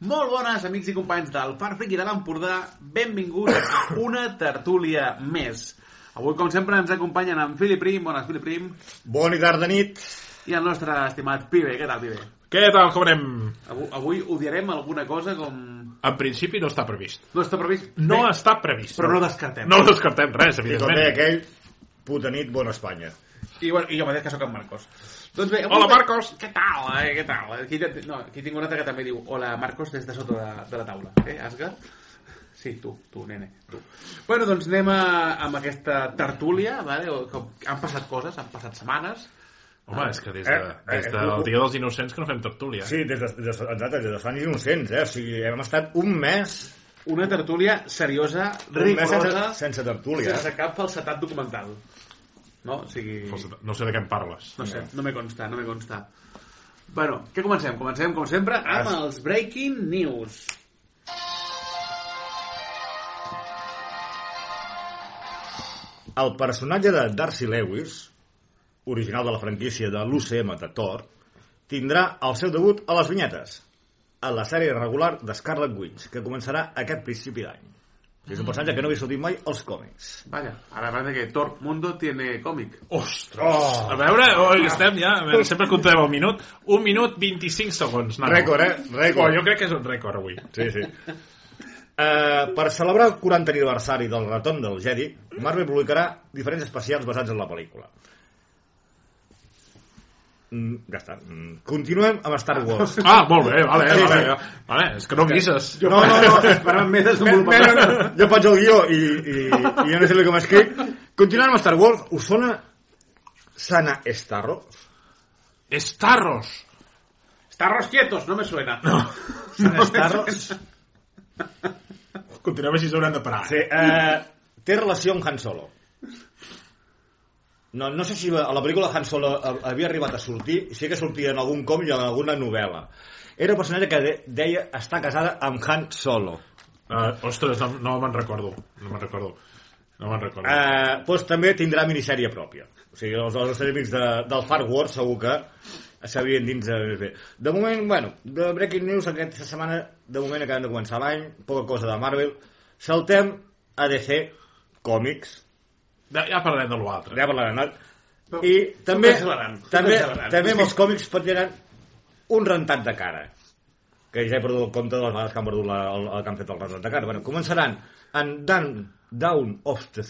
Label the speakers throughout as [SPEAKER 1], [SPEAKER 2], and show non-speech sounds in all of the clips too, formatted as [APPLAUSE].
[SPEAKER 1] bones, amics i companys del Parc Friki de l'Empordà. Benvinguts a una tertúlia més. Avui, com sempre, ens acompanyen en Fili Prim. Bones, Fili Prim.
[SPEAKER 2] Bona i tarda nit.
[SPEAKER 1] I el nostre estimat Pibe. Què tal, Pibe?
[SPEAKER 3] Què tal, com anem?
[SPEAKER 1] Avui, avui odiarem alguna cosa com...
[SPEAKER 3] En principi no està previst.
[SPEAKER 1] No està previst.
[SPEAKER 3] No
[SPEAKER 1] Bé,
[SPEAKER 3] està previst.
[SPEAKER 1] Però no descartem.
[SPEAKER 3] No descartem res,
[SPEAKER 2] I com deia
[SPEAKER 3] evidentment.
[SPEAKER 2] aquell, puta nit, bona Espanya.
[SPEAKER 1] I, bueno, i jo mateix que sóc en Marcos. Doncs bé, avui-
[SPEAKER 3] Hola, Marcos.
[SPEAKER 1] Què tal, eh? Què tal? Aquí, ja- no, aquí tinc un altre que també diu Hola, Marcos, des de sota de, de la taula. Eh, Asgard? Sí, tu, tu, nene, tu. Bueno, doncs anem a, amb aquesta tertúlia, vale? O, com, han passat coses, han passat setmanes.
[SPEAKER 3] Home, és que des, de,
[SPEAKER 2] Eh, eh,
[SPEAKER 3] des del
[SPEAKER 2] eh,
[SPEAKER 3] Dia dels Innocents que no fem tertúlia.
[SPEAKER 2] Sí, des de, des de, exacte, des de fa anys innocents, eh? O sigui, hem estat un mes,
[SPEAKER 1] Una tertúlia seriosa,
[SPEAKER 2] un mes sense,
[SPEAKER 1] rigorosa, sense,
[SPEAKER 2] sense tertúlia.
[SPEAKER 3] eh?
[SPEAKER 1] sense cap falsetat documental. No? O sigui...
[SPEAKER 3] No sé de què em parles.
[SPEAKER 1] No sé, no me consta, no me consta. Bueno, què comencem? Comencem, com sempre, amb
[SPEAKER 2] Ah.
[SPEAKER 1] els Breaking News.
[SPEAKER 2] El personatge de Darcy Lewis, original de la franquícia de l'UCM de Thor, tindrà el seu debut a les vinyetes, a la sèrie regular de Scarlet Witch, que començarà aquest principi d'any. És un personatge que no havia sortit mai als còmics.
[SPEAKER 1] Vaya, ahora parece que Thor Mundo tiene cómic.
[SPEAKER 3] Ostres! A veure, oi, estem ja... A veure, sempre comptem el minut. Un minut 25 segons, nano.
[SPEAKER 2] Rècord, eh? Rècord.
[SPEAKER 3] Oh, jo crec que és un rècord, avui.
[SPEAKER 2] Sí, sí. Uh, per celebrar el 40 aniversari del retorn del Jedi, Marvel publicarà diferents especials basats en la pel·lícula. Mm, ja està. Mm. Continuem amb Star Wars.
[SPEAKER 3] Ah, molt bé, vale,
[SPEAKER 2] Sí,
[SPEAKER 3] vale,
[SPEAKER 2] sí.
[SPEAKER 3] vale. vale és que no em guisses.
[SPEAKER 2] No, [LAUGHS] no,
[SPEAKER 1] [LAUGHS]
[SPEAKER 2] no.
[SPEAKER 1] Para més
[SPEAKER 2] no, no,
[SPEAKER 1] desenvolupament.
[SPEAKER 2] no. Jo faig el guió i, i, i jo no sé com escric. Continuem amb Star Wars. Us sona Sana Starro?
[SPEAKER 3] Estarros!
[SPEAKER 1] Starros quietos, no me suena.
[SPEAKER 2] Sana Starros?
[SPEAKER 3] Continuem així, s'hauran de parar.
[SPEAKER 2] Sí, eh, té relació amb Han Solo. No, no sé si a la pel·lícula Han Solo eh, havia arribat a sortir, sí que sortia en algun com i en alguna novel·la. Era un personatge que de, deia està casada amb Han Solo.
[SPEAKER 3] Uh, ostres, no, no me'n recordo. No me'n recordo. No me'n recordo.
[SPEAKER 2] Eh, doncs també tindrà minissèrie pròpia. O sigui, els altres enemics de, del Far Wars segur que sabien dins de bé. De moment, bueno, de Breaking News aquesta setmana, de moment acabem de començar l'any, poca cosa de Marvel. Saltem a DC Comics,
[SPEAKER 3] Ja, ja parlarem de l'altre.
[SPEAKER 2] Ja parlarem. No?
[SPEAKER 1] No,
[SPEAKER 2] I
[SPEAKER 1] no
[SPEAKER 2] també,
[SPEAKER 1] cancel·laran, no
[SPEAKER 2] també,
[SPEAKER 1] cancel·laran.
[SPEAKER 2] també amb els còmics patiran un rentat de cara. Que ja he perdut el compte de les vegades que han perdut la, el, el que han fet el rentat de cara. Bueno, començaran en Dan Down of, the,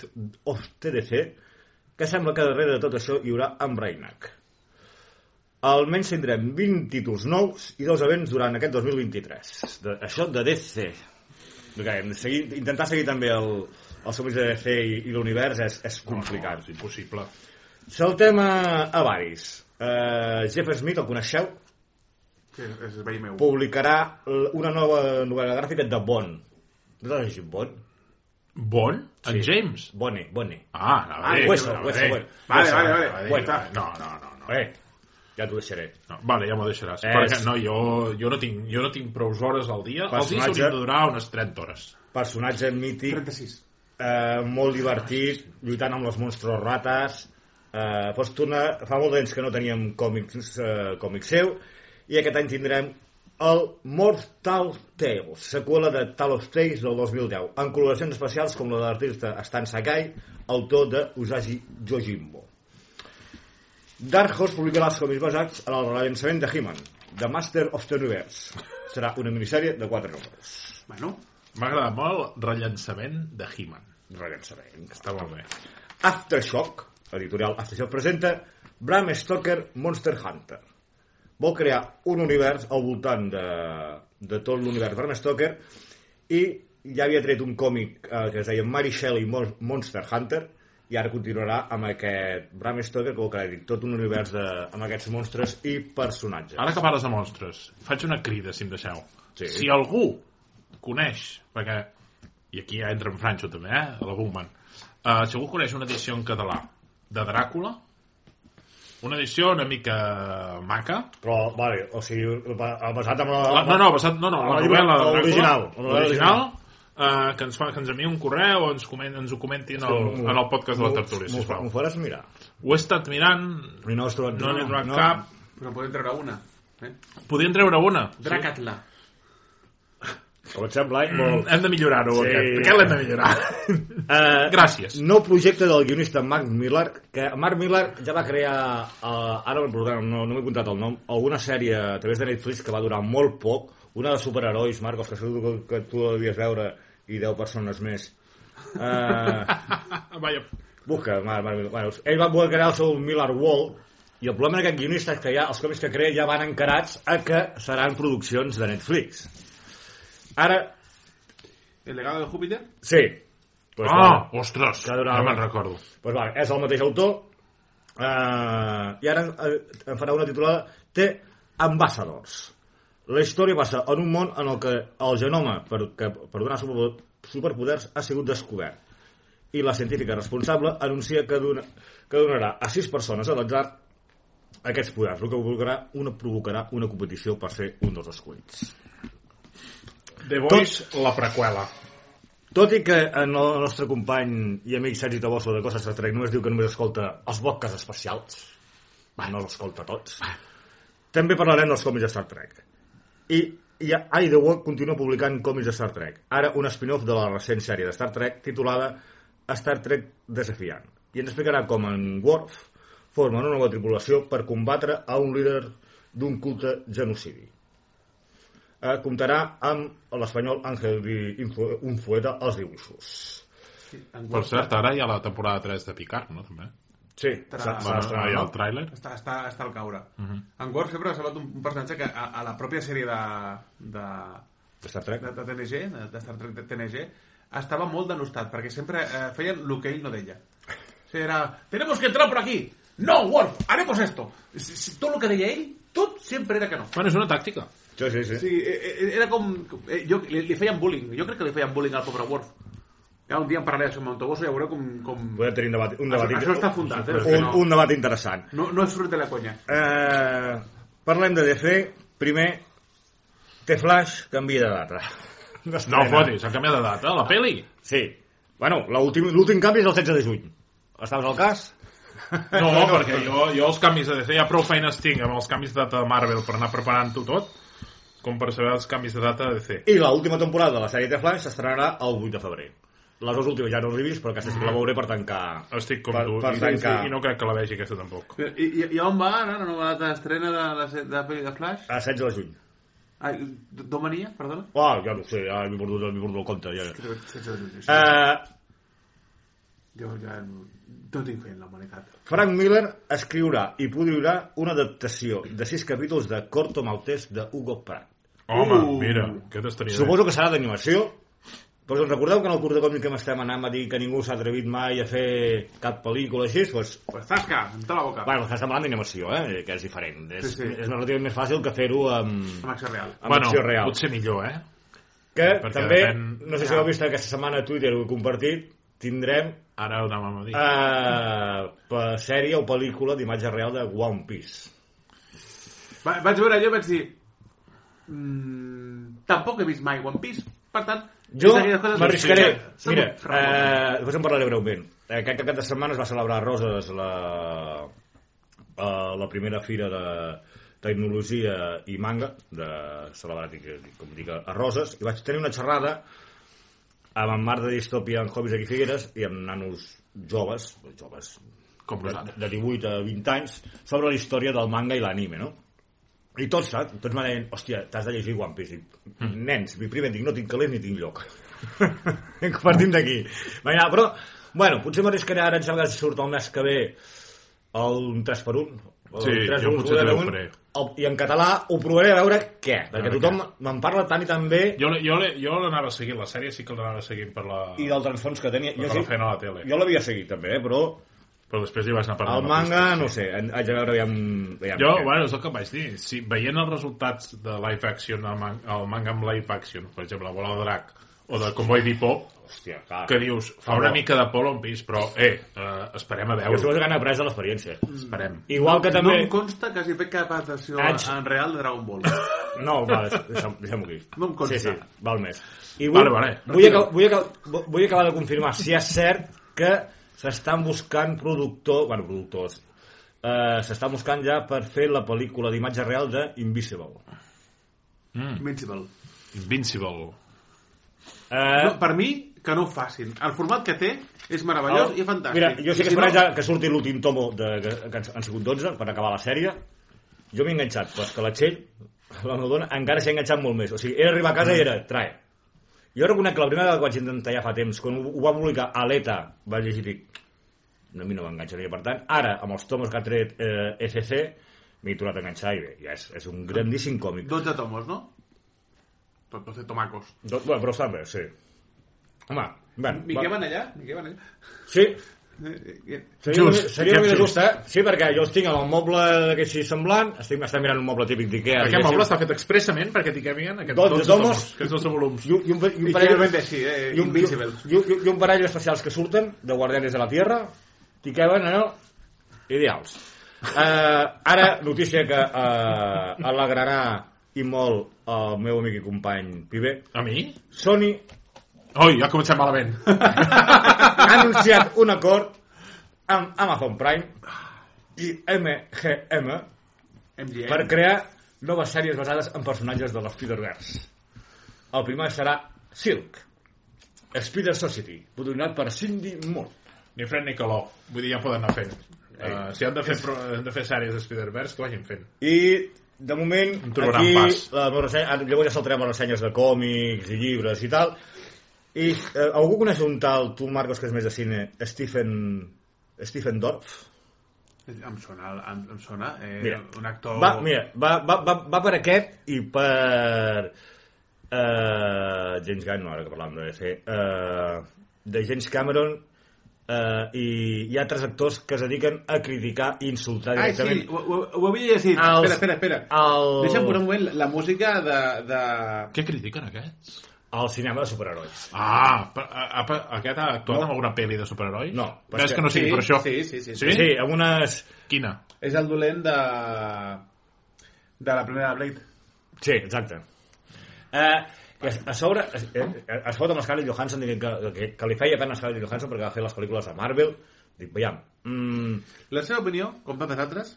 [SPEAKER 2] of TDC, que sembla que darrere de tot això hi haurà en Brainac. Almenys tindrem 20 títols nous i dos events durant aquest 2023. De, això de DC. Okay, seguir, intentar seguir també el, els còmics de DC i, i l'univers és, és complicat.
[SPEAKER 3] No, és impossible.
[SPEAKER 2] Saltem a, a Varis. Uh, Jeff Smith, el coneixeu,
[SPEAKER 1] Sí, és el veí meu.
[SPEAKER 2] publicarà l- una nova novel·la gràfica de Bond. No t'has llegit Bond?
[SPEAKER 3] Bon? En James?
[SPEAKER 2] Bonnie, Bonnie.
[SPEAKER 3] Ah, la
[SPEAKER 2] Ah,
[SPEAKER 3] bé,
[SPEAKER 2] Hueso,
[SPEAKER 3] la
[SPEAKER 2] Hueso,
[SPEAKER 3] bé.
[SPEAKER 2] bueno.
[SPEAKER 1] Vale,
[SPEAKER 3] Hueso,
[SPEAKER 1] vale, vale.
[SPEAKER 3] la bé.
[SPEAKER 2] Bueno.
[SPEAKER 3] No, no, no. no.
[SPEAKER 2] Eh, ja t'ho deixaré.
[SPEAKER 3] No, vale, ja m'ho deixaràs.
[SPEAKER 2] És-
[SPEAKER 3] Perquè, no, jo, jo, no tinc, jo no tinc prou hores al dia. Els dies
[SPEAKER 2] Personatge.
[SPEAKER 3] haurien de durar unes 30 hores.
[SPEAKER 2] Personatge mític,
[SPEAKER 1] 36.
[SPEAKER 2] eh, molt divertit, lluitant amb els monstros rates. Eh, pots tornar... Fa molt d'anys que no teníem còmics, eh, còmics seu, i aquest any tindrem el Mortal Tales, seqüela de Tal of Tales del 2010, amb col·laboracions especials com la de l'artista Stan Sakai, autor de Usagi Yojimbo. Dark Horse publicarà els còmics basats en el rellançament de He-Man, The Master of the Universe. Serà una minissèrie de 4 números.
[SPEAKER 1] Bueno,
[SPEAKER 3] M'ha agradat molt el rellançament de He-Man.
[SPEAKER 2] Rellançament.
[SPEAKER 3] Està molt bé.
[SPEAKER 2] Aftershock, editorial Aftershock presenta Bram Stoker Monster Hunter. Vol crear un univers al voltant de, de tot l'univers Bram Stoker i ja havia tret un còmic eh, que es deia Mary Shelley Mon Monster Hunter i ara continuarà amb aquest Bram Stoker que vol crear dic, tot un univers de, amb aquests monstres i personatges.
[SPEAKER 3] Ara que parles de monstres, faig una crida, si em deixeu.
[SPEAKER 2] Sí.
[SPEAKER 3] Si algú coneix, perquè... I aquí ja entra en Francho, també, eh? A la Bowman. Uh, si algú coneix una edició en català de Dràcula, una edició una mica maca,
[SPEAKER 2] Però, vale, o sigui, ha basat amb la...
[SPEAKER 3] La, Ah, no, no, basat, no, no, la,
[SPEAKER 2] la
[SPEAKER 3] novel·la
[SPEAKER 2] novel·la
[SPEAKER 3] de Dràcula,
[SPEAKER 2] Ah, original, la novel·la
[SPEAKER 3] l'original, eh, que ens, fa, que ens enviï un correu o ens, coment, ens ho comentin al, en el podcast de la tertúlia,
[SPEAKER 2] M'ho fa-
[SPEAKER 3] sisplau.
[SPEAKER 2] m'ho faràs mirar.
[SPEAKER 3] Ho he estat mirant,
[SPEAKER 2] I no has trobat
[SPEAKER 3] no n'he trobat
[SPEAKER 2] no.
[SPEAKER 3] cap.
[SPEAKER 1] però podem treure una. Eh?
[SPEAKER 3] Podien treure una.
[SPEAKER 1] Dracatla.
[SPEAKER 2] Com et sembla, eh? Molt...
[SPEAKER 3] Hem de millorar-ho,
[SPEAKER 2] Sí.
[SPEAKER 3] Mm. aquest. Aquest l'hem de millorar.
[SPEAKER 2] [LAUGHS] Eh,
[SPEAKER 3] Gràcies.
[SPEAKER 2] Nou projecte del guionista Mark Millar, que Mark Millar ja va crear, eh, ara me'n recordaré, no, no m'he apuntat el nom, alguna sèrie a través de Netflix que va durar molt poc, una de superherois, Marcos, que segur que, que tu la devies veure, i 10 persones més. Eh,
[SPEAKER 3] Vaja.
[SPEAKER 2] busca, Mark, Mark Millar. Bueno, ell va voler crear el seu Millar Wall, i el problema d'aquest guionista és que ja els còmics que crea ja van encarats a que seran produccions de Netflix. Ara,
[SPEAKER 1] El legado de Júpiter?
[SPEAKER 2] sí, pues,
[SPEAKER 3] Ah, ostres,
[SPEAKER 2] Que
[SPEAKER 3] ja
[SPEAKER 2] durava-
[SPEAKER 3] me'n recordo.
[SPEAKER 2] Pues va, és el mateix autor eh, i ara eh, en farà una titulada Té ambassadors. La història passa en un món en el que el genoma per, que, per donar super, superpoders ha sigut descobert i la científica responsable anuncia que, dona, que donarà a sis persones a l'atzar aquests poders, el que provocarà una, provocarà una competició per ser un dels escollits.
[SPEAKER 3] The Voice, la preqüela.
[SPEAKER 2] Tot i que en el nostre company i amic Sergi Tabosso de Coses Trek només diu que només escolta els podcasts especials, va, no els escolta tots, també parlarem dels còmics de Star Trek. I, i I The Walk continua publicant còmics de Star Trek, ara un spin-off de la recent sèrie de Star Trek titulada Star Trek Desafiant, i ens explicarà com en Worf forma una nova tripulació per combatre a un líder d'un culte genocidi eh, comptarà amb l'espanyol Ángel Di- Info- Unzueta als dibuixos.
[SPEAKER 1] Sí, en
[SPEAKER 3] Per cert, ara hi ha la temporada 3 de Picard, no? També.
[SPEAKER 2] Sí,
[SPEAKER 1] Tra-
[SPEAKER 2] s'ha- s'ha
[SPEAKER 3] Bueno,
[SPEAKER 2] estrenat,
[SPEAKER 3] hi ha
[SPEAKER 2] Ah, no?
[SPEAKER 3] el tràiler.
[SPEAKER 1] Està, està, està al caure. En Worf sempre ha salvat un, un personatge que a, a la pròpia sèrie de, de,
[SPEAKER 2] Star Trek.
[SPEAKER 1] de, de TNG, de, de Star Trek de TNG, estava molt denostat, perquè sempre eh, feien el que ell no deia. O sigui, era, tenemos que entrar por aquí. No, Worf, haremos esto. Si- si- Tot el que deia ell, tot sempre era que no.
[SPEAKER 3] Bueno, és una tàctica.
[SPEAKER 2] Sí, sí, sí.
[SPEAKER 1] Sí, eh, eh, era com... eh, Jo, li, li feien bullying. Jo crec que li feien bullying al pobre Worf. Ja un dia en parlaré amb Montoboso i ja veureu com... com...
[SPEAKER 2] Podem tenir un debat, un
[SPEAKER 1] Això-
[SPEAKER 2] debat,
[SPEAKER 1] això està fundat, eh?
[SPEAKER 2] un, un debat interessant.
[SPEAKER 1] No, no és fruit de la conya.
[SPEAKER 2] Eh, parlem de DC. Primer, The Flash canvia de data.
[SPEAKER 3] [LAUGHS] No
[SPEAKER 2] D'estrena.
[SPEAKER 3] fotis, ha canviat de data, la peli.
[SPEAKER 2] Sí. Bueno, l'últim l'últim canvi és el 16 de juny. Estaves al cas?
[SPEAKER 3] No, perquè jo, jo els canvis de DC ja prou feines tinc amb els canvis de data de Marvel per anar preparant-ho tot com per saber els canvis de data de DC.
[SPEAKER 2] I l'última temporada de la sèrie The Flash s'estrenarà el 8 de febrer. Les dues últimes ja no les he vist, però aquesta sí que la veuré per tancar...
[SPEAKER 3] Estic com
[SPEAKER 2] per,
[SPEAKER 3] tu,
[SPEAKER 2] Per
[SPEAKER 3] i,
[SPEAKER 2] tancar...
[SPEAKER 3] i no crec que la vegi aquesta tampoc.
[SPEAKER 1] I, i, i on va ara la nova data d'estrena de, la se- de la pel·li de Flash?
[SPEAKER 2] A 16 de juny.
[SPEAKER 1] Ai, d- Domania, perdona?
[SPEAKER 2] Ah, ja no ho sé, ja m'he perdut, m'he perdut el compte. Ja.
[SPEAKER 1] Creo que sense desitjos.
[SPEAKER 2] Uh,
[SPEAKER 1] Jo ja no, no tinc fe en la humanitat.
[SPEAKER 2] Frank Miller escriurà i produirà una adaptació de sis capítols de Corto Maltès de Hugo Pratt.
[SPEAKER 3] Home,
[SPEAKER 1] Uh.
[SPEAKER 3] mira, què t'estaria bé.
[SPEAKER 2] Suposo que serà d'animació, però us recordeu que en el curs de còmic que m'estem anant va dir que ningú s'ha atrevit mai a fer cap pel·lícula així? Doncs,
[SPEAKER 1] Pues zasca, em la boca.
[SPEAKER 2] bueno, estem parlant d'animació, eh? que és diferent. És,
[SPEAKER 1] Sí, sí.
[SPEAKER 2] és relativament més fàcil que fer-ho amb,
[SPEAKER 1] Amb acció real.
[SPEAKER 2] amb acció real.
[SPEAKER 3] potser millor, eh?
[SPEAKER 2] Que
[SPEAKER 3] perquè
[SPEAKER 2] també,
[SPEAKER 3] depèn-
[SPEAKER 2] no sé si
[SPEAKER 1] Ja.
[SPEAKER 2] heu vist aquesta setmana a Twitter, ho he compartit, tindrem
[SPEAKER 3] Ara ho anàvem a
[SPEAKER 2] Eh.
[SPEAKER 3] dir.
[SPEAKER 2] Uh, per sèrie o pel·lícula d'imatge real de One Piece.
[SPEAKER 1] Va, vaig veure allò i vaig dir... Mm, tampoc he vist mai One Piece, per tant...
[SPEAKER 2] Jo
[SPEAKER 1] és d'aquelles coses-
[SPEAKER 2] m'arriscaré.
[SPEAKER 1] Sí, som
[SPEAKER 2] Mira,
[SPEAKER 1] un ramon.
[SPEAKER 2] eh, després en parlaré breument. Aquest cap de setmana es va celebrar a Roses la, eh, la primera fira de tecnologia i manga de celebrat, i- com dic, a Roses i vaig tenir una xerrada amb en Marc de Distòpia en Hobbies aquí a Figueres i amb nanos joves, joves
[SPEAKER 3] Com
[SPEAKER 2] de,
[SPEAKER 3] vosaltres.
[SPEAKER 2] de 18 a 20 anys sobre la història del manga i l'anime, no? I tots, saps? Tots m'han dit, hòstia, t'has de llegir One Piece. I,
[SPEAKER 3] Mm.
[SPEAKER 2] nens, i primer dic, no tinc calés ni tinc lloc. [LAUGHS] Partim d'aquí. Va, ja, Però, bueno, potser m'arriscaré ara, em sembla que surt el mes que ve el 3x1.
[SPEAKER 3] Sí, jo potser també ho faré.
[SPEAKER 2] I en català ho provaré a veure què, perquè
[SPEAKER 3] veure
[SPEAKER 2] tothom me'n parla tant i tan bé
[SPEAKER 3] Jo, jo, jo l'anava seguint, la sèrie sí que l'anava seguint per la...
[SPEAKER 2] i del transfons que tenia.
[SPEAKER 3] Però que la feien a la tele.
[SPEAKER 2] Jo l'havia seguit també, eh, però
[SPEAKER 3] Però després hi vas anar parlant.
[SPEAKER 2] el
[SPEAKER 3] amb
[SPEAKER 2] manga,
[SPEAKER 3] Christie,
[SPEAKER 2] no
[SPEAKER 3] sí.
[SPEAKER 2] sé, en- haig de veure aviam... aviam
[SPEAKER 3] Jo,
[SPEAKER 2] què.
[SPEAKER 3] bueno, és el que em vaig dir. Si veient els resultats de live action, el, man el manga amb live action, per exemple, la bola de drac, o de Convoy Bebop,
[SPEAKER 2] Hòstia, clar.
[SPEAKER 3] que dius, fa una mica de por l'On Piece, però, eh, eh, esperem a
[SPEAKER 2] Jo
[SPEAKER 3] veure-ho.
[SPEAKER 2] suposo que han après de l'experiència.
[SPEAKER 3] Esperem.
[SPEAKER 2] Igual que també...
[SPEAKER 1] No em consta que hagi fet cap adaptació
[SPEAKER 2] Haig-
[SPEAKER 1] en real de Dragon Ball.
[SPEAKER 2] No, va, deixa'm- deixa'm-ho aquí.
[SPEAKER 1] No em consta.
[SPEAKER 2] Sí, sí, val més. I vull,
[SPEAKER 3] Vale, vale.
[SPEAKER 2] Vull, acabar, vull, acabar, vull acabar de confirmar si és cert que s'estan buscant productor... Bueno, productors. Uh, s'estan buscant ja per fer la pel·lícula d'imatge real de Invisible.
[SPEAKER 1] Invincible.
[SPEAKER 3] Invincible.
[SPEAKER 2] Eh,
[SPEAKER 1] No, per mi, que no ho facin. El format que té és meravellós i fantàstic.
[SPEAKER 2] Oh, Mira, jo sé
[SPEAKER 1] I
[SPEAKER 2] que
[SPEAKER 1] si no-
[SPEAKER 2] esperar ja que surti l'últim tomo de, que, que han sigut 12 per acabar la sèrie. Jo m'he enganxat, però és que la Txell, la meva dona, encara s'ha enganxat molt més. O sigui, era arribar a casa i era, trae. Jo reconec que la primera vegada que vaig intentar ja fa temps, quan ho, ho va publicar a l'ETA, vaig llegir i dic, no, a mi no m'enganxaria. Per tant, ara, amb els tomos que ha tret eh, ECC, m'he tornat a enganxar i bé, ja és, és un grandíssim còmic.
[SPEAKER 1] 12 tomos, no? Tot 12 tomacos.
[SPEAKER 2] Do, bueno, però està bé, sí. Home, bueno,
[SPEAKER 1] Miquel
[SPEAKER 2] va,
[SPEAKER 1] van allà? Miquel van allà?
[SPEAKER 2] sí,
[SPEAKER 1] Eh, eh,
[SPEAKER 2] Seria,
[SPEAKER 3] Just,
[SPEAKER 2] just, seria una mica
[SPEAKER 3] diguem just.
[SPEAKER 2] just, eh? Sí, perquè jo els tinc amb el moble d'aquest així semblant, estic estic mirant un moble típic d'Ikea.
[SPEAKER 3] Aquest moble està fet expressament perquè t'hi cabien aquests
[SPEAKER 2] 12
[SPEAKER 3] 12
[SPEAKER 2] tomos.
[SPEAKER 3] tomos, aquests 12 volums.
[SPEAKER 2] I, un- i, un, i, un parell,
[SPEAKER 1] Literalmente sí, eh?
[SPEAKER 2] i, un, i,
[SPEAKER 1] Invincible.
[SPEAKER 2] un, i, un, i un parell especials que surten de Guardianes de la Tierra, t'hi caben en el... ideals. Uh, ara, notícia que uh, alegrarà i molt el meu amic i company Pibe.
[SPEAKER 3] A mi?
[SPEAKER 2] Sony
[SPEAKER 3] Oi, ja comencem malament.
[SPEAKER 2] ha anunciat un acord amb Amazon Prime i MGM
[SPEAKER 1] MGM.
[SPEAKER 2] per crear noves sèries basades en personatges de l'Spider-Verse. El primer serà Silk, Spider Society, produït per Cindy Moore.
[SPEAKER 3] Ni fred ni calor. Vull dir, ja poden anar fent. Uh, si han de fer, pro- han de fer sèries de Spider-Verse, que ho vagin fent.
[SPEAKER 2] I, de moment,
[SPEAKER 3] Em trobaran
[SPEAKER 2] aquí...
[SPEAKER 3] pas.
[SPEAKER 2] La meva ressenya, ara, llavors ja saltarem a ressenyes de còmics i llibres i tal. I eh, algú coneix un tal, tu, Marcos, que és més de cine, Stephen... Stephen Dorff?
[SPEAKER 1] Em sona, el- em, em sona eh,
[SPEAKER 2] Mira,
[SPEAKER 1] un actor...
[SPEAKER 2] Va, mira, va, va, va, va per aquest i per... Uh, James Gunn, no, ara que parlàvem de DC, uh, de James Cameron uh, i hi ha altres actors que es dediquen a criticar i insultar
[SPEAKER 1] Ai, Ah, sí,
[SPEAKER 2] directament.
[SPEAKER 1] ho, ho, ho havia llegit.
[SPEAKER 2] Els-
[SPEAKER 1] Espera, espera, espera.
[SPEAKER 2] el-
[SPEAKER 1] Deixa'm posar un moment la, la música de... de...
[SPEAKER 3] Què critiquen aquests?
[SPEAKER 2] Al cinema de superherois.
[SPEAKER 3] Ah, per, a, a, aquest ha actuat
[SPEAKER 2] No.
[SPEAKER 3] en alguna pel·li de superherois?
[SPEAKER 2] No, però
[SPEAKER 3] Ves
[SPEAKER 2] és
[SPEAKER 3] que,
[SPEAKER 2] que-
[SPEAKER 3] no sigui
[SPEAKER 1] sí,
[SPEAKER 3] per això.
[SPEAKER 1] Sí, sí, sí.
[SPEAKER 3] Sí?
[SPEAKER 2] Sí, amb unes...
[SPEAKER 3] Quina?
[SPEAKER 1] És el dolent de... de la primera de Blade.
[SPEAKER 2] Sí, exacte. Eh, que a- a sobre es, eh, es fot amb Scarlett Johansson dient que, que, que li feia pena a Scarlett Johansson perquè va fer les pel·lícules de Marvel dic, veiem mm,
[SPEAKER 1] La seva opinió, com tantes altres...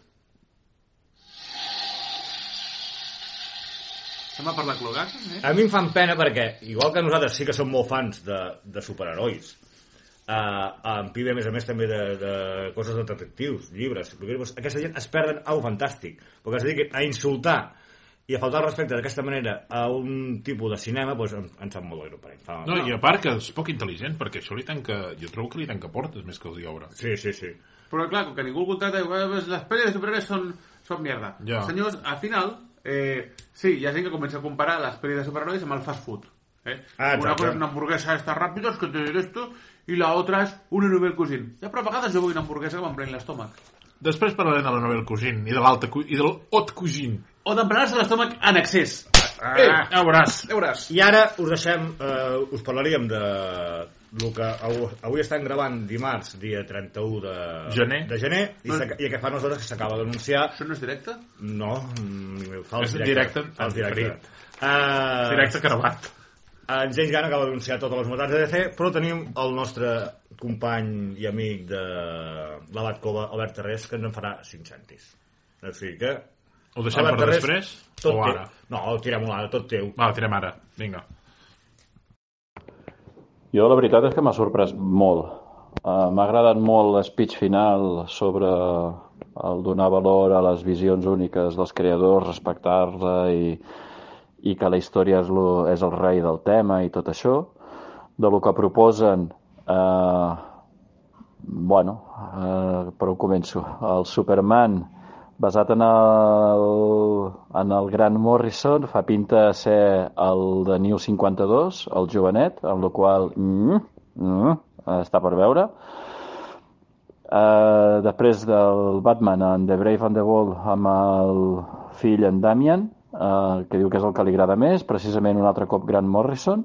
[SPEAKER 1] Se m'ha parlat clogat, eh?
[SPEAKER 2] A mi em fan pena perquè, igual que nosaltres sí que som molt fans de, de superherois, eh, en Pibe, a més a més, també de, de coses de detectius, llibres, doncs aquesta gent es perden au fantàstic, perquè es dediquen a insultar i a faltar el respecte d'aquesta manera a un tipus de cinema, doncs em, em sap molt greu per ell. Fa...
[SPEAKER 3] No, i a part que és poc intel·ligent, perquè això li tanca... Jo trobo que li tanca portes més que els hi obre.
[SPEAKER 2] Sí, sí, sí.
[SPEAKER 1] Però clar, com que ningú el contrata, eh, pues, les pel·lis de superhéroes són, són mierda.
[SPEAKER 3] Ja.
[SPEAKER 1] Senyors, al final, eh, sí, hi ha gent que comença a comparar les pel·lis de superhéroes amb el fast food. Eh?
[SPEAKER 2] Ah, exacte.
[SPEAKER 1] una cosa és una hamburguesa esta ràpida, és que te diré esto, i la otra és un novel cuisine. Ja, però a vegades jo vull una hamburguesa que m'emprèn l'estómac.
[SPEAKER 3] Després parlarem de la novel Cousin i de l'alta cu- i del hot Cousin.
[SPEAKER 1] O d'emprenar-se l'estómac en excés.
[SPEAKER 3] Ah,
[SPEAKER 1] Eh,
[SPEAKER 3] ja veuràs.
[SPEAKER 1] ja veuràs.
[SPEAKER 2] I ara us deixem, eh, us parlaríem de el que avui, avui estan gravant dimarts, dia 31 de
[SPEAKER 3] Gener. Ah.
[SPEAKER 2] de gener i, s'aca- i que fa unes hores que s'acaba d'anunciar
[SPEAKER 1] Això no és directe?
[SPEAKER 2] No, mm, fa el
[SPEAKER 3] És un directe
[SPEAKER 2] fa el
[SPEAKER 3] en diferit.
[SPEAKER 2] directe. Uh,
[SPEAKER 3] Directe carabat.
[SPEAKER 2] En James Gunn acaba d'anunciar totes les novetats de DC, però tenim el nostre company i amic de l'Abat Cova, Albert Terrés, que ens en farà 5 centis. O sigui que...
[SPEAKER 3] Ho deixem
[SPEAKER 2] Albert
[SPEAKER 3] per
[SPEAKER 2] Terrés,
[SPEAKER 3] després?
[SPEAKER 2] Tot
[SPEAKER 3] o
[SPEAKER 2] teu.
[SPEAKER 3] ara?
[SPEAKER 2] No, tirem-ho ara, tot teu.
[SPEAKER 3] Va, tirem ara. Vinga.
[SPEAKER 4] Jo la veritat és que m'ha sorprès molt. Eh, M'ha agradat molt l'espeech final sobre el donar valor a les visions úniques dels creadors, respectar-la i, i que la història és, lo, és el rei del tema i tot això. De lo que proposen, eh, bueno, eh, per on començo? El Superman, basat en el, en el gran Morrison, fa pinta de ser el de New 52, el jovenet, en el qual mm, mm, està per veure. Eh, després del Batman en The Brave and the Bold amb el fill en Damian, eh, que diu que és el que li agrada més, precisament un altre cop Grant Morrison.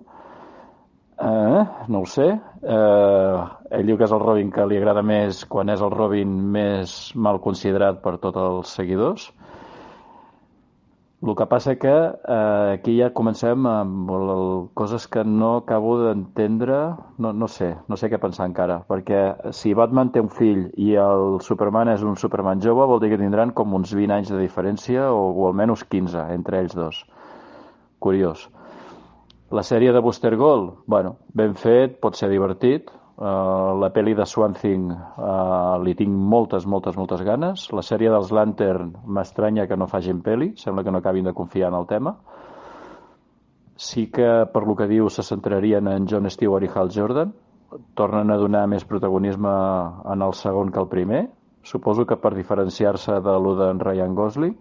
[SPEAKER 4] Eh, no ho sé. Eh, ell diu que és el Robin que li agrada més quan és el Robin més mal considerat per tots els seguidors. El que passa que eh, aquí ja comencem amb el- coses que no acabo d'entendre, no, no sé, no sé què pensar encara, perquè si Batman té un fill i el Superman és un Superman jove, vol dir que tindran com uns 20 anys de diferència o, o almenys 15 entre ells dos. Curiós. La sèrie de Booster Gold, bueno, ben fet, pot ser divertit. Uh, la pel·li de Swan Thing uh, li tinc moltes, moltes, moltes ganes. La sèrie dels Lantern m'estranya que no facin pel·li, sembla que no acabin de confiar en el tema. Sí que, per lo que diu, se centrarien en John Stewart i Hal Jordan. Tornen a donar més protagonisme en el segon que el primer. Suposo que per diferenciar-se de lo d'en Ryan Gosling.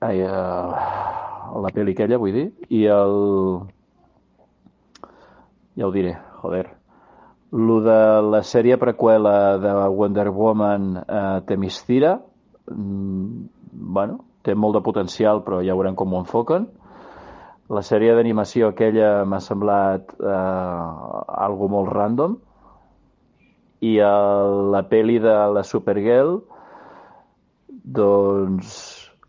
[SPEAKER 4] Ai, uh, la pel·li aquella, vull dir, i el... Ja ho diré, joder. Lo de la sèrie preqüela de Wonder Woman eh, Temistira, mm, bueno, té molt de potencial, però ja veurem com ho enfoquen. La sèrie d'animació aquella m'ha semblat eh, algo molt random. I el, la pel·li de la Supergirl, doncs,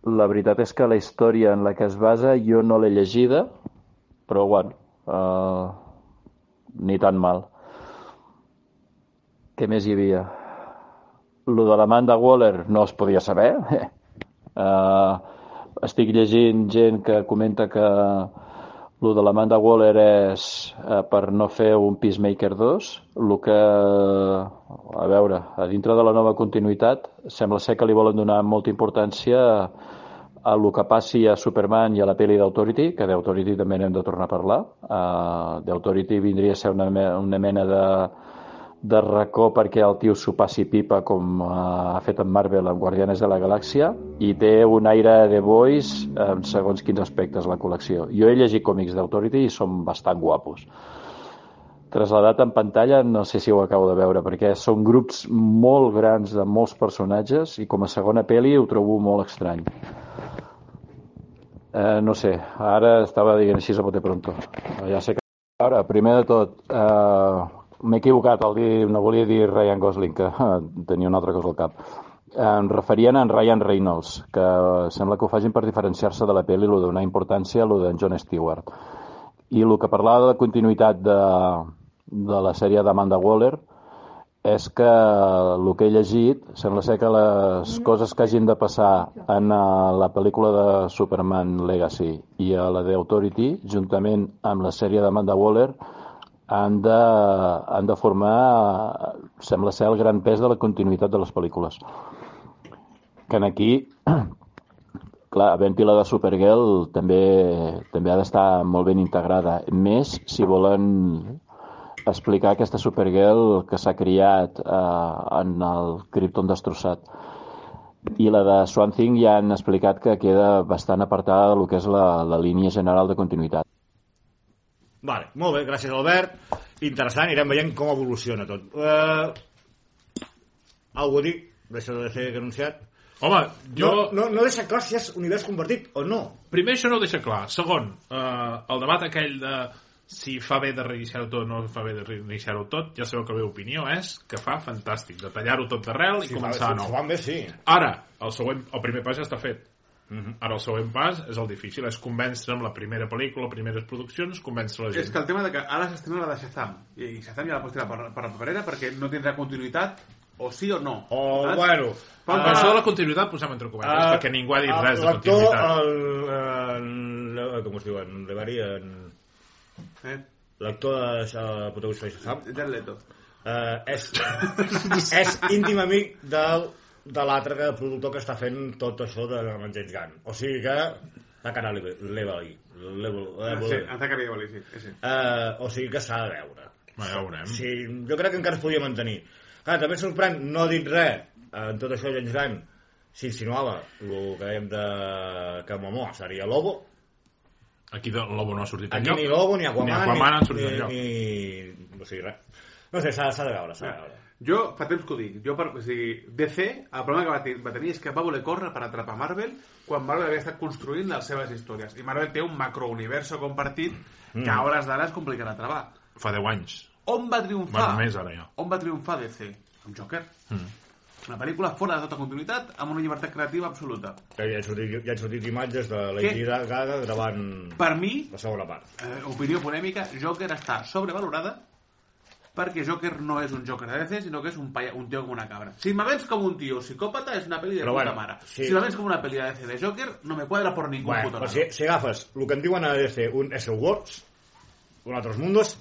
[SPEAKER 4] la veritat és que la història en la que es basa jo no l'he llegida, però bueno, uh, ni tan mal. Què més hi havia? Lo de l'Amanda Waller no es podia saber. [LAUGHS] uh, estic llegint gent que comenta que lo de l'Amanda Waller és uh, per no fer un Peacemaker 2, el que, a veure, a dintre de la nova continuïtat, sembla ser que li volen donar molta importància a lo que passi a Superman i a la pel·li d'Authority, que d'Authority també n'hem de tornar a parlar. Uh, D'Authority vindria a ser una, me una mena de, de racó perquè el tio s'ho passi pipa com uh, ha fet en Marvel amb Guardianes de la Galàxia i té un aire de boys en segons quins aspectes la col·lecció. Jo he llegit còmics d'Authority i són bastant guapos traslladat en pantalla, no sé si ho acabo de veure, perquè són grups molt grans de molts personatges i com a segona pel·li ho trobo molt estrany. Eh, no sé, ara estava dient així a bote pronto. Ja sé que... Ara, primer de tot, eh, m'he equivocat al dir, no volia dir Ryan Gosling, que eh, tenia una altra cosa al cap. Em referien a en Ryan Reynolds, que eh, sembla que ho facin per diferenciar-se de la pel·li, el donar importància a lo d'en John Stewart. I el que parlava de la continuïtat de, de la sèrie d'Amanda Waller és que el que he llegit sembla ser que les coses que hagin de passar en eh, la pel·lícula de Superman Legacy i a la d'Authority, juntament amb la sèrie d'Amanda Waller, han de, han de formar, eh, sembla ser, el gran pes de la continuïtat de les pel·lícules. Que en aquí, [CLEARS THROAT] clar, havent-hi la de Supergirl també, també ha d'estar molt ben integrada. Més si volen explicar aquesta Supergirl que s'ha criat eh, en el Krypton destrossat. I la de Swan Thing ja han explicat que queda bastant apartada del que és la, la línia general de continuïtat.
[SPEAKER 2] Vale, molt bé, gràcies Albert. Interessant, anirem veient com evoluciona tot. Uh, algú a dir, d'això de fer que he anunciat?
[SPEAKER 3] Home, jo...
[SPEAKER 2] No, no, no deixa clar si és univers convertit o no.
[SPEAKER 3] Primer, això no ho deixa clar. Segon, eh, el debat aquell de si fa bé de reiniciar-ho tot o no fa bé de reiniciar-ho tot, ja sabeu que la meva opinió és que fa fantàstic, de tallar-ho tot d'arrel i
[SPEAKER 2] si
[SPEAKER 3] començar de nou.
[SPEAKER 2] Fan bé, sí.
[SPEAKER 3] Ara, el, següent, el primer pas ja està fet.
[SPEAKER 2] Mhm.
[SPEAKER 3] Ara el següent pas és el difícil, és convèncer amb la primera pel·lícula, primeres produccions, convèncer la gent.
[SPEAKER 1] És que el tema de que ara s'estrena la de Shazam, i Shazam ja la pots tirar per, per la paperera perquè no tindrà continuïtat, o sí o no.
[SPEAKER 2] O,
[SPEAKER 1] Saps?
[SPEAKER 2] bueno...
[SPEAKER 1] Pam,
[SPEAKER 3] Per
[SPEAKER 1] pam.
[SPEAKER 3] això de la continuïtat posem entre cometes,
[SPEAKER 2] eh,
[SPEAKER 3] Ah, perquè ningú ha dit
[SPEAKER 2] el- ah,
[SPEAKER 3] res de
[SPEAKER 2] l'actor,
[SPEAKER 3] continuïtat.
[SPEAKER 2] El, el, el, com es diu? En Levari, en...
[SPEAKER 1] Eh?
[SPEAKER 2] L'actor de això, el protagonista de Shazam,
[SPEAKER 1] Jared Leto.
[SPEAKER 2] eh,
[SPEAKER 3] [LAUGHS]
[SPEAKER 2] és, és íntim amic del, de l'altre que- productor que està fent tot això de James Gunn. O sigui que la cara li li va dir. Li va- li
[SPEAKER 3] Ah,
[SPEAKER 1] Sí,
[SPEAKER 2] va dir.
[SPEAKER 1] ens ha carregat Oli, sí. sí.
[SPEAKER 2] Eh, o sigui que s'ha de veure.
[SPEAKER 3] Va, ja ho veurem.
[SPEAKER 2] Sí, jo crec que encara es podia mantenir. Clar, també sorprèn, no ha dit res, eh, en tot això James Gunn s'insinuava el que dèiem de... que Momoa seria Lobo,
[SPEAKER 3] Aquí de Lobo no ha sortit
[SPEAKER 2] aquí
[SPEAKER 3] enlloc.
[SPEAKER 2] ni Lobo ni Aquaman,
[SPEAKER 3] Ni Aquaman han sortit
[SPEAKER 2] ni,
[SPEAKER 3] enlloc.
[SPEAKER 2] ni, ni... O sigui, res. No sé, s'ha s'ha de veure, s'ha de veure.
[SPEAKER 1] Jo fa temps que ho dic. Jo, per, o sigui, DC, el problema que va, tenir, va tenir és que va voler córrer per atrapar Marvel quan Marvel havia estat construint les seves històries. I Marvel té un macrouniverso compartit que
[SPEAKER 3] Mm.
[SPEAKER 1] a hores d'ara és complicat de travar.
[SPEAKER 3] Fa 10 anys.
[SPEAKER 1] On va triomfar?
[SPEAKER 3] Bueno, més ara ja.
[SPEAKER 1] On va triomfar DC? Amb Joker. Mm. Una pel·lícula fora de tota continuïtat, amb una llibertat creativa absoluta.
[SPEAKER 2] Que ja han sortit, ja han sortit imatges de Lady
[SPEAKER 1] Què?
[SPEAKER 2] Gaga gravant
[SPEAKER 1] Per mi,
[SPEAKER 2] la segona part.
[SPEAKER 1] eh, opinió polèmica, Joker està sobrevalorada perquè Joker no és un Joker de DC, sinó que és un, paia, un tio com una cabra. Si me vens com un tio psicòpata, és una pel·li de
[SPEAKER 2] Però
[SPEAKER 1] Però puta
[SPEAKER 2] bueno,
[SPEAKER 1] mare.
[SPEAKER 2] sí.
[SPEAKER 1] Si me vens com una pel·li de DC de Joker, no me quadra por ningún
[SPEAKER 2] Bueno,
[SPEAKER 1] puto
[SPEAKER 2] però
[SPEAKER 1] lado.
[SPEAKER 2] si, si agafes el que en diuen a DC, un S Words, un Altres Mundos,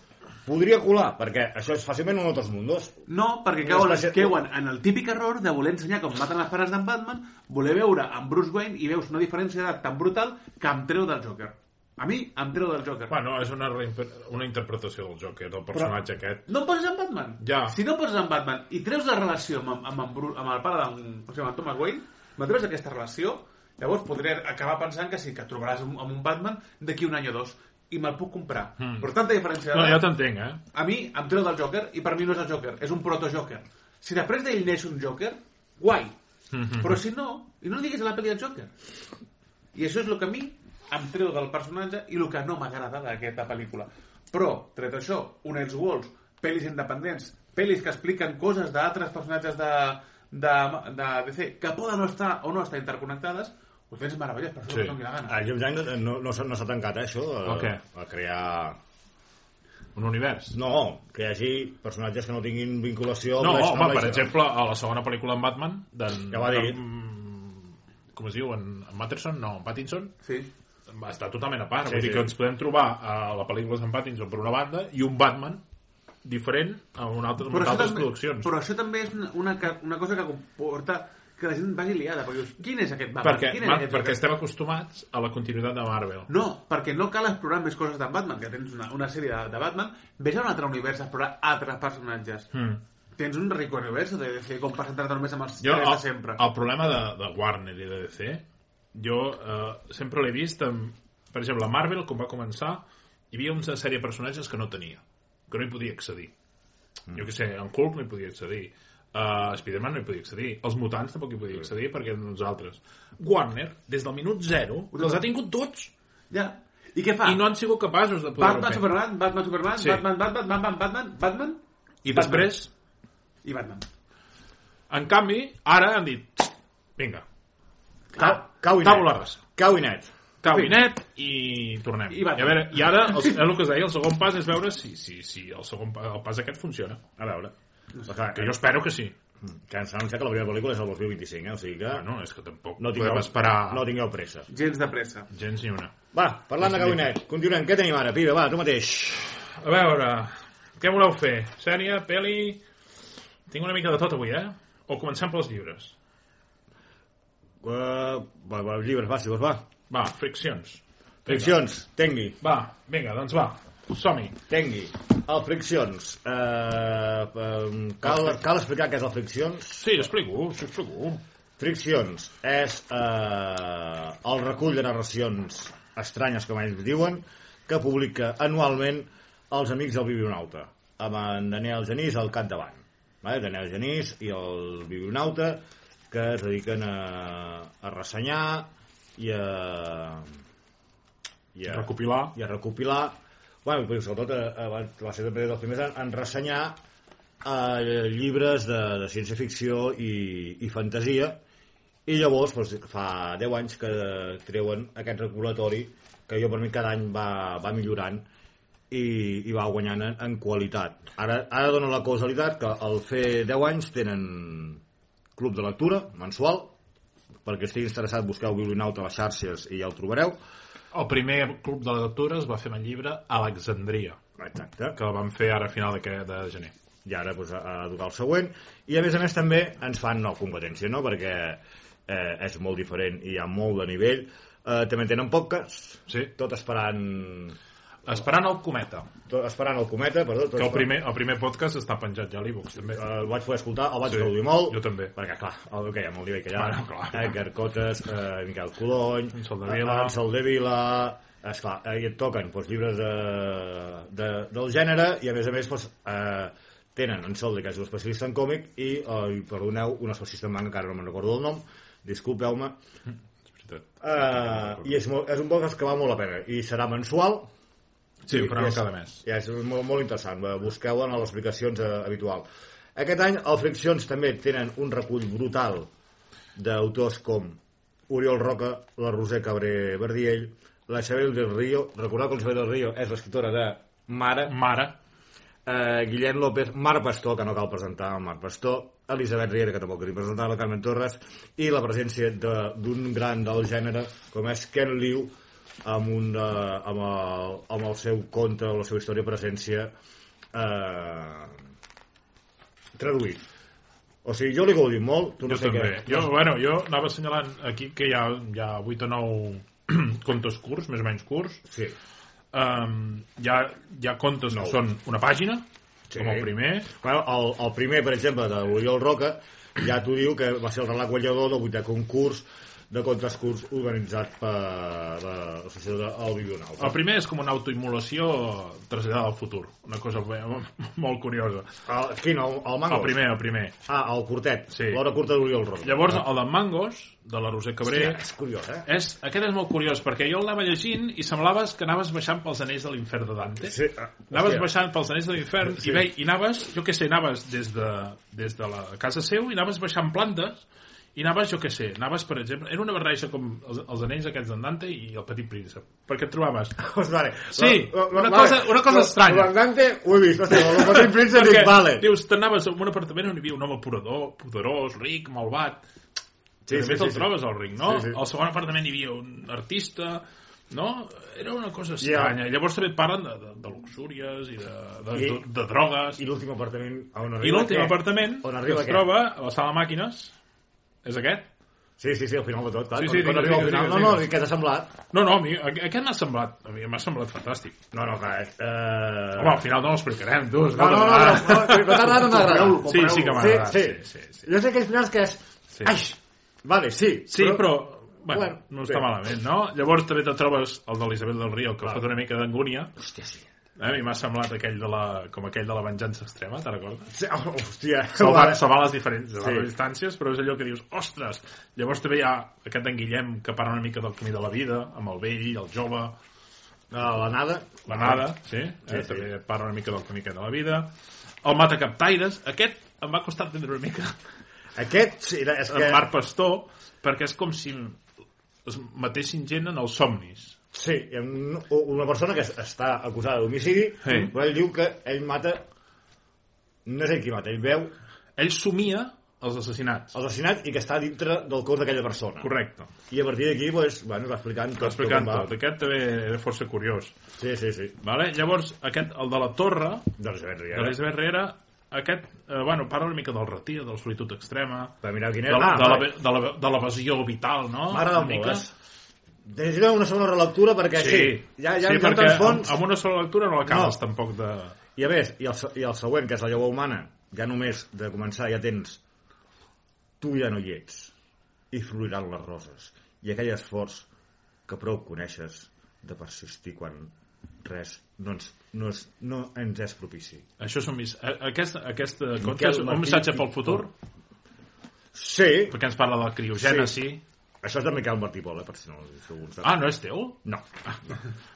[SPEAKER 2] podria colar, perquè això és fàcilment un Altres Mundos.
[SPEAKER 1] No, perquè
[SPEAKER 2] No
[SPEAKER 1] cauen,
[SPEAKER 2] està sent-
[SPEAKER 1] cauen en el típic error de voler ensenyar com maten les pares d'en Batman, voler veure en Bruce Wayne i veus una diferència d'edat tan brutal que em treu del Joker. A mi em treu del Joker.
[SPEAKER 3] Bueno, és una, reimper- una interpretació del Joker, del personatge Però... aquest.
[SPEAKER 1] No em poses en Batman?
[SPEAKER 3] Ja.
[SPEAKER 1] Si no em poses en Batman i treus la relació amb, amb, amb, Bru- amb el pare d'en o sigui, amb en Thomas Wayne, me treus aquesta relació, llavors podré acabar pensant que sí, que trobaràs un, amb un Batman d'aquí un any o dos i me'l puc comprar. Mm. Però tanta diferència
[SPEAKER 3] Hmm. No,
[SPEAKER 1] d'edat-
[SPEAKER 3] jo t'entenc, eh?
[SPEAKER 1] a mi em treu del Joker i per mi no és el Joker, és un proto-Joker. Si després d'ell neix un Joker, guai. Però si no, i no li diguis a la pel·li del Joker. I això és el que a mi em treu del personatge i el que no m'agrada d'aquesta pel·lícula. Però, tret això, un Els Walls, pel·lis independents, pel·lis que expliquen coses d'altres personatges de, de, de DC que poden no estar o no estar interconnectades, ho tens meravellós, per això
[SPEAKER 3] Sí.
[SPEAKER 1] sí. doni la gana.
[SPEAKER 2] A James Gunn no, no, s'ha- no s'ha tancat, eh, això, a,
[SPEAKER 3] Ok.
[SPEAKER 2] a crear...
[SPEAKER 3] Un univers.
[SPEAKER 2] No, que hi hagi personatges que no tinguin vinculació...
[SPEAKER 3] No,
[SPEAKER 2] amb la- amb
[SPEAKER 3] home,
[SPEAKER 2] la-
[SPEAKER 3] per exemple, a la segona pel·lícula en Batman, d'en...
[SPEAKER 2] Ja ho ha dit.
[SPEAKER 3] d'en- Com es diu? En, en Matterson? No, en Pattinson?
[SPEAKER 1] Sí.
[SPEAKER 3] Va estar totalment a part.
[SPEAKER 2] Sí,
[SPEAKER 3] Sí, Vull dir
[SPEAKER 2] sí.
[SPEAKER 3] que ens podem trobar a la pel·lícula d'en Pattinson per una banda i un Batman diferent a una altra,
[SPEAKER 1] però
[SPEAKER 3] en
[SPEAKER 1] això,
[SPEAKER 3] altres
[SPEAKER 1] també,
[SPEAKER 3] produccions.
[SPEAKER 1] però això també és una, una, ca- una cosa que comporta que la gent vagi liada, perquè dius, quin és aquest Batman?
[SPEAKER 3] perquè,
[SPEAKER 1] quin és
[SPEAKER 3] ma,
[SPEAKER 1] aquest
[SPEAKER 3] perquè
[SPEAKER 1] Joker?"
[SPEAKER 3] estem acostumats a la continuïtat de Marvel.
[SPEAKER 1] No, perquè no cal explorar més coses d'en Batman, que tens una, una sèrie de, de Batman, vés a un altre univers a explorar altres personatges.
[SPEAKER 3] Mm.
[SPEAKER 1] Tens un rico univers de DC com per centrar-te només amb els
[SPEAKER 3] Jo,
[SPEAKER 1] tres de
[SPEAKER 3] el,
[SPEAKER 1] sempre.
[SPEAKER 3] el problema de, de Warner i de DC, jo eh, sempre l'he vist amb, per exemple, a Marvel, com va començar, hi havia una sèrie de personatges que no tenia, que no hi podia accedir. Mm. Jo què sé, en Hulk no hi podia accedir, uh, Spider-Man no hi podia accedir, els mutants tampoc hi podia accedir perquè eren uns altres. Warner, des del minut zero,
[SPEAKER 1] Ho té
[SPEAKER 3] els
[SPEAKER 1] tot.
[SPEAKER 3] ha tingut tots
[SPEAKER 1] Ja. I què fa?
[SPEAKER 3] i no han sigut capaços de poder-ho
[SPEAKER 1] Batman,
[SPEAKER 3] fer.
[SPEAKER 1] Superman, Batman, Superman,
[SPEAKER 3] Sí.
[SPEAKER 1] Batman, Batman, Batman, Batman, Batman,
[SPEAKER 3] I després,
[SPEAKER 1] i Batman.
[SPEAKER 3] en canvi, ara han dit, vinga, Ah,
[SPEAKER 2] Cau, cau i net.
[SPEAKER 3] Tabula rasa.
[SPEAKER 2] Cau i net.
[SPEAKER 3] Cabinet i tornem.
[SPEAKER 1] I
[SPEAKER 3] I,
[SPEAKER 1] va.
[SPEAKER 3] a veure, i ara,
[SPEAKER 2] [LAUGHS]
[SPEAKER 3] el, el que es deia, el segon pas és veure si, si, si el segon pa, el pas aquest funciona.
[SPEAKER 2] A veure. Clar,
[SPEAKER 3] Que jo espero que sí.
[SPEAKER 2] que em sembla que la primera pel·lícula és el 2025, eh? o sigui que...
[SPEAKER 3] Bueno, és que tampoc
[SPEAKER 2] no
[SPEAKER 3] no podem
[SPEAKER 2] tingueu,
[SPEAKER 3] esperar
[SPEAKER 2] no tingueu pressa.
[SPEAKER 1] Gens de pressa.
[SPEAKER 3] gens ni una.
[SPEAKER 2] Va, parlant de gabinet, continuem. Què tenim ara, Pibe? Va, tu mateix.
[SPEAKER 3] A veure, què voleu fer? Sèrie, peli... Tinc una mica de tot avui, eh? O comencem pels llibres.
[SPEAKER 2] Uh, va, va, llibres, va, si vols, va.
[SPEAKER 3] Va, friccions.
[SPEAKER 2] Friccions, Tengui,
[SPEAKER 3] Va, vinga, doncs va. Som-hi.
[SPEAKER 2] Tengui. El Friccions. Uh, um, cal, cal explicar què és el Friccions.
[SPEAKER 3] Sí, explico, sí, explico.
[SPEAKER 2] Friccions és eh, el recull de narracions estranyes, com ells diuen, que publica anualment els amics del Biblionauta, amb en Daniel Genís al capdavant. Vale? Daniel Genís i el Biblionauta, que es dediquen a, a ressenyar i a... I a
[SPEAKER 3] Recopilar.
[SPEAKER 2] i a recopilar bueno, però sobretot eh, eh, va, va ser també dels primers en, en ressenyar eh, llibres de, de ciència-ficció i, i fantasia i llavors doncs, fa 10 anys que treuen aquest recopilatori que jo per mi cada any va, va millorant i, i va guanyant en, en qualitat ara, ara dona la causalitat que al fer 10 anys tenen club de lectura mensual perquè estigui interessat busqueu Biblionauta a les xarxes i ja el trobareu
[SPEAKER 3] El primer club de lectura es va fer amb el llibre Alexandria,
[SPEAKER 2] exacte
[SPEAKER 3] que el vam fer ara a final de, que- de gener.
[SPEAKER 2] i ara pues, a, a tocar el següent i a més a més també ens fan nou competència no? perquè eh, és molt diferent i hi ha molt de nivell eh, també tenen podcast
[SPEAKER 3] Sí.
[SPEAKER 2] tot esperant
[SPEAKER 3] Esperant el cometa.
[SPEAKER 2] tot esperant el cometa perdó, tot
[SPEAKER 3] Que el
[SPEAKER 2] esperant-
[SPEAKER 3] primer, el primer podcast està penjat ja a l'e-books, també.
[SPEAKER 2] el vaig poder escoltar, el vaig
[SPEAKER 3] Sí,
[SPEAKER 2] sí, gaudir molt.
[SPEAKER 3] jo també.
[SPEAKER 2] Perquè, clar, el que hi ha molt nivell que hi ha.
[SPEAKER 3] Bueno, clar.
[SPEAKER 2] Eh, Carcotes, eh, Miquel Codony,
[SPEAKER 3] En Sol de Vila.
[SPEAKER 2] En Sol de Vila, esclar, eh, i et toquen doncs, llibres de, de, del gènere i, a més a més, doncs, eh, tenen en Sol de que és un especialista en còmic i, eh, i perdoneu, un especialista en manga, que ara no me'n recordo el nom, disculpeu-me,
[SPEAKER 3] És veritat.
[SPEAKER 2] eh, i és, molt, és un podcast que val molt la pena i serà mensual,
[SPEAKER 3] Sí, ho faran
[SPEAKER 2] és-
[SPEAKER 3] cada mes.
[SPEAKER 2] Ja, és molt, molt interessant. Eh, Busqueu en les explicacions eh, habitual. Aquest any, els Friccions també tenen un recull brutal d'autors com Oriol Roca, la Roser Cabré Verdiell, la Isabel del Río, recordeu que la Isabel del Río és l'escriptora de Mare,
[SPEAKER 3] Mare,
[SPEAKER 2] eh, Guillem López, Marc Pastor, que no cal presentar el Marc Pastor, Elisabet Riera, que tampoc li presentar la Carmen Torres, i la presència de- d'un gran del gènere, com és Ken Liu, amb, un, eh, amb, el, amb el seu conte, la seva història presència eh, traduït. O sigui, jo li gaudim molt, tu no
[SPEAKER 3] Jo
[SPEAKER 2] sé
[SPEAKER 3] també.
[SPEAKER 2] què...
[SPEAKER 3] Jo, bueno, jo anava assenyalant aquí que hi ha, hi ha 8 o 9 [CLEARS THROAT] contes curts, més o menys curts.
[SPEAKER 2] Sí,
[SPEAKER 3] Um, hi, ha, hi ha contes
[SPEAKER 2] Nou.
[SPEAKER 3] que són una pàgina,
[SPEAKER 2] Sí.
[SPEAKER 3] sí. com el primer.
[SPEAKER 2] Bueno, el, el primer, per exemple, de l'Oriol Roca, ja t'ho diu que va ser el relat guanyador del vuitè concurs de contes curts organitzat per l'associació del Bibional.
[SPEAKER 3] El primer és com una autoimmolació traslladada al futur. Una cosa bé, [LAUGHS] molt curiosa.
[SPEAKER 2] El, Ah, quin, el, el Mangos?
[SPEAKER 3] El primer, el primer.
[SPEAKER 2] Ah, el curtet.
[SPEAKER 3] Sí.
[SPEAKER 2] L'hora curta d'Oriol Roca.
[SPEAKER 3] Llavors, el de Mangos, de la Roser Cabré,
[SPEAKER 2] Ah. Hòstia, és curiós, eh?
[SPEAKER 3] és, aquest és molt curiós, perquè jo el anava llegint i semblaves que anaves baixant pels anells de l'infern de Dante.
[SPEAKER 2] Sí, ah,
[SPEAKER 3] eh, Anaves
[SPEAKER 2] hòstia.
[SPEAKER 3] baixant pels anells de l'infern
[SPEAKER 2] Sí.
[SPEAKER 3] i, ve, i anaves, jo què sé, anaves des de, des de la casa seu i anaves baixant plantes i anaves, jo què sé, anaves, per exemple... Era una barreja com els, els anells aquests d'en Dante i el petit príncep, perquè et trobaves...
[SPEAKER 2] Pues vale.
[SPEAKER 3] Sí, una cosa- una cosa estranya.
[SPEAKER 2] L'Andante, ho he vist, hòstia, el petit príncep,
[SPEAKER 3] Perquè
[SPEAKER 2] dic, vale.
[SPEAKER 3] Dius, t'anaves a un apartament on hi havia un home poderós, poderós ric, malvat... Sí, també sí, te'l sí, trobes, el ric, no?
[SPEAKER 2] Sí,
[SPEAKER 3] Sí,
[SPEAKER 2] sí.
[SPEAKER 3] Al segon apartament hi havia un artista... No? Era una cosa
[SPEAKER 2] Ja.
[SPEAKER 3] estranya. Yeah. Llavors també et parlen de, de, de luxúries i de, de,
[SPEAKER 2] I-
[SPEAKER 3] de, de drogues.
[SPEAKER 2] I l'últim apartament on arriba
[SPEAKER 3] I l'últim
[SPEAKER 2] què?
[SPEAKER 3] apartament
[SPEAKER 2] On
[SPEAKER 3] que
[SPEAKER 2] arriba
[SPEAKER 3] es
[SPEAKER 2] què?
[SPEAKER 3] troba a la sala de màquines és aquest?
[SPEAKER 2] Sí, sí, sí, al final de tot, clar.
[SPEAKER 3] Sí, sí,
[SPEAKER 2] quan, quan arriba
[SPEAKER 3] digues,
[SPEAKER 2] al
[SPEAKER 3] digues,
[SPEAKER 2] final,
[SPEAKER 3] digues,
[SPEAKER 2] no, no,
[SPEAKER 3] digues.
[SPEAKER 2] què t'ha semblat?
[SPEAKER 3] No, no, a mi, a- aquest m'ha semblat, a mi m'ha semblat fantàstic.
[SPEAKER 2] No, no, clar, eh...
[SPEAKER 3] Home, al final no l'explicarem, tu.
[SPEAKER 2] No, no, no, no, no, no, no, no t'ha agradat o no t'ha agradat?
[SPEAKER 3] Sí, sí que m'ha
[SPEAKER 2] Sí,
[SPEAKER 3] agradat.
[SPEAKER 2] sí,
[SPEAKER 3] sí, sí, sí.
[SPEAKER 2] Jo sé que els finals que és...
[SPEAKER 3] Sí.
[SPEAKER 2] Ai, vale, sí.
[SPEAKER 3] Sí, però, bueno,
[SPEAKER 2] Bueno,
[SPEAKER 3] no
[SPEAKER 2] bé.
[SPEAKER 3] està malament, no? Llavors també te trobes el d'Elisabet del Río, que fot una mica d'angúnia.
[SPEAKER 2] Hòstia, sí.
[SPEAKER 3] Eh? A mi m'ha semblat aquell de la, com aquell de la venjança extrema, te'n recordes?
[SPEAKER 2] sí oh, hòstia.
[SPEAKER 3] Salvant,
[SPEAKER 2] vale.
[SPEAKER 3] salvant les diferents sí.
[SPEAKER 2] Sí.
[SPEAKER 3] les distàncies, però és allò que dius, ostres! Llavors també hi ha aquest d'en Guillem que parla una mica del camí de la vida, amb el vell, el jove,
[SPEAKER 2] No, la nada.
[SPEAKER 3] La nada, sí, eh,
[SPEAKER 2] Ah. Sí, sí.
[SPEAKER 3] també parla una mica del camí aquest de la vida. El mata captaires, aquest em va costar entendre una mica
[SPEAKER 2] Aquest, sí, era, és
[SPEAKER 3] en
[SPEAKER 2] que...
[SPEAKER 3] Marc Pastor, perquè és com si es matessin gent en els somnis.
[SPEAKER 2] Sí, hi ha un- una persona que està acusada d'homicidi,
[SPEAKER 3] Sí.
[SPEAKER 2] però ell diu que ell mata... No és ell qui mata, ell veu
[SPEAKER 3] Ell somia els assassinats.
[SPEAKER 2] els assassinats i que està dintre del cos d'aquella persona.
[SPEAKER 3] Correcte.
[SPEAKER 2] I a partir d'aquí, doncs, bueno, es va explicant tot.
[SPEAKER 3] T'ho explicant
[SPEAKER 2] com va.
[SPEAKER 3] tot. Aquest també era força curiós.
[SPEAKER 2] Sí, sí, sí.
[SPEAKER 3] Vale? Llavors, aquest, el de la torre,
[SPEAKER 2] Doncs ben
[SPEAKER 3] de
[SPEAKER 2] riera.
[SPEAKER 3] l'Elisabet Riera, aquest, eh, bueno, parla una mica del retir, de la solitud extrema,
[SPEAKER 2] Va mirar quin
[SPEAKER 3] de,
[SPEAKER 2] era.
[SPEAKER 3] la- de,
[SPEAKER 2] vale.
[SPEAKER 3] la, de, la, de l'evasió vital, no?
[SPEAKER 2] M'agrada
[SPEAKER 3] Una
[SPEAKER 2] molt,
[SPEAKER 3] mica.
[SPEAKER 2] eh? Necessitem una segona relectura perquè sí, ja, ja,
[SPEAKER 3] sí,
[SPEAKER 2] ja
[SPEAKER 3] perquè
[SPEAKER 2] fons.
[SPEAKER 3] amb, amb una sola lectura no l'acabes
[SPEAKER 2] No.
[SPEAKER 3] no. tampoc de...
[SPEAKER 2] I a més, i el, se- i el següent, que és la llavor humana, ja només de començar ja tens tu ja no hi ets i floriran les roses i aquell esforç que prou coneixes de persistir quan res no ens, no és, no ens és propici.
[SPEAKER 3] Això són mis... a- Aquest, aquest conte
[SPEAKER 2] Miquel
[SPEAKER 3] és un
[SPEAKER 2] Martí
[SPEAKER 3] missatge
[SPEAKER 2] i
[SPEAKER 3] pel futur,
[SPEAKER 2] Sí,
[SPEAKER 3] perquè ens parla de la criogènesi. Sí.
[SPEAKER 2] això és de Miquel Martí Pol, eh, per si no si algú en sap.
[SPEAKER 3] Ah, no és teu?
[SPEAKER 2] No,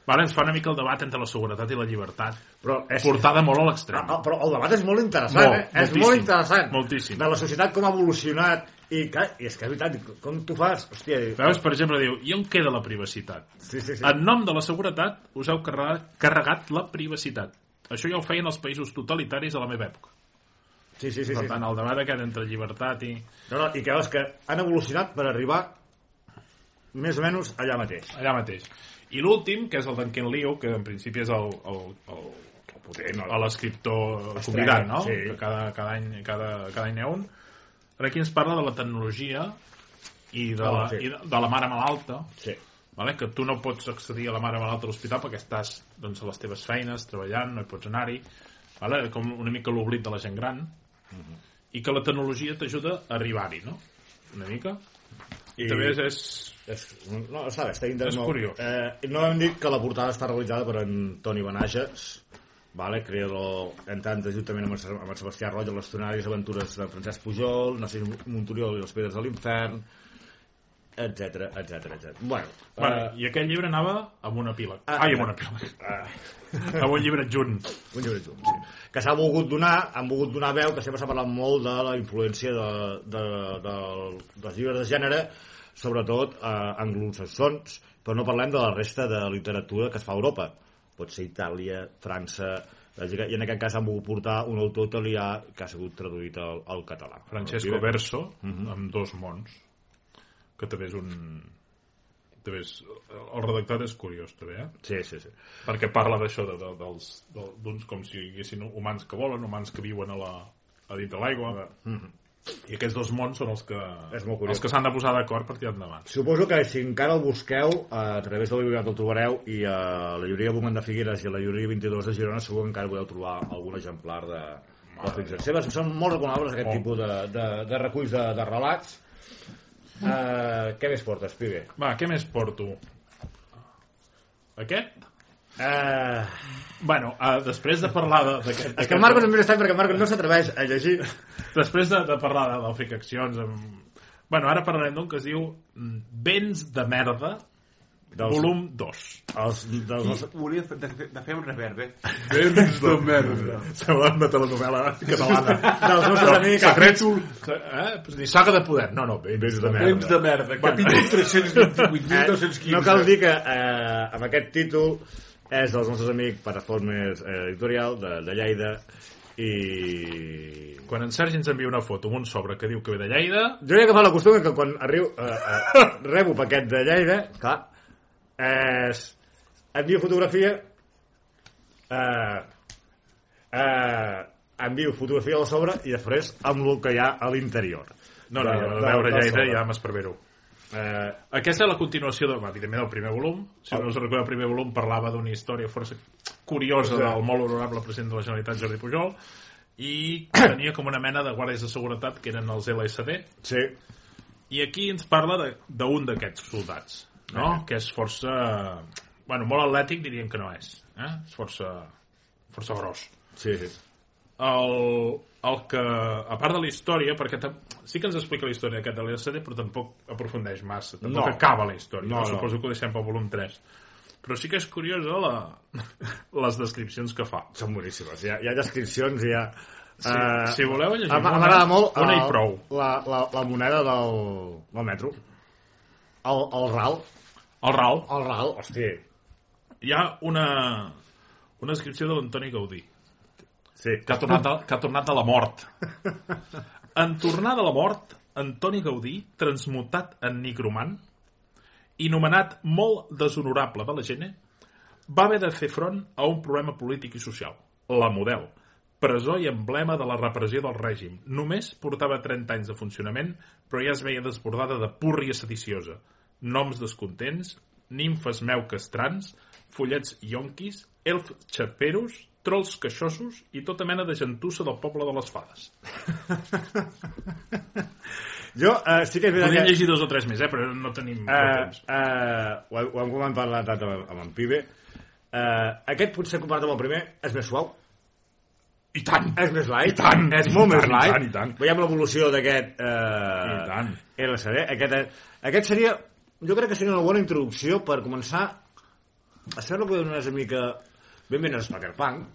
[SPEAKER 3] Vale, ens fa una mica el debat entre la seguretat i la llibertat,
[SPEAKER 2] però és...
[SPEAKER 3] portada molt a l'extrem.
[SPEAKER 2] Ah, ah, però el debat és molt interessant,
[SPEAKER 3] Molt,
[SPEAKER 2] eh? És
[SPEAKER 3] moltíssim,
[SPEAKER 2] molt interessant.
[SPEAKER 3] moltíssim.
[SPEAKER 2] De la societat com ha evolucionat. I, clar, i és que és veritat, com tu fas? Hòstia, dic,
[SPEAKER 3] Veus, per exemple, diu, i on queda la privacitat?
[SPEAKER 2] sí, sí, sí.
[SPEAKER 3] En nom de la seguretat us heu carregat, carregat la privacitat. Això ja ho feien els països totalitaris a la meva època.
[SPEAKER 2] sí, sí, sí,
[SPEAKER 3] Per
[SPEAKER 2] sí.
[SPEAKER 3] tant, el debat aquest entre llibertat i...
[SPEAKER 2] No, no, i que veus que han evolucionat per arribar més o menys allà mateix.
[SPEAKER 3] allà mateix. I l'últim, que és el d'en Ken Liu, que en principi és el, el, el, el potent, el- l'escriptor convidat, no?
[SPEAKER 2] sí.
[SPEAKER 3] Que cada, cada, any, cada, cada any n'hi ha un. Ara aquí ens parla de la tecnologia i de,
[SPEAKER 2] Ah,
[SPEAKER 3] la,
[SPEAKER 2] sí.
[SPEAKER 3] i de, de la mare malalta,
[SPEAKER 2] Sí.
[SPEAKER 3] vale? que tu no pots accedir a la mare malalta a l'hospital perquè estàs doncs, a les teves feines, treballant, no hi pots anar-hi, vale? com una mica l'oblit de la gent gran,
[SPEAKER 2] Mhm.
[SPEAKER 3] i que la tecnologia t'ajuda a arribar-hi, no? Una mica. I,
[SPEAKER 2] I-
[SPEAKER 3] també és, és...
[SPEAKER 2] És, no, està bé, està interessant.
[SPEAKER 3] És
[SPEAKER 2] molt.
[SPEAKER 3] curiós.
[SPEAKER 2] Eh, no hem dit que la portada està realitzada per en Toni Benages, vale, creador, entre altres, juntament amb en Ser- amb en Sebastià Roig, les tonàries aventures de Francesc Pujol, Narcís Montoriol i les pedres de l'infern, etc etc etc. Bueno,
[SPEAKER 3] Bueno,
[SPEAKER 2] eh,
[SPEAKER 3] I aquest llibre anava amb una pila.
[SPEAKER 2] Ah,
[SPEAKER 3] Ai,
[SPEAKER 2] ah,
[SPEAKER 3] amb una pila.
[SPEAKER 2] ah.
[SPEAKER 3] amb un llibre adjunt.
[SPEAKER 2] un llibre junt, sí. Que s'ha volgut donar, han volgut donar veu, que sempre s'ha parlat molt de la influència de, de, de, dels llibres de gènere, sobretot eh, anglosaxons, però no parlem de la resta de literatura que es fa a Europa. Pot ser Itàlia, França, I en aquest cas han volgut portar un autor italià que ha sigut traduït al, al català.
[SPEAKER 3] Francesco Verso,
[SPEAKER 2] Mhm.
[SPEAKER 3] amb dos mons, que també és un... També és, el redactat és curiós, també, eh?
[SPEAKER 2] Sí, sí, sí.
[SPEAKER 3] Perquè parla d'això, de, de, dels, de- d'uns com si hi haguessin humans que volen, humans que viuen a, la, a dintre l'aigua. Mhm. I aquests dos mons són els que
[SPEAKER 2] Ah. És molt curiós.
[SPEAKER 3] els que s'han de posar d'acord per tirar endavant.
[SPEAKER 2] Suposo que si encara el busqueu, eh, a través de la biblioteca el trobareu i a la llibreria Bumant de Figueres i a la llibreria 22 de Girona segur que encara podeu trobar algun exemplar de, de ficcions seves. Són molt reconegables aquest
[SPEAKER 3] Oh.
[SPEAKER 2] tipus de, de, de reculls de, de relats. Uh, què més portes, Pibe?
[SPEAKER 3] Va, què més porto? Aquest? Eh,
[SPEAKER 2] Uh,
[SPEAKER 3] Bueno, uh, després de parlar de- d'aquest...
[SPEAKER 2] és que en Marcos em mira estant perquè en Marcos no s'atreveix a llegir.
[SPEAKER 3] Després de, de parlar de, de fer accions amb... Bueno, ara parlarem d'un que es diu mm, Vents de merda,
[SPEAKER 2] Dels,
[SPEAKER 3] volum 2.
[SPEAKER 2] Els, dels,
[SPEAKER 1] I
[SPEAKER 3] Doncs-
[SPEAKER 2] nostres-
[SPEAKER 1] hauria de, de, de fer un reverb, eh? [LAUGHS]
[SPEAKER 3] Vents
[SPEAKER 1] de merda.
[SPEAKER 3] Sembla una telenovela
[SPEAKER 2] [LAUGHS]
[SPEAKER 3] catalana.
[SPEAKER 2] dels nostres amics...
[SPEAKER 3] Secrètul. Eh? Ni saga de poder. No, no, vents de merda.
[SPEAKER 1] Temps de merda. Capítol
[SPEAKER 2] Eh,
[SPEAKER 1] 328.215.
[SPEAKER 2] no cal dir que eh, amb aquest títol és dels nostres amics Paraformes eh, Editorial de, de Lleida i...
[SPEAKER 3] Quan en Sergi ens envia una foto amb un sobre que diu que ve de Lleida,
[SPEAKER 2] Jo ja he agafat la costum que quan arribo, eh, eh, rebo paquet de Lleida, clar, és... envio fotografia eh, eh, envio fotografia del sobre i després amb el que hi ha a l'interior.
[SPEAKER 3] no, no, no, de
[SPEAKER 2] Del-
[SPEAKER 3] veure
[SPEAKER 2] del
[SPEAKER 3] Lleida
[SPEAKER 2] sobre.
[SPEAKER 3] ja m'esperbero.
[SPEAKER 2] Eh, Ah.
[SPEAKER 3] Aquesta és la continuació de, evidentment, del primer volum. Si no us recordeu, el primer volum parlava d'una història força curiosa del molt honorable president de la Generalitat, Jordi Pujol, i que tenia com una mena de guàrdies de seguretat que eren els LSD,
[SPEAKER 2] sí,
[SPEAKER 3] i aquí ens parla de- d'un d'aquests soldats, no?
[SPEAKER 2] Eh.
[SPEAKER 3] Que és força... Bueno, molt atlètic diríem que no és, eh? És força, força gros
[SPEAKER 2] sí, sí.
[SPEAKER 3] el, el que, a part de la història, perquè tam- sí que ens explica la història aquest de l'LSD, però tampoc aprofundeix massa, tampoc
[SPEAKER 2] No.
[SPEAKER 3] no. acaba la història.
[SPEAKER 2] No,
[SPEAKER 3] No,
[SPEAKER 2] no.
[SPEAKER 3] no. Suposo que ho deixem pel volum 3. Però sí que és curiosa la, [LAUGHS] les descripcions que fa.
[SPEAKER 2] són boníssimes. Hi ha, hi ha descripcions i hi ha...
[SPEAKER 3] Sí, si voleu llegir
[SPEAKER 2] em- em
[SPEAKER 3] una,
[SPEAKER 2] M'agrada molt
[SPEAKER 3] una
[SPEAKER 2] el-
[SPEAKER 3] i prou.
[SPEAKER 2] La, la, la moneda del, del metro. El, el ral.
[SPEAKER 3] El RAL.
[SPEAKER 2] El ral, hosti.
[SPEAKER 3] Hi ha una, una descripció de l'Antoni Gaudí,
[SPEAKER 2] Sí.
[SPEAKER 3] que ha, tornat a, que ha tornat a la [LAUGHS] mort. En tornar de la mort, Antoni Gaudí, transmutat en nigromant, i nomenat molt deshonorable de la gent, va haver de fer front a un problema polític i social, la model, presó i emblema de la repressió del règim. Només portava 30 anys de funcionament, però ja es veia desbordada de púrria sediciosa, noms descontents, nimfes meu castrans, follets yonquis, elf xaperos, trolls queixosos i tota mena de gentussa del poble de les fades.
[SPEAKER 2] Jo eh, sí que és veritat
[SPEAKER 3] Podríem
[SPEAKER 2] que...
[SPEAKER 3] llegir dos o tres més, eh? però no tenim uh,
[SPEAKER 2] Eh,
[SPEAKER 3] temps.
[SPEAKER 2] eh, ho, hem- ho hem comentat la data amb, amb en Pibe. Eh, aquest potser comparat amb el primer és més suau,
[SPEAKER 3] I tant!
[SPEAKER 2] és més light,
[SPEAKER 3] I tant,
[SPEAKER 2] és molt
[SPEAKER 3] i
[SPEAKER 2] més
[SPEAKER 3] tant, i
[SPEAKER 2] light.
[SPEAKER 3] tant, i tant.
[SPEAKER 2] Veiem l'evolució d'aquest eh,
[SPEAKER 3] I tant.
[SPEAKER 2] LCD. Aquest, és- aquest seria, jo crec que seria una bona introducció per començar a ser lo que una mica ben ben Cyberpunk,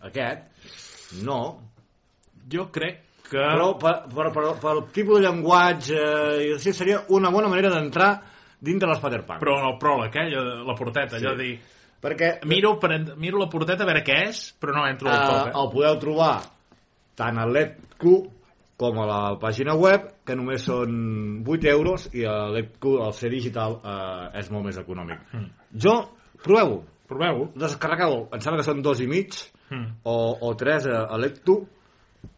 [SPEAKER 2] aquest, no,
[SPEAKER 3] Jo crec que...
[SPEAKER 2] però Oh, per, per, per, pel tipus de llenguatge eh, i així seria una bona manera d'entrar dintre l'Spaterpunk.
[SPEAKER 3] Però en el pròleg, eh? allò- la porteta, allò de dir...
[SPEAKER 2] Perquè
[SPEAKER 3] Miro, per, miro la porteta a veure què és, però no entro al
[SPEAKER 2] eh,
[SPEAKER 3] top, eh?
[SPEAKER 2] el podeu trobar tant a l'EPQ com a la pàgina web, que només són 8 euros, i a l'EPQ, el ser digital, eh, és molt més econòmic.
[SPEAKER 3] Hmm.
[SPEAKER 2] Jo, proveu-ho,
[SPEAKER 3] Proveu-ho.
[SPEAKER 2] descarregueu-ho, em sembla que són dos i mig,
[SPEAKER 3] Mm.
[SPEAKER 2] o, o tres a, a l'EPQ,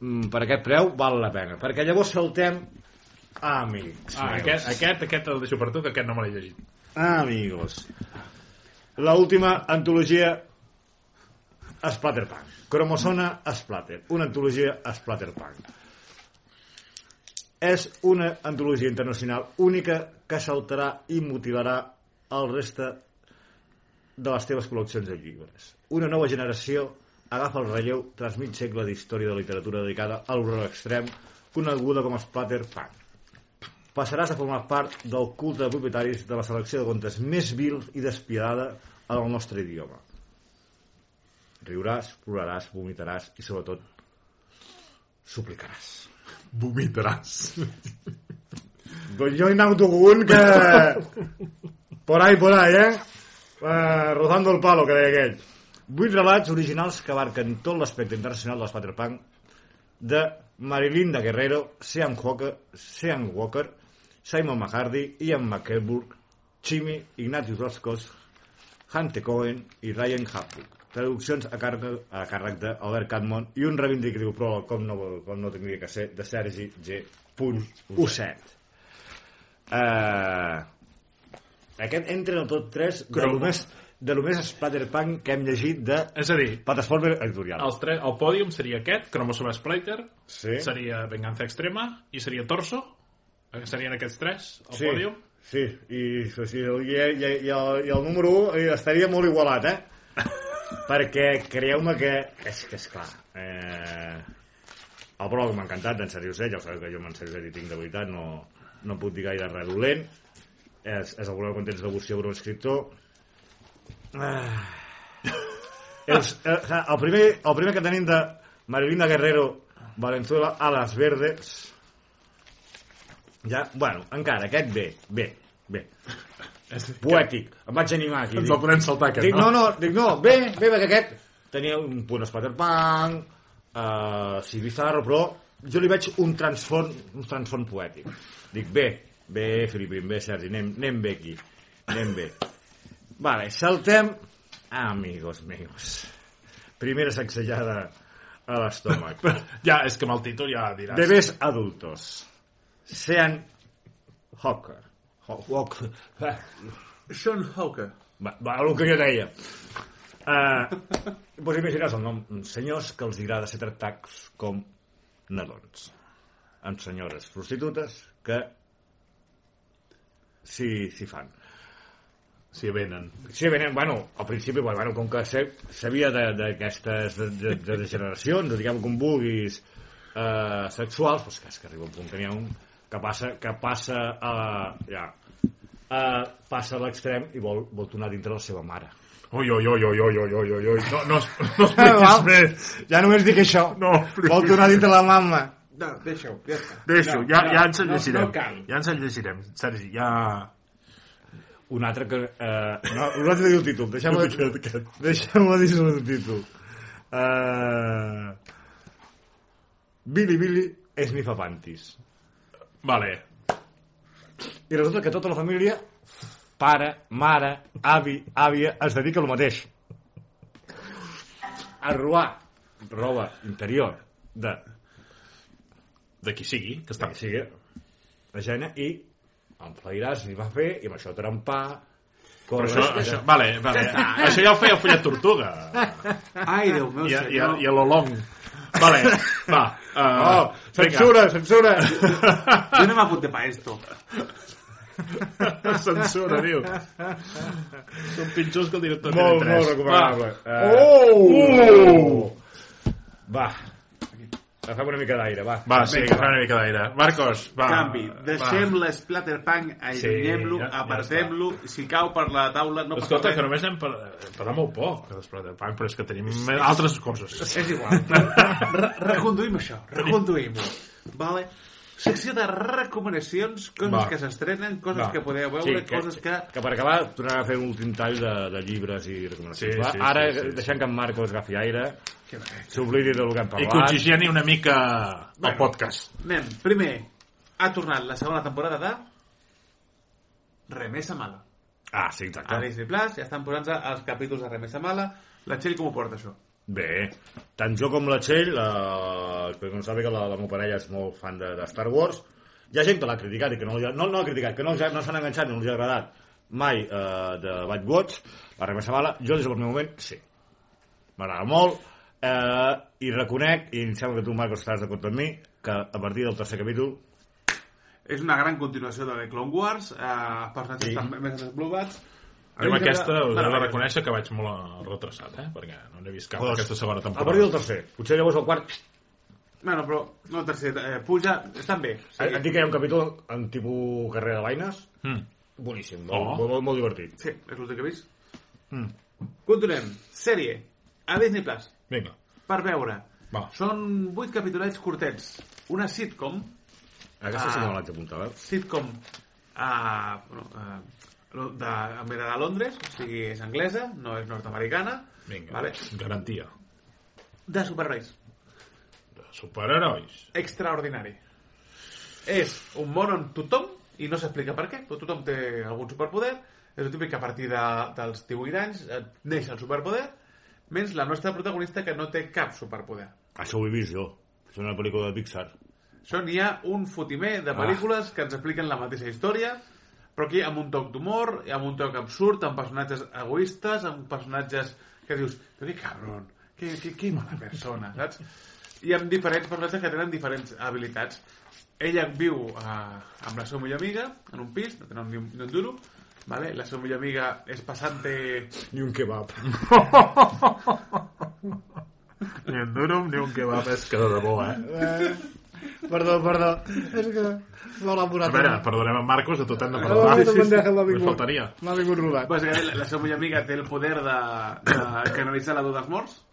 [SPEAKER 2] mm, per aquest preu val la pena, perquè llavors saltem a amics.
[SPEAKER 3] Ah,
[SPEAKER 2] meus.
[SPEAKER 3] aquest, aquest, aquest el deixo per tu, que aquest no me l'he llegit.
[SPEAKER 2] Amigos. La última antologia Splatterpunk. Cromosona Splatter. Una antologia Splatterpunk. És una antologia internacional única que saltarà i mutilarà el resta de les teves col·leccions de llibres. Una nova generació agafa el relleu tras mig segle d'història de literatura dedicada a l'horror extrem, coneguda com a Splatterpunk passaràs a formar part del culte de propietaris de la selecció de contes més vil i despiadada en el nostre idioma. Riuràs, ploraràs, vomitaràs i, sobretot, suplicaràs.
[SPEAKER 3] Vomitaràs.
[SPEAKER 2] Doncs jo he anat un que... Por ahí, por ahí, eh? Uh, rozando el Eh, palo, que deia aquell. Vuit relats originals que abarquen tot l'aspecte internacional dels Cyberpunk de Marilinda Guerrero, Sean Walker, Sean Walker Simon McHardy, Ian McKelburg, Jimmy, Ignatius Roscos, Hante Cohen i Ryan Hapwood. Traduccions a càrrec, a càrrec d'Albert Catmon i un reivindicatiu pròleg, com no, com no tindria que ser, de Sergi G. Uset. Uh, aquest entra en el top 3 de
[SPEAKER 3] Cromo.
[SPEAKER 2] lo més, de lo més Splatterpunk que hem llegit de
[SPEAKER 3] És a dir,
[SPEAKER 2] plataforma editorial.
[SPEAKER 3] els tres, el pòdium seria aquest, Cromo sobre Splater,
[SPEAKER 2] Sí.
[SPEAKER 3] seria Venganza Extrema i seria Torso, Eh, serien aquests tres, el
[SPEAKER 2] sí,
[SPEAKER 3] pòdium.
[SPEAKER 2] Sí, i, o sigui, i, i, i, el, i el número 1 estaria molt igualat, eh? Perquè creieu-me que... És que és clar... Eh, el pròleg m'ha encantat d'en Seriosé, ja ho sabeu que jo amb en Seriosé hi tinc de veritat, no, no puc dir gaire res dolent. És, és el voleu quan tens devoció per un escriptor.
[SPEAKER 3] [LAUGHS]
[SPEAKER 2] Ah. Els, eh, el, primer, el primer que tenim de Marilinda Guerrero, Valenzuela, a les verdes, ja, bueno, encara, aquest bé, bé, bé.
[SPEAKER 3] És a dir,
[SPEAKER 2] Poètic, em vaig animar aquí.
[SPEAKER 3] Ens
[SPEAKER 2] dic-
[SPEAKER 3] el podem saltar, aquest,
[SPEAKER 2] dic,
[SPEAKER 3] no?
[SPEAKER 2] no? No, dic, no, bé, bé, perquè aquest tenia un punt Spider-Punk, eh, sí, bizarro, però jo li veig un transfon, un transfon poètic. Dic, bé, bé, Filipín, bé, Sergi, anem, anem bé aquí, anem bé. Vale, saltem, amigos meus. Primera sacsellada a [LAUGHS] l'estómac.
[SPEAKER 3] Ja, és que amb el títol ja diràs.
[SPEAKER 2] Bebés adultos. Sean Hawker. Haw- Hawker.
[SPEAKER 1] Sean Hawker.
[SPEAKER 2] Va, va, el que jo deia. Uh, pues imagina's el nom. Senyors que els agrada ser tractats com nadons. Amb senyores prostitutes que s'hi s'hi fan.
[SPEAKER 3] Si venen.
[SPEAKER 2] Sí, venen, bueno, al principi, bueno, bueno com que se- sabia de- d'aquestes de, de, de, de generacions, de, diguem com vulguis, eh, sexuals, doncs que és que arriba un punt que n'hi ha un que passa, que passa a ja, eh, passa a l'extrem i vol, vol tornar dintre la seva mare.
[SPEAKER 3] Ui, ui, ui, ui, ui, ui, ui, ui, ui. No, no, es-
[SPEAKER 2] [LAUGHS]
[SPEAKER 3] no expliquis més.
[SPEAKER 2] ja només dic això.
[SPEAKER 3] No,
[SPEAKER 2] vol tornar dintre la mama.
[SPEAKER 1] No, deixa-ho, ja està.
[SPEAKER 3] Deixo, ja, ja ens el
[SPEAKER 1] no,
[SPEAKER 3] llegirem.
[SPEAKER 1] no cal.
[SPEAKER 3] ja ens el llegirem, Sergi, ja...
[SPEAKER 2] Un altre que... Eh, no, un altre diu el títol. Deixa'm-ho deixa'm dir sobre el títol. Uh, Billy Billy és mi fa pantis.
[SPEAKER 3] Vale.
[SPEAKER 2] I resulta que tota la família, pare, mare, avi, àvia, es dedica al mateix. A robar roba interior de
[SPEAKER 3] De qui sigui, que està...
[SPEAKER 2] que sigui ajena i enflairàs i va fer i amb això trempar
[SPEAKER 3] Però
[SPEAKER 2] córrer,
[SPEAKER 3] això,
[SPEAKER 2] espera.
[SPEAKER 3] això, vale, vale. això ja ho feia el Follet Tortuga.
[SPEAKER 1] Ah, Ai, Déu meu,
[SPEAKER 3] I, a- i, a-
[SPEAKER 1] senyor.
[SPEAKER 3] i a l'Olong. Vale, va. [LAUGHS] Uh,
[SPEAKER 2] oh, censura, censura
[SPEAKER 1] Yo no me apunté para esto.
[SPEAKER 3] [LAUGHS] Censura, diu. Són pitjors que el director de
[SPEAKER 2] molt,
[SPEAKER 3] TV3.
[SPEAKER 2] molt recomanable.
[SPEAKER 3] Va.
[SPEAKER 2] Uh,
[SPEAKER 3] Oh!
[SPEAKER 2] Va. Agafem una mica d'aire, va.
[SPEAKER 3] Va, sí, agafem una mica d'aire. Marcos, Ah, va.
[SPEAKER 1] Canvi. Deixem
[SPEAKER 3] Va.
[SPEAKER 1] l'Splatterpunk, allunyem-lo,
[SPEAKER 3] ja- ja
[SPEAKER 1] apartem-lo, si cau per la taula no passa
[SPEAKER 3] Escolta,
[SPEAKER 1] res.
[SPEAKER 3] que només hem parlat, parlat molt poc, després del punk, però és que tenim altres coses.
[SPEAKER 1] És
[SPEAKER 3] [LAUGHS]
[SPEAKER 1] igual. Re- Reconduïm això, reconduïm-ho. Vale? Secció de recomanacions, coses
[SPEAKER 3] Va.
[SPEAKER 1] que s'estrenen, coses
[SPEAKER 3] Va.
[SPEAKER 1] que podeu veure,
[SPEAKER 3] Sí, que-
[SPEAKER 1] coses que...
[SPEAKER 2] Que per acabar tornarà a fer un últim tall de, de llibres i recomanacions.
[SPEAKER 3] Sí,
[SPEAKER 2] va?
[SPEAKER 3] sí,
[SPEAKER 2] Ara,
[SPEAKER 3] sí, sí, sí.
[SPEAKER 2] deixant que en Marcos agafi aire,
[SPEAKER 1] que... bé.
[SPEAKER 2] s'oblidi del que hem
[SPEAKER 3] I
[SPEAKER 2] parlat.
[SPEAKER 3] que oxigeni una mica el
[SPEAKER 1] Bueno.
[SPEAKER 3] podcast.
[SPEAKER 1] Anem, primer, ha tornat la segona temporada de... Remesa mala.
[SPEAKER 2] Ah, sí,
[SPEAKER 1] A
[SPEAKER 2] exacte.
[SPEAKER 1] Disney Plus ja estan posant els capítols de Remesa mala. La Txell com ho porta, això?
[SPEAKER 2] Bé, tant jo com la Txell, la... perquè no sabe que la, la meva parella és molt fan de, de Star Wars, hi ha gent que l'ha criticat i que no, li ha- no, no l'ha criticat, que no, els ha- no s'han enganxat, no els ha agradat mai eh, de Bad Watch, la Remessa Bala, jo des del primer moment, sí. M'agrada molt, eh, i reconec, i em sembla que tu, Marcos, estàs d'acord amb mi, que a partir del tercer capítol
[SPEAKER 1] És una gran continuació de The Clone Wars, eh, els personatges
[SPEAKER 2] Sí.
[SPEAKER 1] sí. estan més desenvolupats.
[SPEAKER 3] Jo amb aquesta us he de
[SPEAKER 1] Meravellosa.
[SPEAKER 3] reconèixer que vaig molt retrasat, eh? Perquè no n'he vist cap
[SPEAKER 2] Doncs,
[SPEAKER 3] aquesta segona
[SPEAKER 2] A partir
[SPEAKER 3] temporada.
[SPEAKER 2] del tercer. Potser llavors el quart...
[SPEAKER 1] Bueno, però no el tercer, eh, puja, estan bé.
[SPEAKER 2] Sí. Et dic que hi ha un capítol en tipus carrera de Baines.
[SPEAKER 3] Mm.
[SPEAKER 2] Boníssim,
[SPEAKER 3] Oh.
[SPEAKER 2] molt, molt, molt, molt divertit.
[SPEAKER 1] Sí, és l'últim que he vist.
[SPEAKER 3] Hmm.
[SPEAKER 1] Mm. Continuem. Sèrie. A Disney Plus.
[SPEAKER 3] Vinga.
[SPEAKER 1] Per veure.
[SPEAKER 3] Va.
[SPEAKER 1] Són vuit capitulets curtets. Una sitcom.
[SPEAKER 2] Aquesta sí que
[SPEAKER 1] Ah.
[SPEAKER 2] eh? me l'haig apuntat.
[SPEAKER 1] Sitcom. Uh, eh, bueno, uh, de, em ve de Londres, o sigui, és anglesa, no és nord-americana.
[SPEAKER 3] Vinga,
[SPEAKER 1] Vale.
[SPEAKER 3] garantia.
[SPEAKER 1] De superherois.
[SPEAKER 3] De superherois.
[SPEAKER 1] Extraordinari. És un món on tothom, i no s'explica per què, però tothom té algun superpoder, és el típic que a partir de, dels 18 anys eh, neix el superpoder, menys la nostra protagonista que no té cap superpoder.
[SPEAKER 2] Això ho he vist jo. És una pel·lícula de Pixar.
[SPEAKER 1] Això n'hi ha un fotimer de pel·lícules que ens expliquen la mateixa història, però aquí amb un toc d'humor, amb un toc absurd, amb personatges egoistes, amb personatges que dius, però que cabron, que, que, que mala persona, saps? I amb diferents personatges que tenen diferents habilitats. Ella viu eh, amb la seva millor amiga en un pis, no tenen ni un, ni un duro, vale? la seva millor amiga és passante...
[SPEAKER 2] Ni un kebab.
[SPEAKER 3] Ni un durum ni un kebab, és que de debò, eh?
[SPEAKER 2] Eh, perdó, perdó. És que l'ha
[SPEAKER 3] A
[SPEAKER 2] elaborat.
[SPEAKER 3] veure, perdonem en Marcos, de tot hem de
[SPEAKER 2] Ah,
[SPEAKER 3] perdonar.
[SPEAKER 2] sí, sí, sí.
[SPEAKER 3] Només faltaria.
[SPEAKER 2] M'ha vingut
[SPEAKER 1] Bàsicament,
[SPEAKER 2] robat.
[SPEAKER 1] pues, eh, la, la seva millor amiga té el poder de, de canalitzar la por dels morts.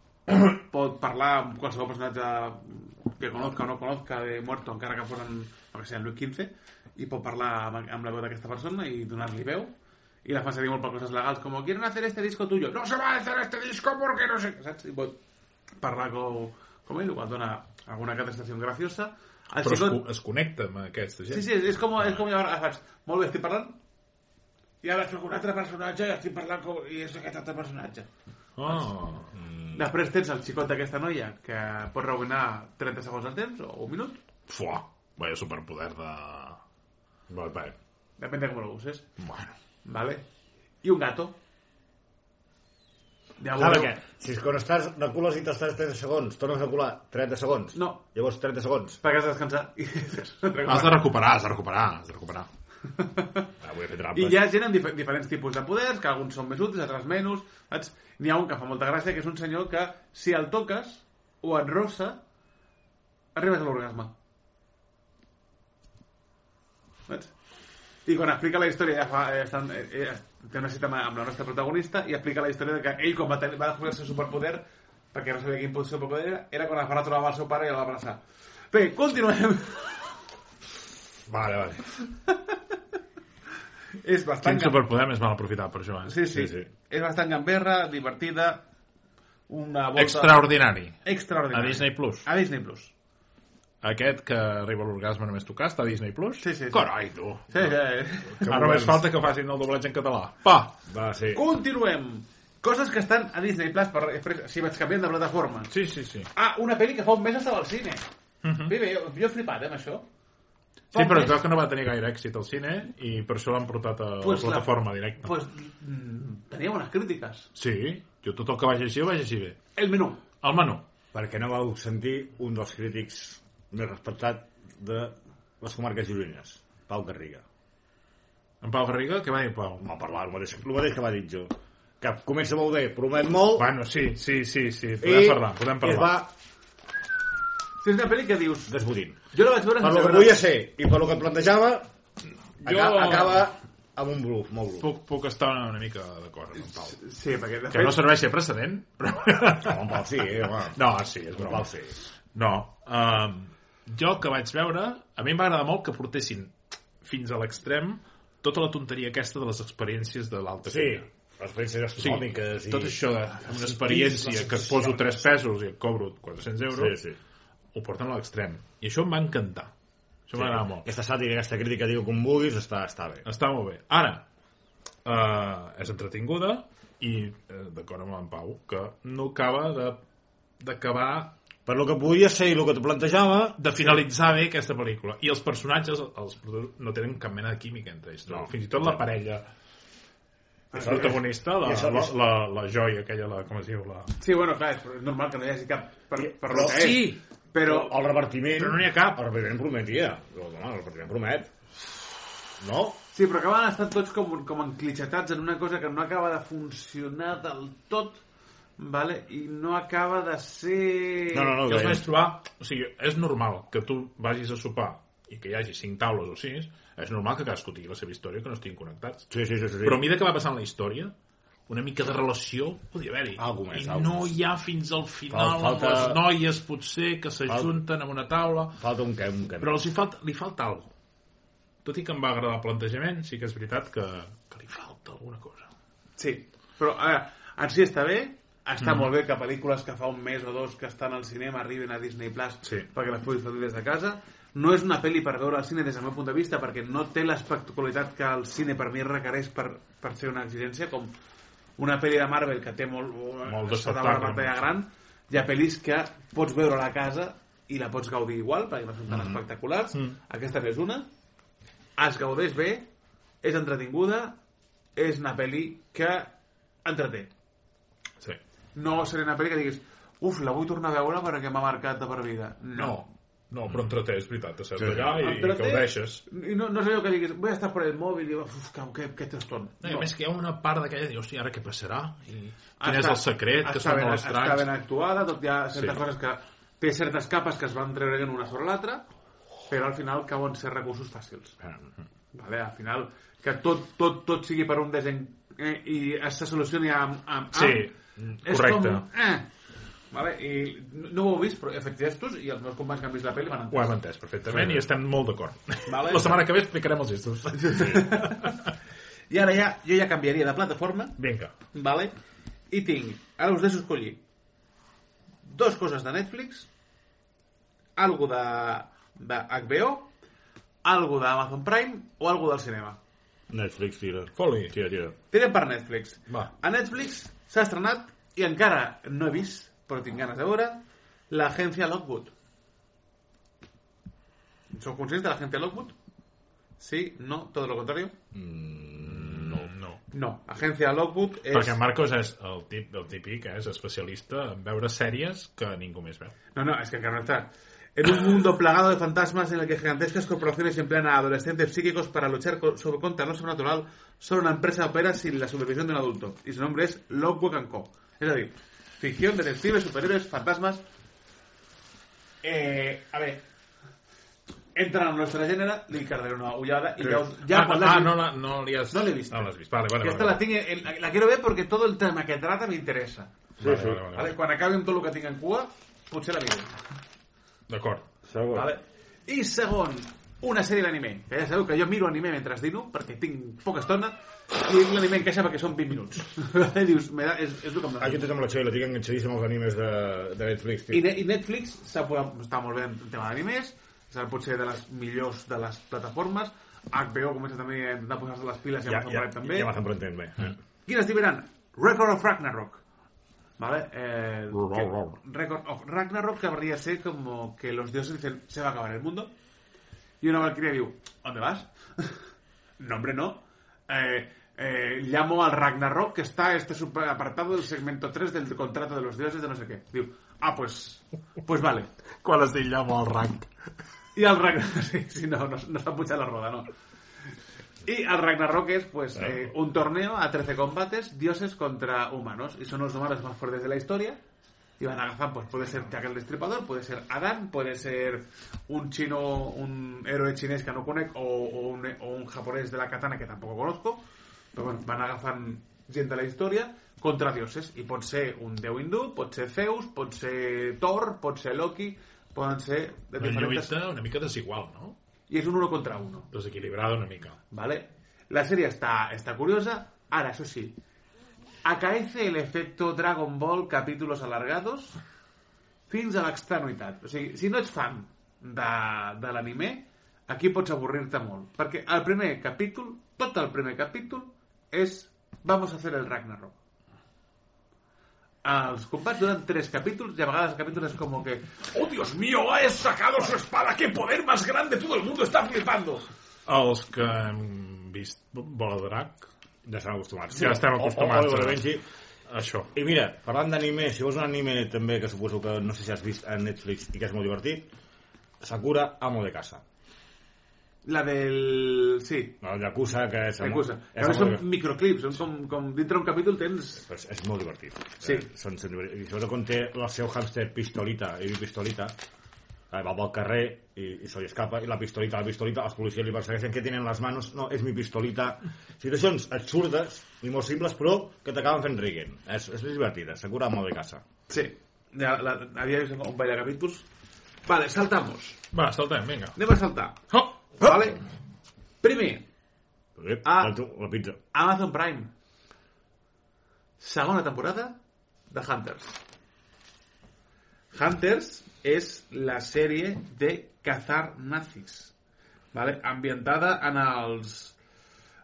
[SPEAKER 1] Pot parlar amb qualsevol personatge que conozca o no conozca de muerto, encara que posen, no que sé, en Luis XV, i pot parlar amb, amb la veu d'aquesta persona i donar-li veu. I la fa servir molt per coses legals, com quieren hacer este disco tuyo. No se va a hacer este disco porque no sé... què", Saps? I pot parlar com, com ell, igual dona alguna catestació graciosa. El
[SPEAKER 3] Però es,
[SPEAKER 1] xicot-
[SPEAKER 3] co- es connecta amb aquesta gent.
[SPEAKER 1] Sí, sí, és com, és com llavors faig, molt bé, estic parlant, i ara sóc un altre personatge i estic parlant com, i és aquest altre personatge.
[SPEAKER 3] Oh.
[SPEAKER 1] Després tens el xicot d'aquesta noia, que pot reubinar 30 segons al temps, o un minut,
[SPEAKER 3] Fuà. Vaya superpoder de... Vale, vale.
[SPEAKER 1] depèn de com ho uses,
[SPEAKER 3] Bueno.
[SPEAKER 1] vale? I un gato. Ja
[SPEAKER 2] Saps
[SPEAKER 1] veureu-
[SPEAKER 2] què? Si quan estàs, recules i t'estàs 30 segons, tornes a recular 30 segons.
[SPEAKER 1] No.
[SPEAKER 2] Llavors 30 segons.
[SPEAKER 1] Perquè has de descansar. [LAUGHS] I, és un altre
[SPEAKER 3] Has
[SPEAKER 1] gato.
[SPEAKER 3] de recuperar, has de recuperar, has de
[SPEAKER 1] [LAUGHS]
[SPEAKER 3] recuperar. Ah, vull fer trampes.
[SPEAKER 1] I hi ha gent amb dif diferents tipus de poders, que alguns són més útils, altres menys, saps? N'hi ha un que fa molta gràcia, que és un senyor que, si el toques o et rossa, arribes a l'orgasme. Saps? I quan explica la història, ja fa, ja estan, eh, eh, té una cita amb, amb la nostra protagonista i explica la història de que ell, quan va, tenir, va descobrir el seu superpoder, perquè no sabia quin superpoder era, era quan es va trobar el seu pare i el va abraçar. Bé, continuem. [LAUGHS]
[SPEAKER 3] Vale, vale.
[SPEAKER 1] és bastant...
[SPEAKER 3] Quin superpoder més mal aprofitar per això, eh?
[SPEAKER 1] Sí, sí. sí, sí. És bastant gamberra, divertida, una volta...
[SPEAKER 3] Extraordinari. A
[SPEAKER 1] Extraordinària.
[SPEAKER 3] Disney Plus.
[SPEAKER 1] A Disney Plus.
[SPEAKER 3] Aquest que arriba a l'orgasme només tocar està a Disney Plus?
[SPEAKER 1] Sí, sí, sí.
[SPEAKER 3] Carai, tu.
[SPEAKER 1] Sí, sí.
[SPEAKER 3] Ara només
[SPEAKER 2] moderns.
[SPEAKER 3] falta que facin el doblatge en català. Pa!
[SPEAKER 2] Va, sí.
[SPEAKER 1] [LAUGHS] Continuem. Coses que estan a Disney Plus, per, després, si vaig canviant de plataforma.
[SPEAKER 3] Sí, sí, sí.
[SPEAKER 1] Ah, una pel·li que fa un mes estava al cine. Uh -huh. Bé, bé, jo, jo he flipat eh, amb això.
[SPEAKER 3] Mhm. Sí, però es veu que no va tenir gaire èxit al cine i per això l'han portat a
[SPEAKER 1] Pues
[SPEAKER 3] la
[SPEAKER 1] la-
[SPEAKER 3] plataforma directa.
[SPEAKER 1] Pues, mm, tenia bones crítiques.
[SPEAKER 3] Sí, jo tot el que vaig llegir ho vaig llegir bé.
[SPEAKER 1] El menú.
[SPEAKER 3] El menú.
[SPEAKER 2] Perquè no vau sentir un dels crítics més respectat de les comarques gironines, Pau Garriga.
[SPEAKER 3] En Pau Garriga, què va dir Pau?
[SPEAKER 2] M'ha parlat el mateix, el mateix que va dir jo. Que comença molt bé, promet molt,
[SPEAKER 3] Bueno, sí, sí, sí, sí, podem parlar, podem
[SPEAKER 2] i es
[SPEAKER 3] parlar.
[SPEAKER 2] va
[SPEAKER 1] Si és una pel·li que dius...
[SPEAKER 2] desbudint.
[SPEAKER 1] Jo la vaig veure
[SPEAKER 2] Per
[SPEAKER 1] sense
[SPEAKER 2] lo que
[SPEAKER 1] veure...
[SPEAKER 2] volia ser i per lo que plantejava,
[SPEAKER 3] Jo-
[SPEAKER 2] acaba, acaba amb un bluff, molt bluff.
[SPEAKER 3] Puc, puc estar una mica d'acord amb en Pau.
[SPEAKER 1] Sí, perquè de
[SPEAKER 3] Que no
[SPEAKER 1] fet...
[SPEAKER 3] serveix de precedent, però...
[SPEAKER 2] Home, [LAUGHS] Pau, sí, eh, home.
[SPEAKER 3] No, sí, és
[SPEAKER 2] Però
[SPEAKER 3] broma.
[SPEAKER 2] Pau, sí.
[SPEAKER 3] No. Um, jo el que vaig veure, a mi em va agradar molt que portessin fins a l'extrem tota la tonteria aquesta de les experiències de l'alta
[SPEAKER 2] Sí,
[SPEAKER 3] cuina.
[SPEAKER 2] experiències gastronòmiques i...
[SPEAKER 3] tot això de una experiència que et poso 3 pesos i et cobro 400
[SPEAKER 2] Sí,
[SPEAKER 3] euros,
[SPEAKER 2] sí.
[SPEAKER 3] ho porten a l'extrem. I això em va encantar. Això sí. m'agrada molt.
[SPEAKER 2] Aquesta sàtira, aquesta crítica, diu com vulguis, està, està bé.
[SPEAKER 3] Està molt bé. Ara, eh, és entretinguda i, eh, d'acord amb en Pau, que no acaba de d'acabar
[SPEAKER 2] Per lo que podia ser i el que te plantejava,
[SPEAKER 3] de finalitzar bé aquesta pel·lícula. I els personatges els, no tenen cap mena de química entre ells. No. Fins i tot la parella
[SPEAKER 2] Ah,
[SPEAKER 3] protagonista, la,
[SPEAKER 2] I
[SPEAKER 3] la,
[SPEAKER 2] això-
[SPEAKER 3] la, la joia aquella, la, com es diu? La...
[SPEAKER 1] Sí, bueno, clar, és és normal que no hi hagi cap per, per
[SPEAKER 2] Però
[SPEAKER 1] lo que
[SPEAKER 3] Eh, sí.
[SPEAKER 1] és. Però,
[SPEAKER 2] el repartiment...
[SPEAKER 3] Però no n'hi ha cap.
[SPEAKER 2] El repartiment prometia. Però, home, el repartiment promet. No?
[SPEAKER 1] Sí, però acaben estant tots com, com enclitxatats en una cosa que no acaba de funcionar del tot, vale? i no acaba de ser...
[SPEAKER 2] No, no, no.
[SPEAKER 3] Jo els
[SPEAKER 2] que-
[SPEAKER 3] vaig trobar... O sigui, és normal que tu vagis a sopar i que hi hagi cinc taules o sis, és normal que cadascú tingui la seva història i que no estiguin connectats.
[SPEAKER 2] Sí, sí, sí. sí.
[SPEAKER 3] Però a mesura que va passant la història, una mica de relació podria haver-hi.
[SPEAKER 2] Algú més,
[SPEAKER 3] I
[SPEAKER 2] algú
[SPEAKER 3] no
[SPEAKER 2] més.
[SPEAKER 3] hi ha fins al final
[SPEAKER 2] falta-
[SPEAKER 3] amb les noies, potser, que s'ajunten en una taula,
[SPEAKER 2] Falta un camp, un camp.
[SPEAKER 3] però els hi falta, li falta alguna Tot i que em va agradar el plantejament, sí que és veritat que, que li falta falta alguna cosa.
[SPEAKER 1] Sí, però a veure, en si està bé, està
[SPEAKER 2] Mm-hmm.
[SPEAKER 1] molt bé que pel·lícules que fa un mes o dos que estan al cinema arriben a Disney Plus
[SPEAKER 3] Sí.
[SPEAKER 1] perquè les puguis fer des de casa. No és una pel·li per veure al cine des del meu punt de vista perquè no té l'espectacularitat que el cine per mi requereix per, per ser una exigència com una pel·li de Marvel que té molt,
[SPEAKER 3] Molt
[SPEAKER 1] està de
[SPEAKER 3] d'espectacle.
[SPEAKER 1] una pantalla gran hi ha pel·lis que pots veure a la casa i la pots gaudir igual perquè no són tan espectaculars aquesta n'és una es gaudeix bé, és entretinguda, és una pel·li que entreté.
[SPEAKER 3] Sí.
[SPEAKER 1] No seré una pel·li que diguis uf, la vull tornar a veure perquè m'ha marcat de per vida. No.
[SPEAKER 5] No. No, però entreté, és veritat, t'has sí.
[SPEAKER 3] Sí.
[SPEAKER 5] allà i, i
[SPEAKER 1] Entreté.
[SPEAKER 5] que ho deixes.
[SPEAKER 1] I no, no és allò que diguis, vull estar per el mòbil i uf, que, que, que trastorn.
[SPEAKER 3] No, Ah, i a més que hi ha una part d'aquella que dius, hòstia, ara què passarà? I quin
[SPEAKER 1] Està-
[SPEAKER 3] és el secret? Que
[SPEAKER 1] està
[SPEAKER 3] són
[SPEAKER 1] ben,
[SPEAKER 3] molt
[SPEAKER 1] Està ben
[SPEAKER 3] estranys.
[SPEAKER 1] actuada, tot hi ha certes
[SPEAKER 3] Sí.
[SPEAKER 1] sí. coses que... Té certes capes que es van treure una sobre l'altra, però al final cauen ser recursos fàcils.
[SPEAKER 2] Ah, mm.
[SPEAKER 1] Vale, al final, que tot, tot, tot sigui per un desen... Eh, i es solucioni amb... amb, amb
[SPEAKER 3] Sí,
[SPEAKER 2] Ah,
[SPEAKER 3] correcte.
[SPEAKER 1] És com... Eh. Vale, i no, no ho heu vist, però he fet gestos i els meus companys que han vist la pel·li van
[SPEAKER 3] Ho
[SPEAKER 1] entendre.
[SPEAKER 3] hem entès perfectament i estem molt
[SPEAKER 2] [LAUGHS]
[SPEAKER 3] d'acord.
[SPEAKER 1] Vale.
[SPEAKER 3] La setmana que ve explicarem els gestos.
[SPEAKER 1] I ara ja, jo ja canviaria de plataforma
[SPEAKER 3] Vinga.
[SPEAKER 1] Vale? I tinc, ara us deixo escollir, dos coses de Netflix, algo de, de HBO, algo d'Amazon Prime o algo del cinema.
[SPEAKER 2] Netflix, tira.
[SPEAKER 3] Foli.
[SPEAKER 2] Tira, tira.
[SPEAKER 1] Tirem per Netflix.
[SPEAKER 3] Va.
[SPEAKER 1] A Netflix s'ha estrenat, i encara no he vist, però tinc ganes de veure, l'agència Lockwood. Són conscients de l'agència Lockwood? Sí? No? Tot lo contrario?
[SPEAKER 3] No. no.
[SPEAKER 1] No. Agència Lockwood és...
[SPEAKER 3] Perquè en Marcos és el, tip, el típic, eh, és especialista en veure sèries que ningú més veu.
[SPEAKER 1] No, no, es que encara no está. En un mundo plagado de fantasmas en el que gigantescas corporaciones emplean a adolescentes psíquicos para luchar co- sobre- contra lo sobrenatural, solo una empresa opera sin la supervisión de un adulto. Y su nombre es Lockwood Co. Es decir, ficción, detectives, superhéroes, fantasmas. Eh, a ver. Entran a nuestra género, le encargaré una ullada y ya, os- ya
[SPEAKER 3] ah,
[SPEAKER 1] cuando-
[SPEAKER 3] ah, no, la, no li has...
[SPEAKER 1] No l'he vist.
[SPEAKER 3] No l'has vist. Vale, vale,
[SPEAKER 1] que
[SPEAKER 3] vale,
[SPEAKER 1] esta la,
[SPEAKER 3] vale.
[SPEAKER 1] tiene- el- la quiero ver porque todo el tema que trata me interesa.
[SPEAKER 2] Sí, sí.
[SPEAKER 3] vale, vale,
[SPEAKER 1] ¿vale?
[SPEAKER 3] vale.
[SPEAKER 1] Cuando acabe un todo lo que tenga en Cuba, pues la miro.
[SPEAKER 3] D'acord.
[SPEAKER 2] Segon.
[SPEAKER 1] Vale. I segon, una sèrie d'anime. Que ja sabeu que jo miro anime mentre dino, perquè tinc poca estona, i l'anime encaixa perquè són 20 minuts. [LAUGHS] I dius, me da, és, és el que em
[SPEAKER 2] Ah, jo
[SPEAKER 1] dona.
[SPEAKER 2] tot amb la Xavi, la tinc enganxadíssima als animes de, de Netflix.
[SPEAKER 1] I,
[SPEAKER 2] Tio.
[SPEAKER 1] ne- I Netflix s'ha posat- està molt bé en tema d'animes, serà potser de les millors de les plataformes, HBO comença també a intentar posar-se les piles i
[SPEAKER 2] Ja,
[SPEAKER 1] Amazon
[SPEAKER 2] ja,
[SPEAKER 1] Prime també.
[SPEAKER 2] ja m'has emprenent bé. Eh?
[SPEAKER 1] Quines diran? Record of Ragnarok. ¿Vale? Eh,
[SPEAKER 3] Ror,
[SPEAKER 1] que-
[SPEAKER 3] ror.
[SPEAKER 1] Record of Ragnarok que habría ser como que los dioses dicen se va a acabar el mundo. Y una valquiria digo, ¿dónde vas? [LAUGHS] no, hombre, no. Eh, eh, llamo al Ragnarok que está este super apartado del segmento 3 del contrato de los dioses de no sé qué. Digo, ah, pues, pues vale.
[SPEAKER 3] Quan es diu llamo al rank.
[SPEAKER 1] Y al Ragnarok, [LAUGHS] sí, sí, no, no, no está mucha la rueda, no. Y al Ragnarok es, pues, eh, un torneo a 13 combates, dioses contra humanos. Y son los humanos más fuertes de la historia. Y van a cazar, pues puede ser Jack el Destripador, puede ser Adán, puede ser un chino, un héroe chinés que no conozco, o, o un, o un japonés de la katana que tampoco conozco. Pero bueno, van a cazar gente de la historia contra dioses. Y puede ser un déu hindú, puede ser Zeus, puede ser Thor, puede ser Loki, pueden ser de
[SPEAKER 3] Una
[SPEAKER 1] diferentes
[SPEAKER 3] lluita una mica desigual, no?
[SPEAKER 1] y es un uno contra uno,
[SPEAKER 3] Desequilibrada una mica.
[SPEAKER 1] ¿vale? La serie está, está curiosa. Ahora, eso sí, acaece el efecto Dragon Ball capítulos alargados fins a l'extenuïtat. O sigui, si no ets fan de, de l'anime, aquí pots avorrir-te molt. Perquè el primer capítol, tot el primer capítol, és Vamos a hacer el Ragnarok. Els combats duran tres capítols i a vegades els capítols és com que ¡Oh, Dios mío! ¡Ha sacado su espada! ¡Qué poder más grande! ¡Todo el mundo está flipando!
[SPEAKER 3] Els que hem vist Bola de Drac,
[SPEAKER 2] Ja estan acostumats.
[SPEAKER 3] ja estem
[SPEAKER 2] O,
[SPEAKER 3] acostumats
[SPEAKER 2] o, o,
[SPEAKER 3] a
[SPEAKER 2] Benji.
[SPEAKER 3] a això.
[SPEAKER 2] I mira, parlant d'anime, si vols un anime també que suposo que no sé si has vist a Netflix i que és molt divertit, Sakura Amo de Casa.
[SPEAKER 1] La del... sí,
[SPEAKER 2] El Yakuza, que és...
[SPEAKER 1] Yakuza.
[SPEAKER 2] És,
[SPEAKER 1] A més, són
[SPEAKER 2] molt, divertit.
[SPEAKER 1] microclips, són com, com dintre un capítol tens...
[SPEAKER 2] és, és molt divertit.
[SPEAKER 1] Sí.
[SPEAKER 2] Eh, són, són divertits. I sobretot quan té el seu hàmster Pistolita, i diu Pistolita, eh, va pel carrer i, i se li escapa, i la pistolita, la pistolita, els policies li persegueixen, què tenen en les manos? No, és mi pistolita. Situacions absurdes i molt simples, però que t'acaben fent rient. És, és divertida, Sakura Amo de Casa.
[SPEAKER 1] Sí, ja la, havia vist un parell de capítols. Vale, saltamos.
[SPEAKER 3] Va, saltem, vinga.
[SPEAKER 1] Anem a saltar.
[SPEAKER 3] Oh!
[SPEAKER 1] Vale? Primer,
[SPEAKER 2] Ep,
[SPEAKER 1] Ah.
[SPEAKER 2] ah. La pizza.
[SPEAKER 1] Amazon Prime. Segona temporada de Hunters. Hunters es la sèrie de cazar nazis. Vale? Ambientada en els,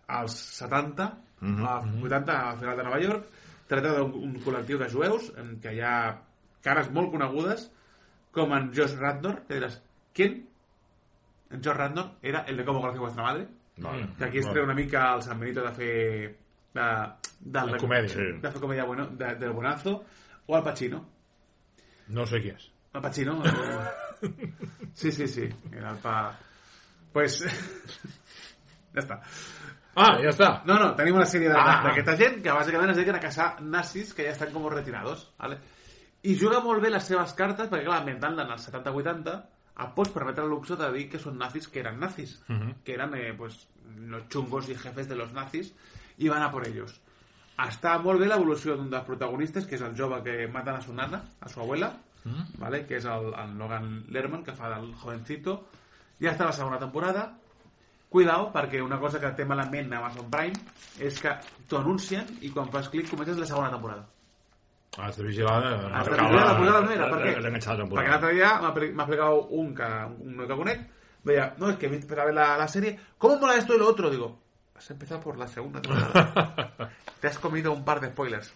[SPEAKER 1] als 70, mm -hmm. als 80, al final de Nova York. Trata d'un un col·lectiu de jueus en què hi ha cares molt conegudes, com en Josh Radnor, que diràs, ¿quién? En Josh Radnor era el de Cómo conocí a vuestra madre,
[SPEAKER 2] Vale.
[SPEAKER 1] que aquí es treu una mica el Sant Benito de fer... De, de,
[SPEAKER 3] La comèdia.
[SPEAKER 2] Sí.
[SPEAKER 1] De fer comèdia bueno, de, del bonazo. O al Pacino.
[SPEAKER 3] No sé qui és.
[SPEAKER 1] Al Pacino.
[SPEAKER 2] [LAUGHS]
[SPEAKER 1] eh, sí, sí, sí. Era el pa... Pues... [LAUGHS] ja està.
[SPEAKER 3] Ah, ja està.
[SPEAKER 1] No, no, tenim una sèrie de-
[SPEAKER 3] Ah.
[SPEAKER 1] d'aquesta gent que bàsicament es dediquen a caçar nazis que ja estan com retirados. ¿vale? I juga molt bé les seves cartes perquè, clar, ambientant-la en els 70-80 et pots permetre el luxe de dir que són nazis que eren nazis, que eren eh, pues, los chungos y jefes de los nazis i van a por ellos. Està molt bé l'evolució d'un dels protagonistes, que és el jove que mata a su nana, a su abuela, ¿vale? que és el, el Logan Lerman, que fa del jovencito. Ja està la segona temporada, Cuidao, perquè una cosa que té malament Amazon Prime és que t'ho anuncien i quan fas clic comences la segona temporada.
[SPEAKER 3] Has de vigilar de...
[SPEAKER 1] Has de
[SPEAKER 3] marcar
[SPEAKER 1] posar
[SPEAKER 3] la-
[SPEAKER 1] la primera primera, per
[SPEAKER 2] Has
[SPEAKER 1] què?
[SPEAKER 2] d'enganxar la temporada.
[SPEAKER 1] Perquè l'altre dia m'ha pli- m'ha explicat un que, un que conec, deia, no, és que he vist per a ver la, la serie, ¿cómo mola esto y lo otro? Digo, has empezado por la segunda temporada. Te has comido un par de spoilers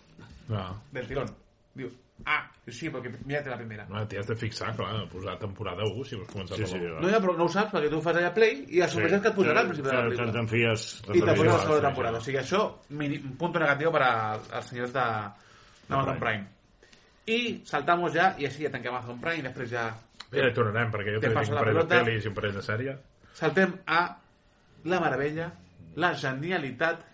[SPEAKER 3] No,
[SPEAKER 1] del tirón. Digo, ah, sí, perquè mírate la primera.
[SPEAKER 3] no t'hi has de fixar, clar, posar temporada 1 si vols començar
[SPEAKER 2] Sí, sí.
[SPEAKER 3] per la-
[SPEAKER 1] No, ja, però no ho saps perquè tu fas allà play i la sorpresa que et posarà al principi de la
[SPEAKER 2] Te'n
[SPEAKER 1] pel·lícula.
[SPEAKER 2] te'n fies... te'n
[SPEAKER 1] I
[SPEAKER 2] fies.
[SPEAKER 1] després la segona
[SPEAKER 3] tota sí,
[SPEAKER 1] temporada. O sigui, això, mini, un punt negatiu per als als senyors de, de Amazon Prime. I saltamos ja, i així ja tanquem Amazon Prime, i després ja
[SPEAKER 3] Ja hi tornarem, perquè jo
[SPEAKER 1] Te
[SPEAKER 3] t'he dit
[SPEAKER 1] passo
[SPEAKER 3] un
[SPEAKER 1] la
[SPEAKER 3] parell de
[SPEAKER 1] pelota.
[SPEAKER 3] pel·lis i un parell de sèrie.
[SPEAKER 1] saltem a la meravella, la genialitat,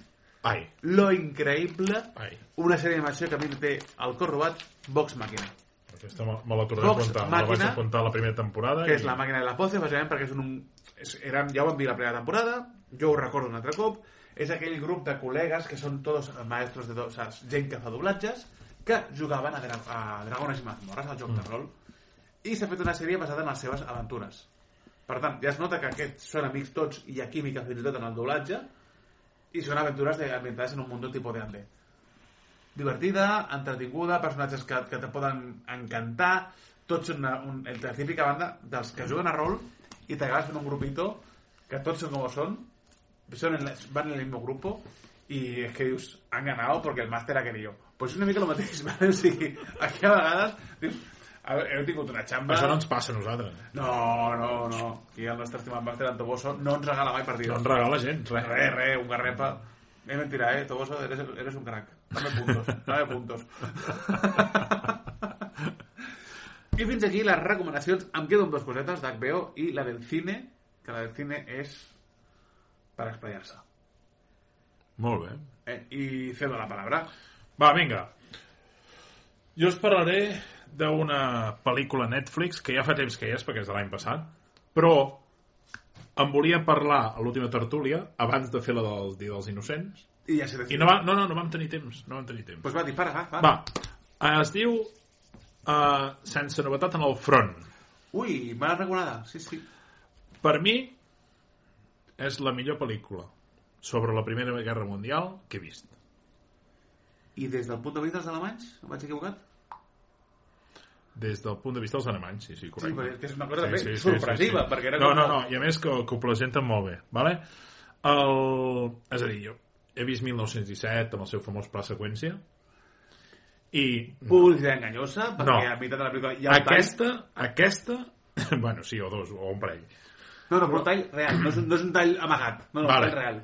[SPEAKER 3] Ai,
[SPEAKER 1] lo increïble,
[SPEAKER 3] Ai.
[SPEAKER 1] una sèrie d'animació que a mi em té el cor robat, Vox Machina,
[SPEAKER 3] aquesta me, me la tornaré a
[SPEAKER 1] Vox
[SPEAKER 3] contar. Me la vaig
[SPEAKER 1] Màquina,
[SPEAKER 3] apuntar a la primera temporada.
[SPEAKER 1] que
[SPEAKER 3] i-
[SPEAKER 1] és la màquina de la pose, bàsicament perquè és un... És, eren, ja ho vam dir la primera temporada, jo ho recordo un altre cop, és aquell grup de col·legues que són tots maestros de... do- O sigui, gent que fa doblatges, que jugaven a, dra a Dragones i Mazmorras, al joc
[SPEAKER 3] Mm.
[SPEAKER 1] de rol, i s'ha fet una sèrie basada en les seves aventures. Per tant, ja es nota que aquests són amics tots i hi ha química fins i tot en el doblatge, i són aventures de, ambientades en un mundo tipo de Ande. Divertida, entretinguda, personatges que, que te poden encantar, tots són una, un, la típica banda dels que juguen a rol i t'acabes fent un grupito que tots són com són, son en la- van en el mismo grupo y es que dius, han ganado porque el máster ha querido. Pues és una mica el mateix, [LAUGHS] ¿vale? o sigui, aquí a vegades dius, a veure, heu tingut una xamba...
[SPEAKER 3] Això no ens passa a nosaltres. eh?
[SPEAKER 1] No, no, no. Aquí el nostre estimat màster en Toboso no ens regala mai
[SPEAKER 3] No
[SPEAKER 1] partida.
[SPEAKER 3] ens regala gens, res.
[SPEAKER 1] Re, re, un garrepa. Es mentira, eh, Toboso, eres, eres un crack. Dame puntos, dame puntos. I fins aquí les recomanacions. Em quedo amb dues cosetes d'HBO i la del cine, que la del cine és per explayar-se.
[SPEAKER 3] Molt bé.
[SPEAKER 1] Eh? I cedo la palabra.
[SPEAKER 3] Va, vinga. Jo us parlaré d'una pel·lícula Netflix que ja fa temps que hi és, perquè és de l'any passat, però em volia parlar a l'última tertúlia abans de fer la del Dia dels Innocents
[SPEAKER 1] I ja seré.
[SPEAKER 3] i no, va, no, no, no vam tenir temps, no vam tenir temps.
[SPEAKER 1] Pues va, dispara, va, va.
[SPEAKER 3] Va, Eh, es diu uh, Sense novetat en el front.
[SPEAKER 1] Ui, mala reconada, sí, sí.
[SPEAKER 3] Per mi és la millor pel·lícula sobre la Primera Guerra Mundial que he vist.
[SPEAKER 1] I des del punt de vista dels alemanys, em vaig equivocat?
[SPEAKER 3] Des del punt de vista dels alemanys, sí, sí,
[SPEAKER 1] Sí,
[SPEAKER 3] correcte.
[SPEAKER 1] perquè és que és una cosa també sorpresiva, perquè era
[SPEAKER 3] no,
[SPEAKER 1] com...
[SPEAKER 3] No, no, i a més que, que ho presenten molt bé, vale? El... És a dir, jo he vist 1917 amb el seu famós pla seqüència i
[SPEAKER 1] Publicitat enganyosa, perquè
[SPEAKER 3] No.
[SPEAKER 1] no. a meitat de la pel·lícula hi ha un
[SPEAKER 3] aquesta, aquesta, [LAUGHS] bueno, sí, o dos, o un parell,
[SPEAKER 1] tall... No, no, però un tall real, no és un, no és un tall amagat. No, no, un
[SPEAKER 3] Vale.
[SPEAKER 1] tall real.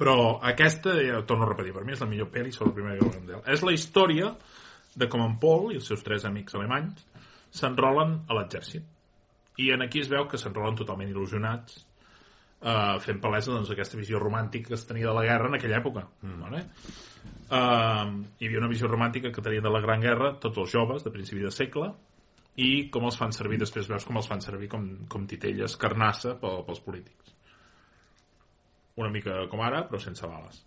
[SPEAKER 3] però aquesta, ja ho torno a repetir, per mi és la millor pel·li sobre la Primera Guerra Mundial. És la història de com en Paul i els seus tres amics alemanys s'enrolen a l'exèrcit. I en aquí es veu que s'enrolen totalment il·lusionats eh, fent palesa doncs, aquesta visió romàntica que es tenia de la guerra en aquella època. Mm. Vale? Eh, hi havia una visió romàntica que tenia de la Gran Guerra tots els joves de principi de segle i com els fan servir, després veus com els fan servir com, com titelles carnassa pel, pels polítics una mica com ara, però sense bales.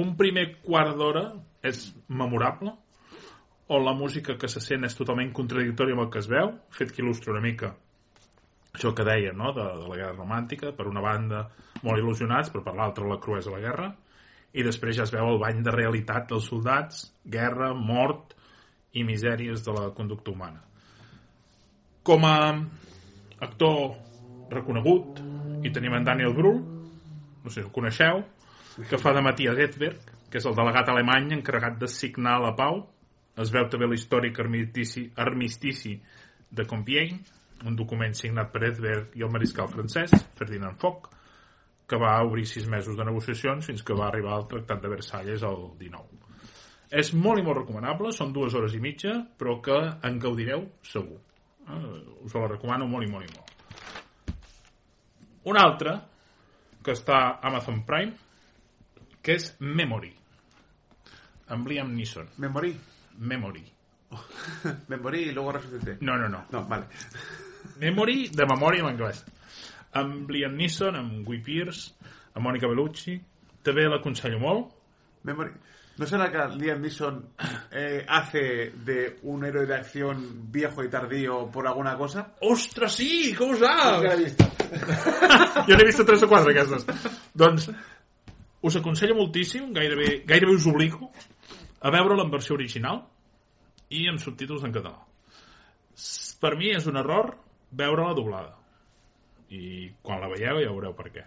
[SPEAKER 3] Un primer quart d'hora és memorable, on la música que se sent és totalment contradictòria amb el que es veu, fet que il·lustra una mica això que deia, no?, de, de la guerra romàntica, per una banda molt il·lusionats, però per l'altra la cruesa de la guerra, i després ja es veu el bany de realitat dels soldats, guerra, mort i misèries de la conducta humana. Com a actor reconegut, hi tenim en Daniel Brühl, no sé si el coneixeu, que fa de Matthias Edberg, que és el delegat alemany encarregat de signar la pau. Es veu també l'històric armistici, armistici de Compiègne, un document signat per Edberg i el mariscal francès, Ferdinand Foch, que va obrir sis mesos de negociacions fins que va arribar al Tractat de Versalles el 19. És molt i molt recomanable, són dues hores i mitja, però que en gaudireu segur. Eh, us la recomano molt i molt i molt. Un altre, que està a Amazon Prime, que és Memory, amb Liam Neeson.
[SPEAKER 1] Me morí.
[SPEAKER 3] Memory.
[SPEAKER 1] Me morí y luego resucité.
[SPEAKER 3] No, no, no.
[SPEAKER 1] No, vale.
[SPEAKER 3] Memory, de memòria en anglès. Amb Liam Neeson, amb Guy Pearce, amb Mònica Bellucci. També l'aconsello molt.
[SPEAKER 1] Me morí. ¿No será que Liam Neeson eh, hace de un héroe de acción viejo y tardío por alguna cosa?
[SPEAKER 3] Ostres, sí! Com ho
[SPEAKER 1] ¿Qué Ah, la he
[SPEAKER 3] saps?
[SPEAKER 1] visto?
[SPEAKER 3] jo n'he vist tres o quatre, aquestes. doncs, us aconsello moltíssim, gairebé, gairebé us obligo, a veure'l en versió original i amb subtítols en català. S- Per mi és un error veure-la doblada. I quan la veieu ja veureu per què.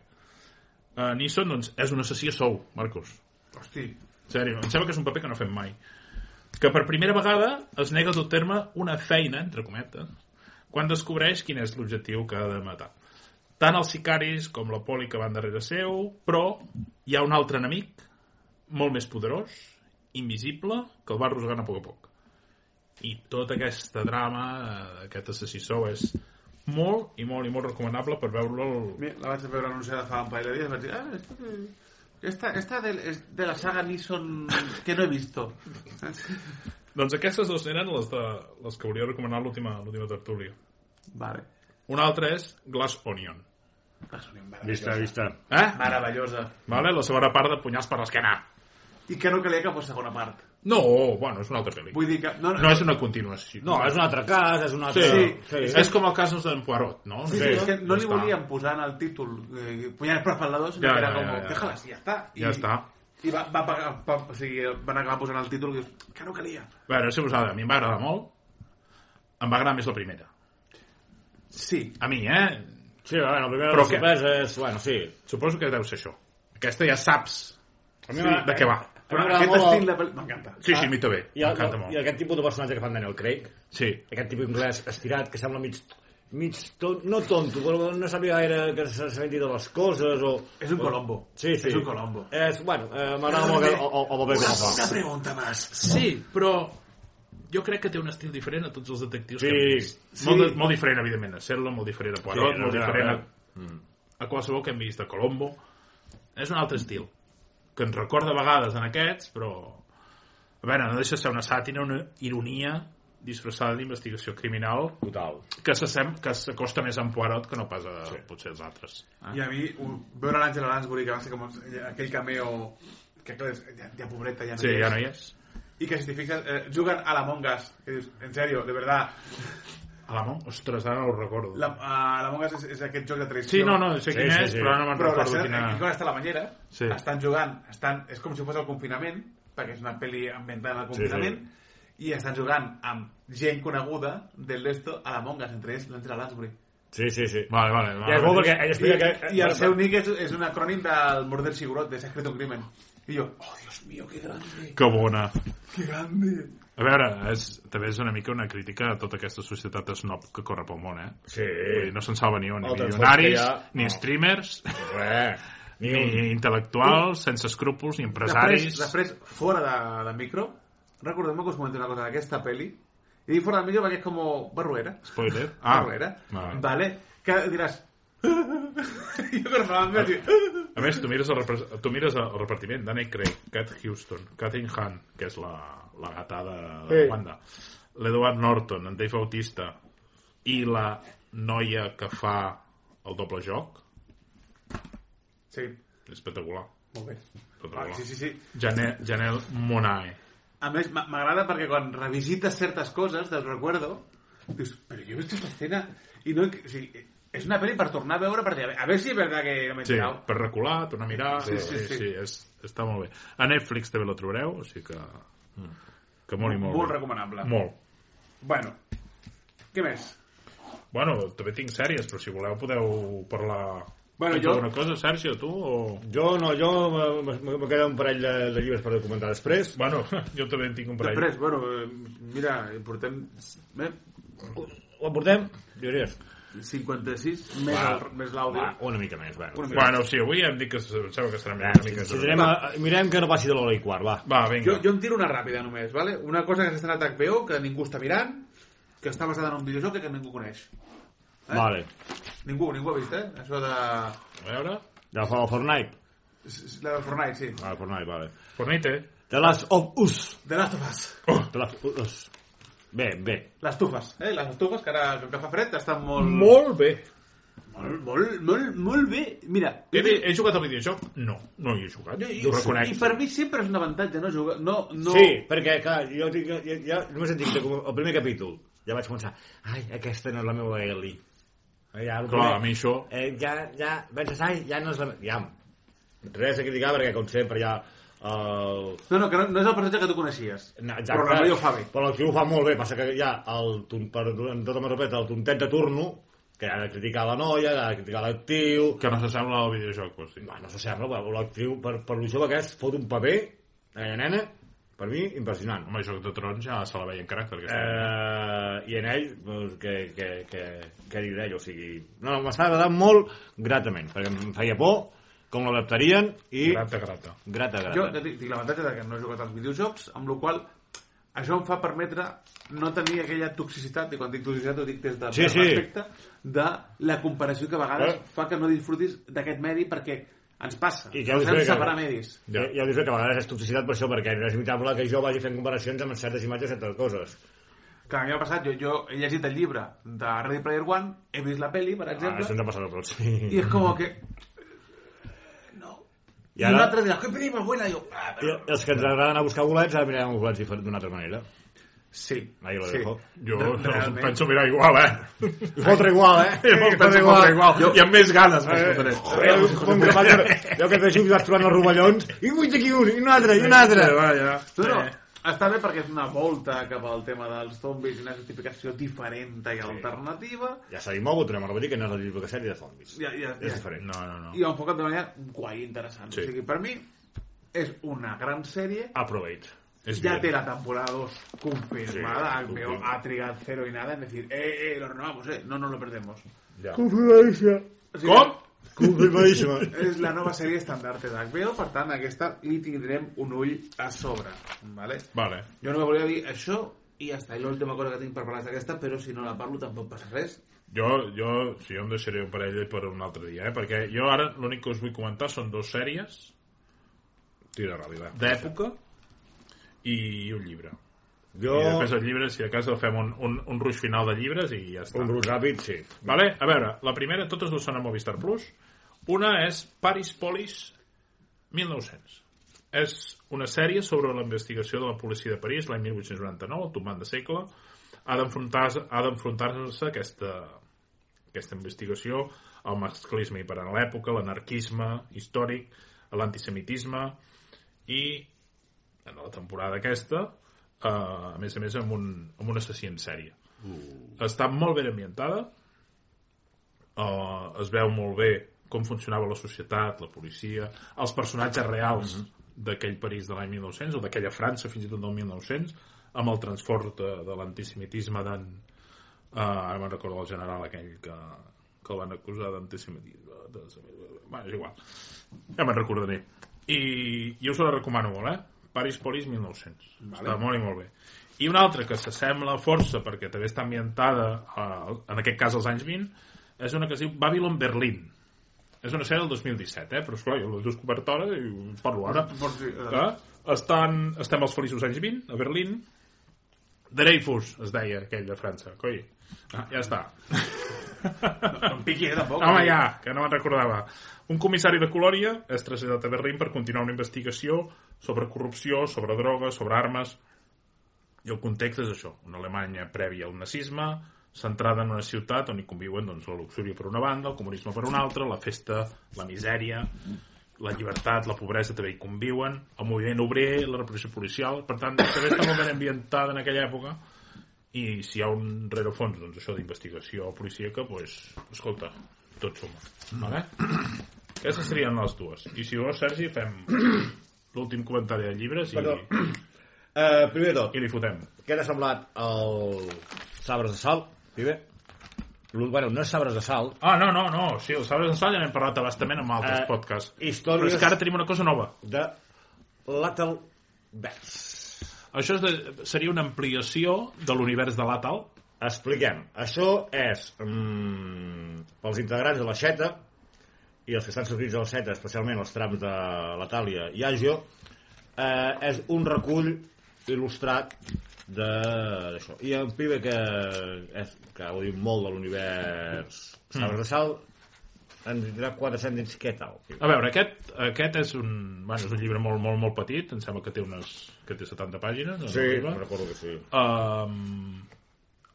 [SPEAKER 3] Uh, Nissan, doncs, és un assassí a sou, Marcos.
[SPEAKER 1] Hosti.
[SPEAKER 3] Sèrio, em sembla que és un paper que no fem mai. Que per primera vegada es nega a tot terme una feina, entre cometes, quan descobreix quin és l'objectiu que ha de matar. Tant els sicaris com la poli que van darrere seu, però hi ha un altre enemic, molt més poderós, invisible, que el va arrossegant a poc a poc. I tota aquesta drama, eh, aquest assassí sou, és molt i molt i molt recomanable per veure-lo al-
[SPEAKER 1] Mira, la vaig veure anunciada fa un parell de dies vaig dir, ah, esto de- ah, esta, esta de, es de la saga Neeson que no he visto.
[SPEAKER 3] Doncs aquestes dues eren les, de, les que volia recomanar a l'última l'última tertúlia.
[SPEAKER 1] Vale.
[SPEAKER 3] Una altra és Glass Onion.
[SPEAKER 1] És una
[SPEAKER 2] Vista,
[SPEAKER 1] Meravellosa.
[SPEAKER 2] vista.
[SPEAKER 3] Eh?
[SPEAKER 1] Meravellosa.
[SPEAKER 3] Vale? La segona part de Punyals per l'esquena.
[SPEAKER 1] I que no calia que fos segona part.
[SPEAKER 3] No, bueno, és una altra pel·lícula.
[SPEAKER 1] Vull dir que...
[SPEAKER 3] No és una continuació.
[SPEAKER 2] No, és un altre cas, és un
[SPEAKER 3] Sí,
[SPEAKER 2] altre...
[SPEAKER 3] sí,
[SPEAKER 2] sí.
[SPEAKER 3] És com el cas d'en Poirot, no?
[SPEAKER 1] Sí, sí,
[SPEAKER 2] Sí,
[SPEAKER 1] es que no
[SPEAKER 3] ja
[SPEAKER 1] le
[SPEAKER 3] està.
[SPEAKER 1] volían posar en el título eh, puñales para el lado, sino
[SPEAKER 3] Ja,
[SPEAKER 1] que
[SPEAKER 3] ja,
[SPEAKER 1] era
[SPEAKER 3] ja,
[SPEAKER 1] como,
[SPEAKER 3] ja.
[SPEAKER 1] déjalas y ya está. Y,
[SPEAKER 3] Ja està.
[SPEAKER 1] Y va, va a pagar, va, o sigui, van acabar posant el título que, que no calia.
[SPEAKER 3] A veure, si vos a mi em va agradar molt. Em va agradar més la primera.
[SPEAKER 1] Sí.
[SPEAKER 3] A mi, eh?
[SPEAKER 2] Sí, a veure, el primer
[SPEAKER 3] Però
[SPEAKER 2] de sorpresa és... Bueno, sí.
[SPEAKER 3] Suposo que deu ser això. Aquesta ja saps
[SPEAKER 2] A mi
[SPEAKER 3] sí,
[SPEAKER 2] m'agrada-
[SPEAKER 3] de què va.
[SPEAKER 2] A mi
[SPEAKER 1] Però
[SPEAKER 2] m'agrada
[SPEAKER 1] aquest
[SPEAKER 2] molt...
[SPEAKER 1] estil
[SPEAKER 2] el-
[SPEAKER 1] de pel·li... M'encanta.
[SPEAKER 3] Sí, sí, a mi també.
[SPEAKER 2] I, el,
[SPEAKER 3] M'encanta
[SPEAKER 2] I
[SPEAKER 3] molt.
[SPEAKER 2] aquest tipus de personatge que fan Daniel Craig,
[SPEAKER 3] Sí.
[SPEAKER 2] aquest tipus anglès estirat que sembla mig, mig ton, no tonto, però no sabia gaire que se senti de les coses o...
[SPEAKER 1] És un
[SPEAKER 2] o-
[SPEAKER 1] Colombo.
[SPEAKER 2] Sí, sí.
[SPEAKER 1] És un Colombo.
[SPEAKER 2] És, bueno, eh, m'agrada molt el, el, el paper que
[SPEAKER 1] Una,
[SPEAKER 2] no fa.
[SPEAKER 1] una pregunta más.
[SPEAKER 3] Sí, però jo crec que té un estil diferent a tots els detectius
[SPEAKER 2] Sí,
[SPEAKER 3] que hem vist.
[SPEAKER 1] sí.
[SPEAKER 3] Molt, de- molt diferent, evidentment, a Serla, molt diferent a Poirot,
[SPEAKER 2] Sí,
[SPEAKER 3] sí,
[SPEAKER 2] no,
[SPEAKER 3] molt
[SPEAKER 2] ja,
[SPEAKER 3] diferent a,
[SPEAKER 2] ja.
[SPEAKER 3] a qualsevol que hem vist, a Colombo. És un altre estil, que ens recorda a vegades en aquests, però... A veure, no deixa de ser una sàtira, una ironia disfressada d'investigació criminal
[SPEAKER 2] Total.
[SPEAKER 3] que s'assem- que s'acosta més a en Poirot que no pas a, sí. potser als altres.
[SPEAKER 1] I a mi, un- veure l'Àngela Lansbury, que va ser com aquell cameo que clar, és- ja, ja pobreta, ja no
[SPEAKER 3] Sí,
[SPEAKER 1] hi és.
[SPEAKER 3] ja no hi és.
[SPEAKER 1] I que si t'hi fixes, eh, juguen a la Mongas. Que dius, en serio, de verdad.
[SPEAKER 3] A la mà? Ostres, ara no ho recordo.
[SPEAKER 1] La, a la Mongas és, és aquest joc de traïció.
[SPEAKER 3] Sí, no, no, sé
[SPEAKER 2] Sí,
[SPEAKER 3] quin
[SPEAKER 2] sí,
[SPEAKER 3] és,
[SPEAKER 2] sí.
[SPEAKER 3] però ara no me'n
[SPEAKER 1] però la
[SPEAKER 3] recordo
[SPEAKER 1] escena,
[SPEAKER 3] quina...
[SPEAKER 1] aquí quan està a la banyera
[SPEAKER 3] Sí.
[SPEAKER 1] sí. estan jugant estan, és com si fos el confinament perquè és una pel·li ambientada en el confinament i estan jugant amb gent coneguda del resto a la Mongas entre ells l'Angela Lansbury
[SPEAKER 2] Sí, sí, sí.
[SPEAKER 3] Vale, vale.
[SPEAKER 2] I és bo perquè ell
[SPEAKER 1] i,
[SPEAKER 2] explica que...
[SPEAKER 1] i el seu nick és, és un acrònim del Morder Sigurot de S'ha escrit un crimen i jo, oh Dios mío, que grande
[SPEAKER 3] Que bona.
[SPEAKER 1] que grande
[SPEAKER 3] A veure, és, també és una mica una crítica a tota aquesta societat snob que corre pel món, eh?
[SPEAKER 2] Sí.
[SPEAKER 3] Vull dir, no se'n salva ni un, ni
[SPEAKER 2] El transport
[SPEAKER 3] milionaris,
[SPEAKER 2] que hi ha,
[SPEAKER 3] ni
[SPEAKER 2] no.
[SPEAKER 3] streamers, [LAUGHS]
[SPEAKER 2] Res. Ni
[SPEAKER 3] ni
[SPEAKER 2] un.
[SPEAKER 3] intel·lectuals, sense escrúpols, ni empresaris...
[SPEAKER 1] després, després, fora de, de micro recordem-me que us comento una cosa d'aquesta pel·li i dic fora de micro perquè és com barruera
[SPEAKER 3] Spoiler.
[SPEAKER 1] ah, carrera,
[SPEAKER 3] vale.
[SPEAKER 1] vale. que diràs... "Ah". [LAUGHS] jo quan parlàvem vaig dir...
[SPEAKER 3] A més, tu mires el, repre- tu mires el repartiment. Danny Craig, Cat Houston, Catherine Hahn, que és la, la gata de, de
[SPEAKER 2] Sí.
[SPEAKER 3] Wanda, l'Edward Norton, en Dave Bautista, i la noia que fa el doble joc.
[SPEAKER 1] Sí,
[SPEAKER 3] Espectacular.
[SPEAKER 1] molt bé.
[SPEAKER 3] espectacular.
[SPEAKER 1] Ah, sí, sí, sí.
[SPEAKER 3] Janelle, Janelle Monae.
[SPEAKER 1] A més, m- m'agrada perquè quan revisites certes coses del recuerdo, dius, però jo he vist aquesta escena i no... he- O sigui, És una pel·li per tornar a veure, per dir, a veure si és veritat que no m'he
[SPEAKER 3] Sí,
[SPEAKER 1] enterat.
[SPEAKER 3] per recular, tornar a mirar... eh,
[SPEAKER 1] Sí, sí, sí.
[SPEAKER 3] és, està molt bé. A Netflix també la trobareu, o sigui que... mm, Que molt i molt
[SPEAKER 1] Molt
[SPEAKER 3] bé.
[SPEAKER 1] recomanable.
[SPEAKER 3] Molt.
[SPEAKER 1] Bueno, què més?
[SPEAKER 3] Bueno, també tinc sèries, però si voleu podeu parlar...
[SPEAKER 1] Bueno,
[SPEAKER 3] Tens
[SPEAKER 1] jo-
[SPEAKER 3] alguna cosa, Sergio, tu, o...
[SPEAKER 2] Jo no, jo me- me me queda un parell de, de llibres per comentar després.
[SPEAKER 3] Bueno, [LAUGHS] jo també en tinc un parell.
[SPEAKER 1] Després, bueno, eh, mira, portem eh,
[SPEAKER 2] Ho portem? Diries.
[SPEAKER 1] 56 més,
[SPEAKER 2] Va,
[SPEAKER 1] el, més l'àudio.
[SPEAKER 2] Va, una mica més, va.
[SPEAKER 1] Una mica.
[SPEAKER 3] Bueno, sí, avui hem dit que s- em sembla que serà
[SPEAKER 2] Va,
[SPEAKER 3] una mica...
[SPEAKER 2] si anem a, eh, mirem que no passi de l'hora i quart, va.
[SPEAKER 3] Va, vinga.
[SPEAKER 1] Jo, jo em tiro una ràpida només, vale? una cosa que s'ha estrenat a HBO, que ningú està mirant, que està basada en un videojoc que ningú coneix. Eh?
[SPEAKER 2] Vale.
[SPEAKER 1] Ningú, ningú ha vist, eh? Això de...
[SPEAKER 3] A veure...
[SPEAKER 2] De For- Fortnite.
[SPEAKER 1] La del Fortnite, sí.
[SPEAKER 2] Ah, Fortnite, vale.
[SPEAKER 3] Fornite.
[SPEAKER 2] The Last of Us.
[SPEAKER 1] De Last of Us.
[SPEAKER 2] The Last of Us. Bé, bé.
[SPEAKER 1] Les tufes, eh? Les tufes, que ara que fa fred, estan molt...
[SPEAKER 3] Molt bé.
[SPEAKER 1] Molt, molt, molt, molt bé. Mira,
[SPEAKER 3] He, he jugat al videojoc? No, no hi he jugat. eh, Jo,
[SPEAKER 1] i,
[SPEAKER 3] ho reconec.
[SPEAKER 1] i per mi sempre és un avantatge no jugar... No, no...
[SPEAKER 2] No. Sí, perquè, clar, jo, tinc, jo, jo només en tinc de com- el primer capítol. Ja vaig pensar, ai, aquesta no és la meva Ellie. Ja, el
[SPEAKER 3] Clar, a mi això...
[SPEAKER 2] Eh, ja, ja, penses, ai, ja no és la meva... Ja, res a criticar, perquè com sempre eh, ja... El...
[SPEAKER 1] No, no, que no, no és el personatge que tu coneixies.
[SPEAKER 2] No, exacte.
[SPEAKER 1] però la ho fa bé.
[SPEAKER 2] Però l'actiu ho fa molt bé, passa que ja, el, ton- per, amb tota la respecte, el tontet de turno, que ha de criticar la noia, ha de criticar l'actiu,
[SPEAKER 3] Que no s'assembla al videojoc, o sigui.
[SPEAKER 2] Va, no s'assembla, però l'actriu, per, per lo jove que és, fot un paper, aquella nena, per mi, impressionant.
[SPEAKER 3] Home, Joc de Trons ja se la veia en caràcter. Aquesta.
[SPEAKER 2] Eh, I en ell, doncs, que, que, que, que dir d'ell, o sigui... No, no, m'està agradant molt gratament, perquè em feia por com l'adaptarien i...
[SPEAKER 3] Grata, grata.
[SPEAKER 2] Grata, grata.
[SPEAKER 1] Jo ja dic, tinc l'avantatge de que no he jugat als videojocs, amb la qual cosa, això em fa permetre no tenir aquella toxicitat, i quan dic toxicitat ho dic des de
[SPEAKER 2] Sí, sí.
[SPEAKER 1] respecte, de la comparació que a vegades
[SPEAKER 2] Eh.
[SPEAKER 1] fa que no disfrutis d'aquest medi perquè ens passa.
[SPEAKER 2] I ja ho
[SPEAKER 1] ens
[SPEAKER 2] dic,
[SPEAKER 1] hem
[SPEAKER 2] eh,
[SPEAKER 1] de separar
[SPEAKER 2] que-
[SPEAKER 1] medis.
[SPEAKER 2] Ja, ja us dic que a vegades és toxicitat per això, perquè no és imitable que jo vagi fent comparacions amb certes imatges i certes coses.
[SPEAKER 1] Que a mi m'ha passat, jo, jo he llegit el llibre de Ready Player One, he vist la peli, per
[SPEAKER 2] Ah,
[SPEAKER 1] exemple,
[SPEAKER 2] això ens ha passat a tots.
[SPEAKER 1] i és com que... No.
[SPEAKER 2] I
[SPEAKER 1] I, un
[SPEAKER 2] ara,
[SPEAKER 1] altre dirà, que peli més buena, i jo... Ah,
[SPEAKER 2] i
[SPEAKER 1] però...
[SPEAKER 2] els que ens agraden a buscar bolets, ara mirem els bolets diferent d'una altra manera.
[SPEAKER 1] Sí.
[SPEAKER 2] Ahí lo
[SPEAKER 1] sí.
[SPEAKER 2] dejo. [LAUGHS]
[SPEAKER 3] Jo
[SPEAKER 1] Re-
[SPEAKER 3] no,
[SPEAKER 1] realment.
[SPEAKER 3] penso mirar igual, eh?
[SPEAKER 2] I fotre igual, [LAUGHS] eh?
[SPEAKER 3] Jo
[SPEAKER 2] I
[SPEAKER 3] penso
[SPEAKER 2] fotre
[SPEAKER 3] igual. igual.
[SPEAKER 2] Jo,
[SPEAKER 3] I amb més ganes.
[SPEAKER 2] eh,
[SPEAKER 3] Eh,
[SPEAKER 2] joder, un grapat que- jo que de xic vas trobant els rovellons i vull d'aquí un, i un altre, i un altre.
[SPEAKER 3] Vaja.
[SPEAKER 1] No, no, està bé perquè és una volta cap al tema dels zombis i una justificació diferent i alternativa
[SPEAKER 2] Ja s'ha dit molt, ho tornem a repetir, que no és la típica sèrie de zombis.
[SPEAKER 1] Ja, ja,
[SPEAKER 2] És
[SPEAKER 1] ja.
[SPEAKER 2] diferent.
[SPEAKER 3] No, no, no.
[SPEAKER 1] i ho enfocat de manera guai, interessant.
[SPEAKER 3] Sí.
[SPEAKER 1] O
[SPEAKER 3] Ah,
[SPEAKER 1] sigui, per mi és una gran sèrie
[SPEAKER 2] Aproveit.
[SPEAKER 3] És
[SPEAKER 1] ya te
[SPEAKER 3] bien.
[SPEAKER 1] la temporada 2 confirmada,
[SPEAKER 2] Sí,
[SPEAKER 1] HBO
[SPEAKER 2] confirma.
[SPEAKER 1] ha trigado cero y nada en decir, eh, eh, lo renovamos, eh, no, no lo perdemos.
[SPEAKER 3] Ja.
[SPEAKER 2] Confirmadíssima.
[SPEAKER 1] O sigui,
[SPEAKER 3] Com?
[SPEAKER 2] [LAUGHS] Confirmadíssima.
[SPEAKER 1] és la nova sèrie estandarte d'HBO, per tant, aquesta li tindrem un ull a sobre, vale?
[SPEAKER 3] Vale.
[SPEAKER 1] Jo no volia dir això i ja està, i l'última cosa que tinc per parlar és aquesta, però si no la parlo tampoc passa res.
[SPEAKER 3] Jo, jo, sí, jo em deixaré un parell per un altre dia, eh? Perquè jo ara l'únic que us vull comentar són dues sèries
[SPEAKER 2] Tira ràpida.
[SPEAKER 3] d'època i un llibre.
[SPEAKER 2] Jo,
[SPEAKER 3] I després el llibre, si de cas, el fem un, un, un ruix final de llibres i ja està.
[SPEAKER 2] un rus ràpid, sí.
[SPEAKER 3] Vale? A veure, la primera, totes dues són a Movistar Plus. Una és Paris Polis 1900. És una sèrie sobre la investigació de la policia de París l'any 1899, el tombant de segle. Ha d'enfrontar-se ha d'enfrontar-se a aquesta, aquesta investigació al masclisme i per en l'època, l'anarquisme històric, a l'antisemitisme i en la temporada aquesta, eh, a més a més, amb un, amb un assassí en sèrie. Està molt ben ambientada, eh, es veu molt bé com funcionava la societat, la policia, els personatges reals d'aquell París de l'any 1900 o d'aquella França fins i tot del 1900 amb el transport de, de l'antisemitisme d'en... Eh, ara me'n recordo el general aquell que, que el van acusar d'antisemitisme. de- Bueno, és igual. Ja me'n recordaré. I jo us la recomano molt, eh? Paris Polis 1900. Vale. Està molt i molt bé. I una altra que s'assembla força, perquè també està ambientada, a, en aquest cas als anys 20, és una que es diu Babylon Berlin. És una sèrie del 2017, eh? Però, esclar, jo l'he descobert ara i us parlo ara.
[SPEAKER 1] Por si-
[SPEAKER 3] Eh? Estan, estem als feliços anys 20, a Berlín. Dreyfus, es deia aquell de França. Coi, ah, ja està.
[SPEAKER 1] No em piqui, eh, tampoc.
[SPEAKER 3] Home, Ah, ja, que no me'n recordava. Un comissari de Colòria és traslladat a Berlín per continuar una investigació sobre corrupció, sobre drogues, sobre armes... I el context és això, una Alemanya prèvia al nazisme, centrada en una ciutat on hi conviuen doncs, la luxúria per una banda, el comunisme per una altra, la festa, la misèria, la llibertat, la pobresa també hi conviuen, el moviment obrer, la repressió policial, per tant, també està molt ben ambientada en aquella època i si hi ha un rerefons doncs, això d'investigació policíaca, doncs, escolta, tot suma. Vale? Aquestes serien les dues. I si vols, Sergi, fem l'últim comentari de llibres i,
[SPEAKER 2] Perdó. Uh, primer de tot,
[SPEAKER 3] i li fotem.
[SPEAKER 2] què t'ha semblat el Sabres de Sal? Primer. L'ul- Bueno, no és Sabres de Sal.
[SPEAKER 3] Ah, no, no, no, sí, el Sabres d'Ensal ja n'hem parlat abastament amb altres
[SPEAKER 2] Eh,
[SPEAKER 3] podcasts.
[SPEAKER 2] històries-
[SPEAKER 3] Però és que ara tenim una cosa nova.
[SPEAKER 2] De l'Atelbers.
[SPEAKER 3] Això és de, seria una ampliació de l'univers de l'Atal.
[SPEAKER 2] Expliquem. Això és mm, pels integrants de la Xeta i els que estan subscrits a la Xeta, especialment els trams de la Tàlia i Àgio, eh, és un recull il·lustrat de- d'això. I en Pibe, que, és, que ho diu molt de l'univers Sabres de Sal, ens dirà quatre sèntims què tal. Pibe.
[SPEAKER 3] A veure, aquest, aquest és, un, bueno, és un llibre molt, molt, molt petit, em sembla que té, unes, que té 70 pàgines.
[SPEAKER 2] Sí,
[SPEAKER 3] arriba.
[SPEAKER 2] recordo que sí.
[SPEAKER 3] um,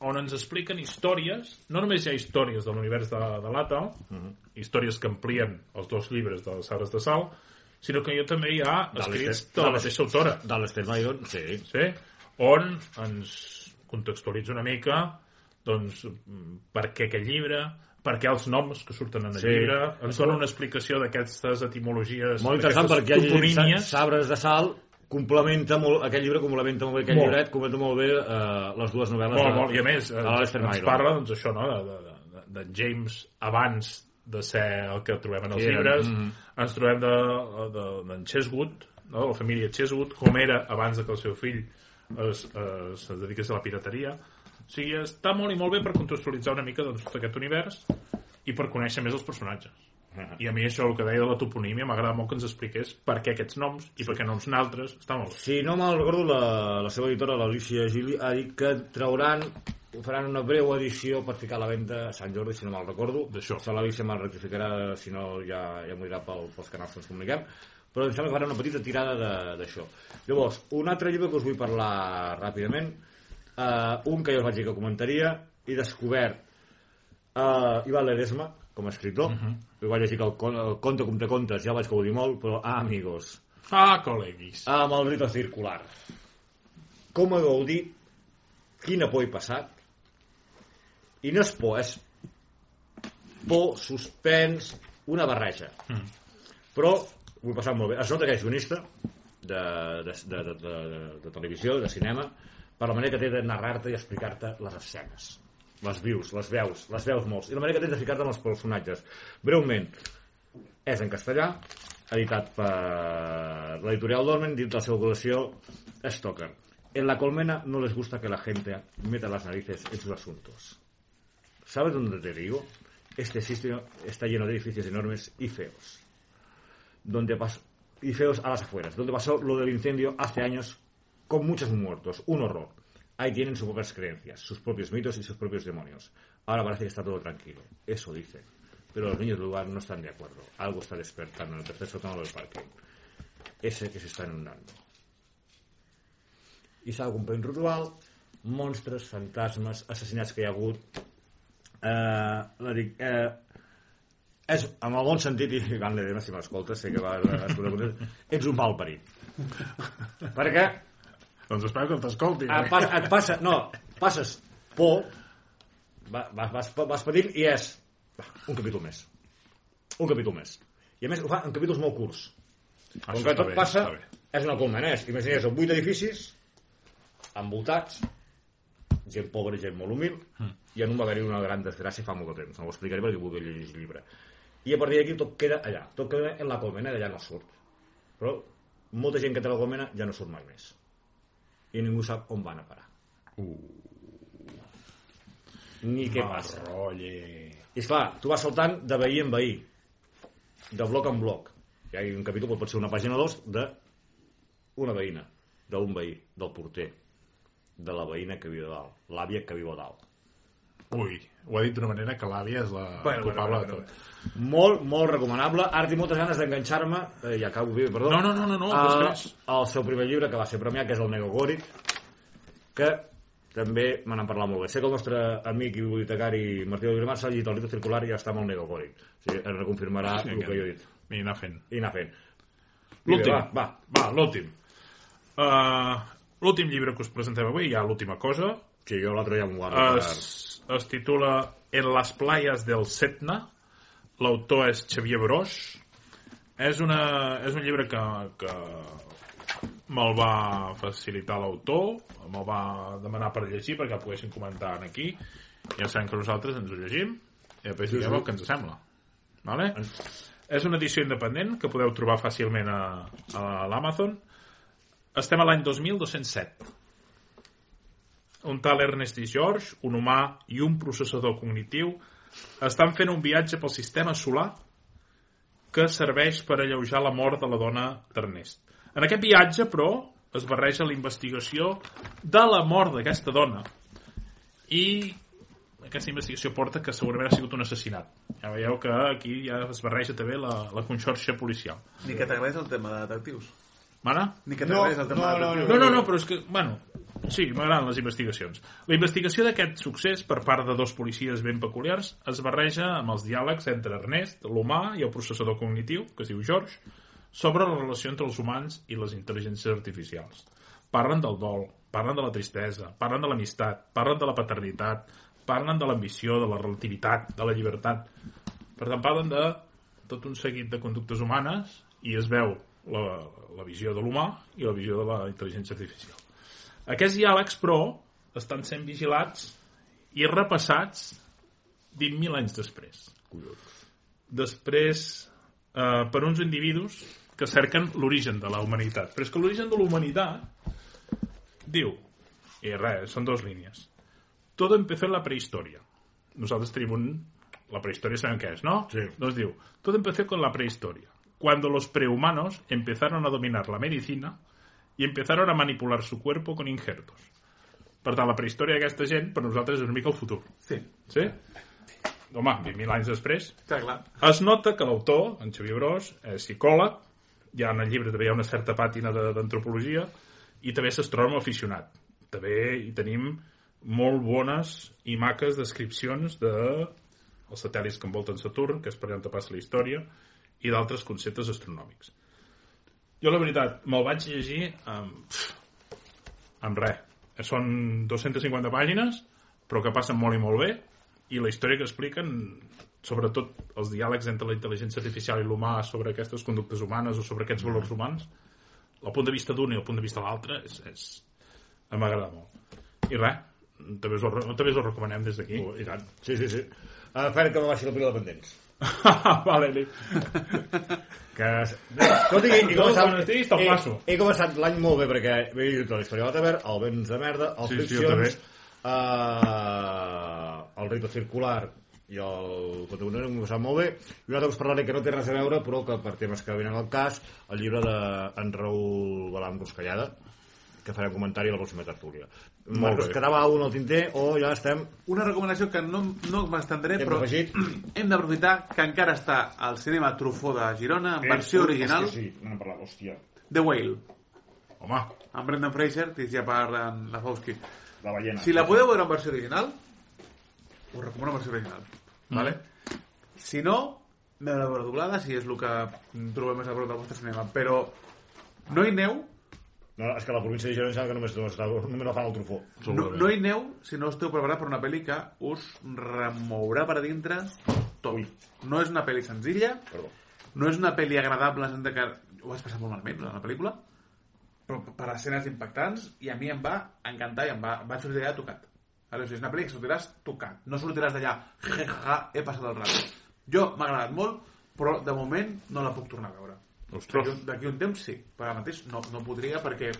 [SPEAKER 3] on ens expliquen històries, no només hi ha històries de l'univers de, de l'Ata,
[SPEAKER 2] Mhm.
[SPEAKER 3] històries que amplien els dos llibres de les Sabres de Sal, sinó que jo també hi ha escrits de la mateixa autora.
[SPEAKER 2] De l'Ester Mayon, sí.
[SPEAKER 3] sí? on ens contextualitza una mica doncs, mm, per què aquest llibre, per què els noms que surten en el
[SPEAKER 2] Sí.
[SPEAKER 3] sí. llibre, ens dona una explicació d'aquestes etimologies,
[SPEAKER 2] Molt interessant perquè hi ha llegit
[SPEAKER 3] toponímies.
[SPEAKER 2] Sabres de Sal complementa molt, aquest llibre complementa molt bé aquest
[SPEAKER 3] Molt.
[SPEAKER 2] llibret, complementa molt bé eh, les dues novel·les
[SPEAKER 3] Molt,
[SPEAKER 2] de-
[SPEAKER 3] molt, i a més,
[SPEAKER 2] de
[SPEAKER 3] ens,
[SPEAKER 2] l'Alester
[SPEAKER 3] ens
[SPEAKER 2] Myron.
[SPEAKER 3] parla doncs, això, no? de, de, de, de James abans de ser el que trobem en els
[SPEAKER 2] Sí,
[SPEAKER 3] llibres,
[SPEAKER 2] mm.
[SPEAKER 3] ens trobem d'en de, de, d'en Cheswood, no? la família Cheswood, com era abans de que el seu fill es, es, es dediqués a la pirateria. O sigui, està molt i molt bé per contextualitzar una mica doncs, tot aquest univers i per conèixer més els personatges. I a mi això, el que deia de la toponímia, m'agrada molt que ens expliqués per què aquests noms i per què no uns altres. Està molt bé.
[SPEAKER 2] Si no me'n recordo, la, la seva editora, l'Alicia Gili, ha dit que trauran ho faran una breu edició per ficar a la venda a Sant Jordi, si no me'n recordo.
[SPEAKER 3] D'això.
[SPEAKER 2] Això l'Alicia me'n rectificarà, si no ja, ja m'ho dirà pel, pels canals que ens comuniquem. Però em sembla que farà una petita tirada de- d'això. Llavors, un altre llibre que us vull parlar ràpidament, uh, un que jo us vaig dir que comentaria, he descobert Uh, Ivan Ledesma, com a escriptor. Uh -huh. Ho vaig llegir que el, con- el conte com te contes, ja el vaig gaudir molt, però, ah, amigos,
[SPEAKER 3] Ah, col·leguis.
[SPEAKER 2] amb el ritme circular. Com ha gaudit, quina por he passat, i no és por, és por, suspens, una barreja. Mm. Però ho he passat molt bé. Es nota que és guionista de, de, de, de, de, de televisió, de cinema, per la manera que té de narrar-te i explicar-te les escenes. Les vius, les veus, les veus molts. I la manera que té de ficar-te en els personatges. Breument, és en castellà, editat per l'editorial Dolmen dins la seva col·lecció Stoker. En la colmena no les gusta que la gente meta las narices en sus asuntos. ¿Sabes dónde te digo? Este sitio está lleno de edificios enormes y feos. Donde pas- y feos a las afueras, donde pasó lo del incendio hace años con muchos muertos. Un horror. Ahí tienen sus propias creencias, sus propios mitos y sus propios demonios. Ahora parece que está todo tranquilo. Eso dicen. Pero los niños del lugar no están de acuerdo. Algo está despertando en el tercer sótano del parque. Ese que se está inundando. I s'ha de complir un ritual, monstres, fantasmes, assassinats que hi ha hagut, eh, la dic, eh, és, en el bon sentit, i Van Ledena, si m'escoltes, sé que va escoltar ets un mal parit. Perquè
[SPEAKER 3] Doncs espero que t'escolti.
[SPEAKER 2] et, pa, et passa, no, passes por, va- va- vas, vas patint i és va, un capítol més. Un capítol més. I a més ho fa en capítols molt curts. Com que
[SPEAKER 3] Ah, està
[SPEAKER 2] tot
[SPEAKER 3] bé,
[SPEAKER 2] passa,
[SPEAKER 3] està bé.
[SPEAKER 2] és una colmena. És, imagina't, són vuit edificis envoltats, gent pobra i gent molt humil,
[SPEAKER 3] Hmm.
[SPEAKER 2] i en un va haver-hi una gran desgràcia fa molt de temps. No ho explicaré perquè vull llegir el llibre. I a partir d'aquí tot queda allà. Tot queda en la colmena, d'allà no surt. Però molta gent que té la colmena ja no surt mai més. I ningú sap on van a parar.
[SPEAKER 3] Uh.
[SPEAKER 2] Ni què passa.
[SPEAKER 3] Rolle.
[SPEAKER 2] I esclar, tu vas saltant de veí en veí, de bloc en bloc. Hi ha un capítol, pot ser una pàgina o dos, de una veïna, d'un veí, del porter, de la veïna que viu a dalt, l'àvia que viu a dalt.
[SPEAKER 3] Ui, ho ha dit d'una manera que l'àvia és la
[SPEAKER 5] Bueno,
[SPEAKER 3] culpable
[SPEAKER 5] bueno, bueno,
[SPEAKER 3] de tot.
[SPEAKER 2] Molt, molt recomanable. Ara tinc moltes ganes d'enganxar-me, eh, i acabo bé, perdó.
[SPEAKER 3] No, no, no, no, no,
[SPEAKER 2] a-
[SPEAKER 3] després.
[SPEAKER 2] al seu primer llibre que va ser premiat, que és el Megagori, que també me n'han parlat molt bé. Sé que el nostre amic i bibliotecari Martí Oliver Massa ha dit el llibre circular i ja està molt negocòric. O sigui, ens reconfirmarà
[SPEAKER 3] Sí,
[SPEAKER 2] el
[SPEAKER 3] que-
[SPEAKER 2] que jo he dit.
[SPEAKER 3] Ah, I anar fent.
[SPEAKER 2] I anar fent.
[SPEAKER 3] L'últim.
[SPEAKER 2] Va, va.
[SPEAKER 3] Va, l'últim. Uh, l'últim llibre que us presentem avui, ja l'última cosa,
[SPEAKER 2] Sí, jo l'altre ja m'ho guardo. per-
[SPEAKER 3] es, es titula En las playas del Setna. L'autor és Xavier Bros. És, una, és un llibre que, que me'l va facilitar l'autor, me'l va demanar per llegir perquè el poguessin comentar en aquí. Ja sabem que nosaltres ens ho llegim i després sí, Eh.
[SPEAKER 2] Sí,
[SPEAKER 3] diguem
[SPEAKER 2] sí.
[SPEAKER 3] el que ens sembla. Vale? És una edició independent que podeu trobar fàcilment a, a l'Amazon. Estem a l'any 2207 un tal Ernest D. George, un humà i un processador cognitiu estan fent un viatge pel sistema solar que serveix per alleujar la mort de la dona d'Ernest. En aquest viatge, però, es barreja la investigació de la mort d'aquesta dona i aquesta investigació porta que segurament ha sigut un assassinat. Ja veieu que aquí ja es barreja també la, la conxorxa policial.
[SPEAKER 1] Ni que t'agradés el tema de detectius.
[SPEAKER 3] Mare?
[SPEAKER 1] Ni que
[SPEAKER 2] No,
[SPEAKER 1] t'agradés el tema
[SPEAKER 2] no,
[SPEAKER 1] de detectius.
[SPEAKER 3] No, no, no, però és que, bueno, sí, m'agraden les investigacions. La investigació d'aquest succés per part de dos policies ben peculiars es barreja amb els diàlegs entre Ernest, l'humà i el processador cognitiu, que es diu George, sobre la relació entre els humans i les intel·ligències artificials. Parlen del dol, parlen de la tristesa, parlen de l'amistat, parlen de la paternitat, parlen de l'ambició, de la relativitat, de la llibertat. Per tant, parlen de tot un seguit de conductes humanes i es veu la, la visió de l'humà i la visió de la intel·ligència artificial. Aquests diàlegs, però, estan sent vigilats i repassats 20.000 anys després. Després, eh, per uns individus que cerquen l'origen de la humanitat. Però és que l'origen de la humanitat diu, i res, són dues línies, tot empezó en la prehistòria. Nosaltres tenim un... La prehistòria sabem què és, no?
[SPEAKER 2] Sí.
[SPEAKER 3] Nos diu, todo empezó con la prehistoria. Cuando los prehumanos empezaron a dominar la medicina y empezaron a manipular su cuerpo con injertos. Per tant, la prehistòria d'aquesta gent, per nosaltres, és una mica el futur.
[SPEAKER 1] Sí,
[SPEAKER 3] Sí? Home, 20.000 anys després,
[SPEAKER 1] està clar.
[SPEAKER 3] es nota que l'autor, en Xavier Bros, és psicòleg, ja en el llibre també hi ha una certa pàtina de- d'antropologia, i també és astrònom aficionat. També hi tenim molt bones i maques descripcions de els satèl·lits que envolten Saturn, que és per allà on passa la història, i d'altres conceptes astronòmics. Jo, la veritat, me'l vaig llegir amb, pff, amb res. Són 250 pàgines, però que passen molt i molt bé, i la història que expliquen, sobretot els diàlegs entre la intel·ligència artificial i l'humà sobre aquestes conductes humanes o sobre aquests valors humans, el punt de vista d'un i el punt de vista de l'altre és, és... m'agrada molt. I res, també us ho, re- també us ho recomanem des d'aquí.
[SPEAKER 2] Oh, I tant. Sí, sí, sí. Uh, Fer que me baixi la pila de pendents.
[SPEAKER 3] [LAUGHS] vale,
[SPEAKER 2] [LAUGHS]
[SPEAKER 3] li...
[SPEAKER 2] Que... Escolti, he, he
[SPEAKER 3] No,
[SPEAKER 2] començat,
[SPEAKER 3] quan estiguis te'l passo.
[SPEAKER 2] Eh, he, he començat l'any molt bé perquè he llegit la història de la taverna, el vents de merda, els
[SPEAKER 3] Sí,
[SPEAKER 2] sí,
[SPEAKER 3] sí, jo
[SPEAKER 2] friccions, sí, uh, el rito circular i el protagonista m'ho sap molt bé i un altre que us parlaré que no té res a veure però que per temes que venen al cas el llibre d'en Raül Balam Ruscallada que farà comentari a la pròxima tertúlia molt
[SPEAKER 3] bé.
[SPEAKER 2] quedava un al tinter o ja estem
[SPEAKER 1] Una recomanació que no, no m'estendré,
[SPEAKER 2] Hem
[SPEAKER 1] però
[SPEAKER 2] afegit.
[SPEAKER 1] [CLEARS THROAT] hem d'aprofitar que encara està al cinema Trufó de Girona, en versió original,
[SPEAKER 2] sí, sí, no n'hem parlat, hòstia
[SPEAKER 1] The Whale,
[SPEAKER 3] Home,
[SPEAKER 1] amb Brendan Fraser, dirigida per en Lafowski.
[SPEAKER 2] la ballena
[SPEAKER 1] Si la podeu veure en versió original, us recomano en versió original. Vale? Si no, m'he de veure doblada, si és el que trobem més a prop del vostre cinema. Però no hi aneu,
[SPEAKER 2] No, és que la província de Girona em sembla que només, només, només la fan el trufó.
[SPEAKER 1] no, no hi aneu si no esteu preparats per una pel·li que us remourà per dintre tot.
[SPEAKER 2] Ui.
[SPEAKER 1] No és una pel·li senzilla,
[SPEAKER 2] Perdó.
[SPEAKER 1] no és una pel·li agradable, en el sentit de que ho vas passar molt malament durant la pel·lícula, però per escenes impactants, i a mi em va encantar i em va, vaig sortir d'allà tocat. Ara, o sigui, és una pel·li que sortiràs tocat, no sortiràs d'allà, ja, ja, ja, he passat el rato. Jo m'ha agradat molt, però de moment no la puc tornar a veure.
[SPEAKER 3] ostres,
[SPEAKER 1] D'aquí- D'aquí un temps sí, però ara mateix no, no podria perquè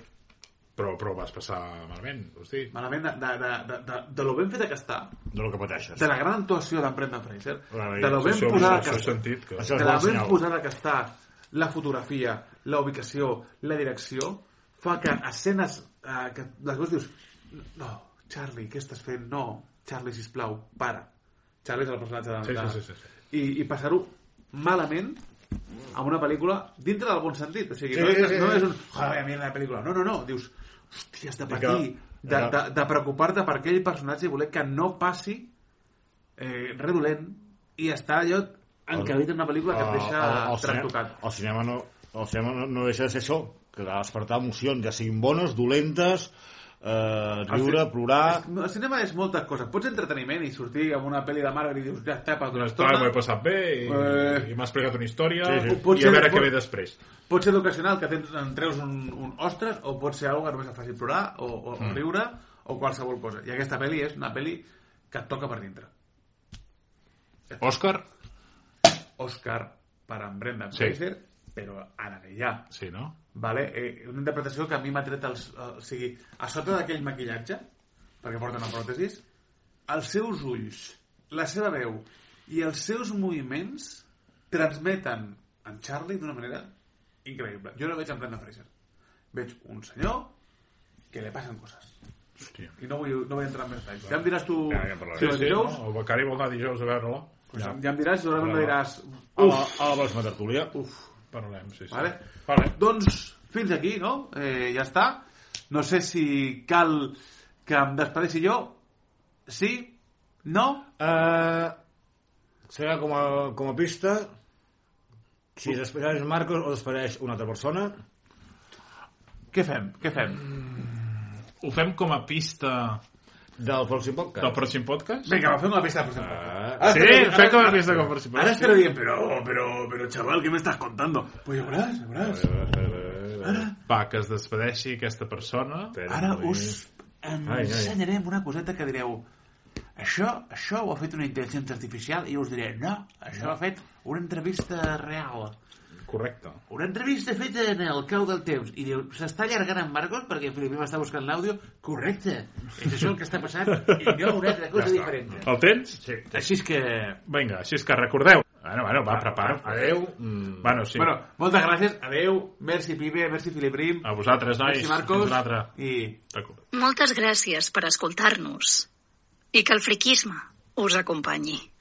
[SPEAKER 3] però, però ho vas passar malament, hosti.
[SPEAKER 1] malament de, de, de, de, de, de lo ben feta que està,
[SPEAKER 2] De lo que pateixes.
[SPEAKER 1] de la gran actuació d'en Brendan Fraser,
[SPEAKER 2] Ai,
[SPEAKER 1] de lo ben
[SPEAKER 3] Això,
[SPEAKER 1] posada
[SPEAKER 3] això
[SPEAKER 1] que
[SPEAKER 3] he
[SPEAKER 1] està,
[SPEAKER 3] sentit que...
[SPEAKER 2] Això
[SPEAKER 1] de
[SPEAKER 2] és
[SPEAKER 1] la
[SPEAKER 2] bon
[SPEAKER 1] ben
[SPEAKER 2] senyal.
[SPEAKER 1] posada que està la fotografia, la ubicació, la direcció, fa que escenes eh, que les veus dius no, Charlie, què estàs fent? No, Charlie, sisplau, para. Charlie és el personatge de...
[SPEAKER 3] Sí,
[SPEAKER 1] de-
[SPEAKER 3] sí, sí, sí, sí.
[SPEAKER 1] I, i passar-ho malament amb una pel·lícula dintre del bon sentit. O sigui,
[SPEAKER 2] Sí,
[SPEAKER 1] no, és,
[SPEAKER 2] sí, sí,
[SPEAKER 1] no
[SPEAKER 2] sí.
[SPEAKER 1] és un... Joder, mira la pel·lícula. No, no, no. Dius, hòstia, has de
[SPEAKER 2] I que
[SPEAKER 1] patir de, de, de preocupar-te per aquell personatge i voler que no passi eh, res dolent i estar allò encabit en una pel·lícula que et deixa
[SPEAKER 2] Ah, el, el, cinema,
[SPEAKER 1] trastocat.
[SPEAKER 2] el cinema no el cinema no, no deixa de ser això que ha de despertar emocions, ja siguin bones, dolentes eh, riure,
[SPEAKER 1] ci-
[SPEAKER 2] plorar
[SPEAKER 1] No, El cinema Ah, és moltes coses. Pots entreteniment i sortir amb una pel·li de Marvel i dius, ja està, per
[SPEAKER 5] Ja
[SPEAKER 1] una
[SPEAKER 5] està, m'ho he
[SPEAKER 1] estona.
[SPEAKER 5] passat bé i,
[SPEAKER 1] Eh.
[SPEAKER 5] i m'ha explicat una història
[SPEAKER 2] Sí, sí.
[SPEAKER 1] Pot
[SPEAKER 5] i a
[SPEAKER 1] ser-
[SPEAKER 5] veure
[SPEAKER 1] pot-
[SPEAKER 5] què ve després.
[SPEAKER 1] Pot ser educacional, que tens, en treus un, un ostres, o pot ser alguna cosa que només et faci plorar, o, o mm. riure, o qualsevol cosa. I aquesta pel·li és una pel·li que et toca per dintre.
[SPEAKER 3] Òscar?
[SPEAKER 1] Òscar per en Brendan
[SPEAKER 3] Sí.
[SPEAKER 1] Fraser, però ara que ja.
[SPEAKER 3] Sí, no?
[SPEAKER 1] Vale? Eh, una interpretació que a mi m'ha tret els... eh, o sigui, a sota d'aquell maquillatge, perquè porta una pròtesis, els seus ulls, la seva veu i els seus moviments transmeten en Charlie d'una manera increïble. Jo no veig en Brendan Fraser. Veig un senyor que li passen coses.
[SPEAKER 3] Hòstia.
[SPEAKER 1] I no vull, no vull entrar en més detalls. Ja em diràs tu...
[SPEAKER 5] Ja, ja en parlarem.
[SPEAKER 1] si ho
[SPEAKER 5] Sí, sí,
[SPEAKER 1] dijous,
[SPEAKER 5] no? El Becari vol anar dijous a veure-la.
[SPEAKER 1] ja. ja em diràs, segurament no diràs...
[SPEAKER 2] a la, a la Blasma Tertúlia
[SPEAKER 1] Uf,
[SPEAKER 5] Parlem, sí, sí.
[SPEAKER 1] Vale.
[SPEAKER 5] Vale.
[SPEAKER 1] Doncs fins aquí, no? Eh, ja està. No sé si cal que em despedeixi jo. Sí? No?
[SPEAKER 2] eh, serà com a, com a pista si despedeix Marcos o despedeix una altra persona
[SPEAKER 1] Què fem? Què fem?
[SPEAKER 3] Ho fem com a pista
[SPEAKER 2] del pròxim
[SPEAKER 3] del
[SPEAKER 2] podcast
[SPEAKER 3] pròxim podcast?
[SPEAKER 1] Vinga, va, fem una pista, per exemple.
[SPEAKER 2] ah,
[SPEAKER 3] Sí, fem com a pista del pròxim
[SPEAKER 1] Ara
[SPEAKER 3] podcast.
[SPEAKER 1] estaré dient, però, però, però, chaval, què m'estàs contando? Pues ja veuràs, ja veuràs.
[SPEAKER 3] Va, que es despedeixi aquesta persona.
[SPEAKER 1] Ara us
[SPEAKER 2] Ai, ai.
[SPEAKER 1] ensenyarem una coseta que direu això, això ho ha fet una intel·ligència artificial i jo us diré, no, això ho ha fet una entrevista real.
[SPEAKER 3] Correcte.
[SPEAKER 1] Una entrevista feta en el cau del temps i diu, s'està allargant en Marcos perquè primer m'està buscant l'àudio correcte, és això el que està passant i no una altra cosa diferent
[SPEAKER 3] El tens? Sí.
[SPEAKER 1] així és que,
[SPEAKER 3] Vinga, així és que recordeu. Bueno, bueno, va, prepara.
[SPEAKER 2] adeu mm,
[SPEAKER 3] Bueno, sí.
[SPEAKER 1] bueno, moltes gràcies, adeu merci Pibe, merci Filiprim
[SPEAKER 3] A vosaltres, nois.
[SPEAKER 1] merci Marcos
[SPEAKER 3] Fins l'altre.
[SPEAKER 1] i
[SPEAKER 3] Taco.
[SPEAKER 6] Moltes gràcies per escoltar-nos i que el friquisme us acompanyi.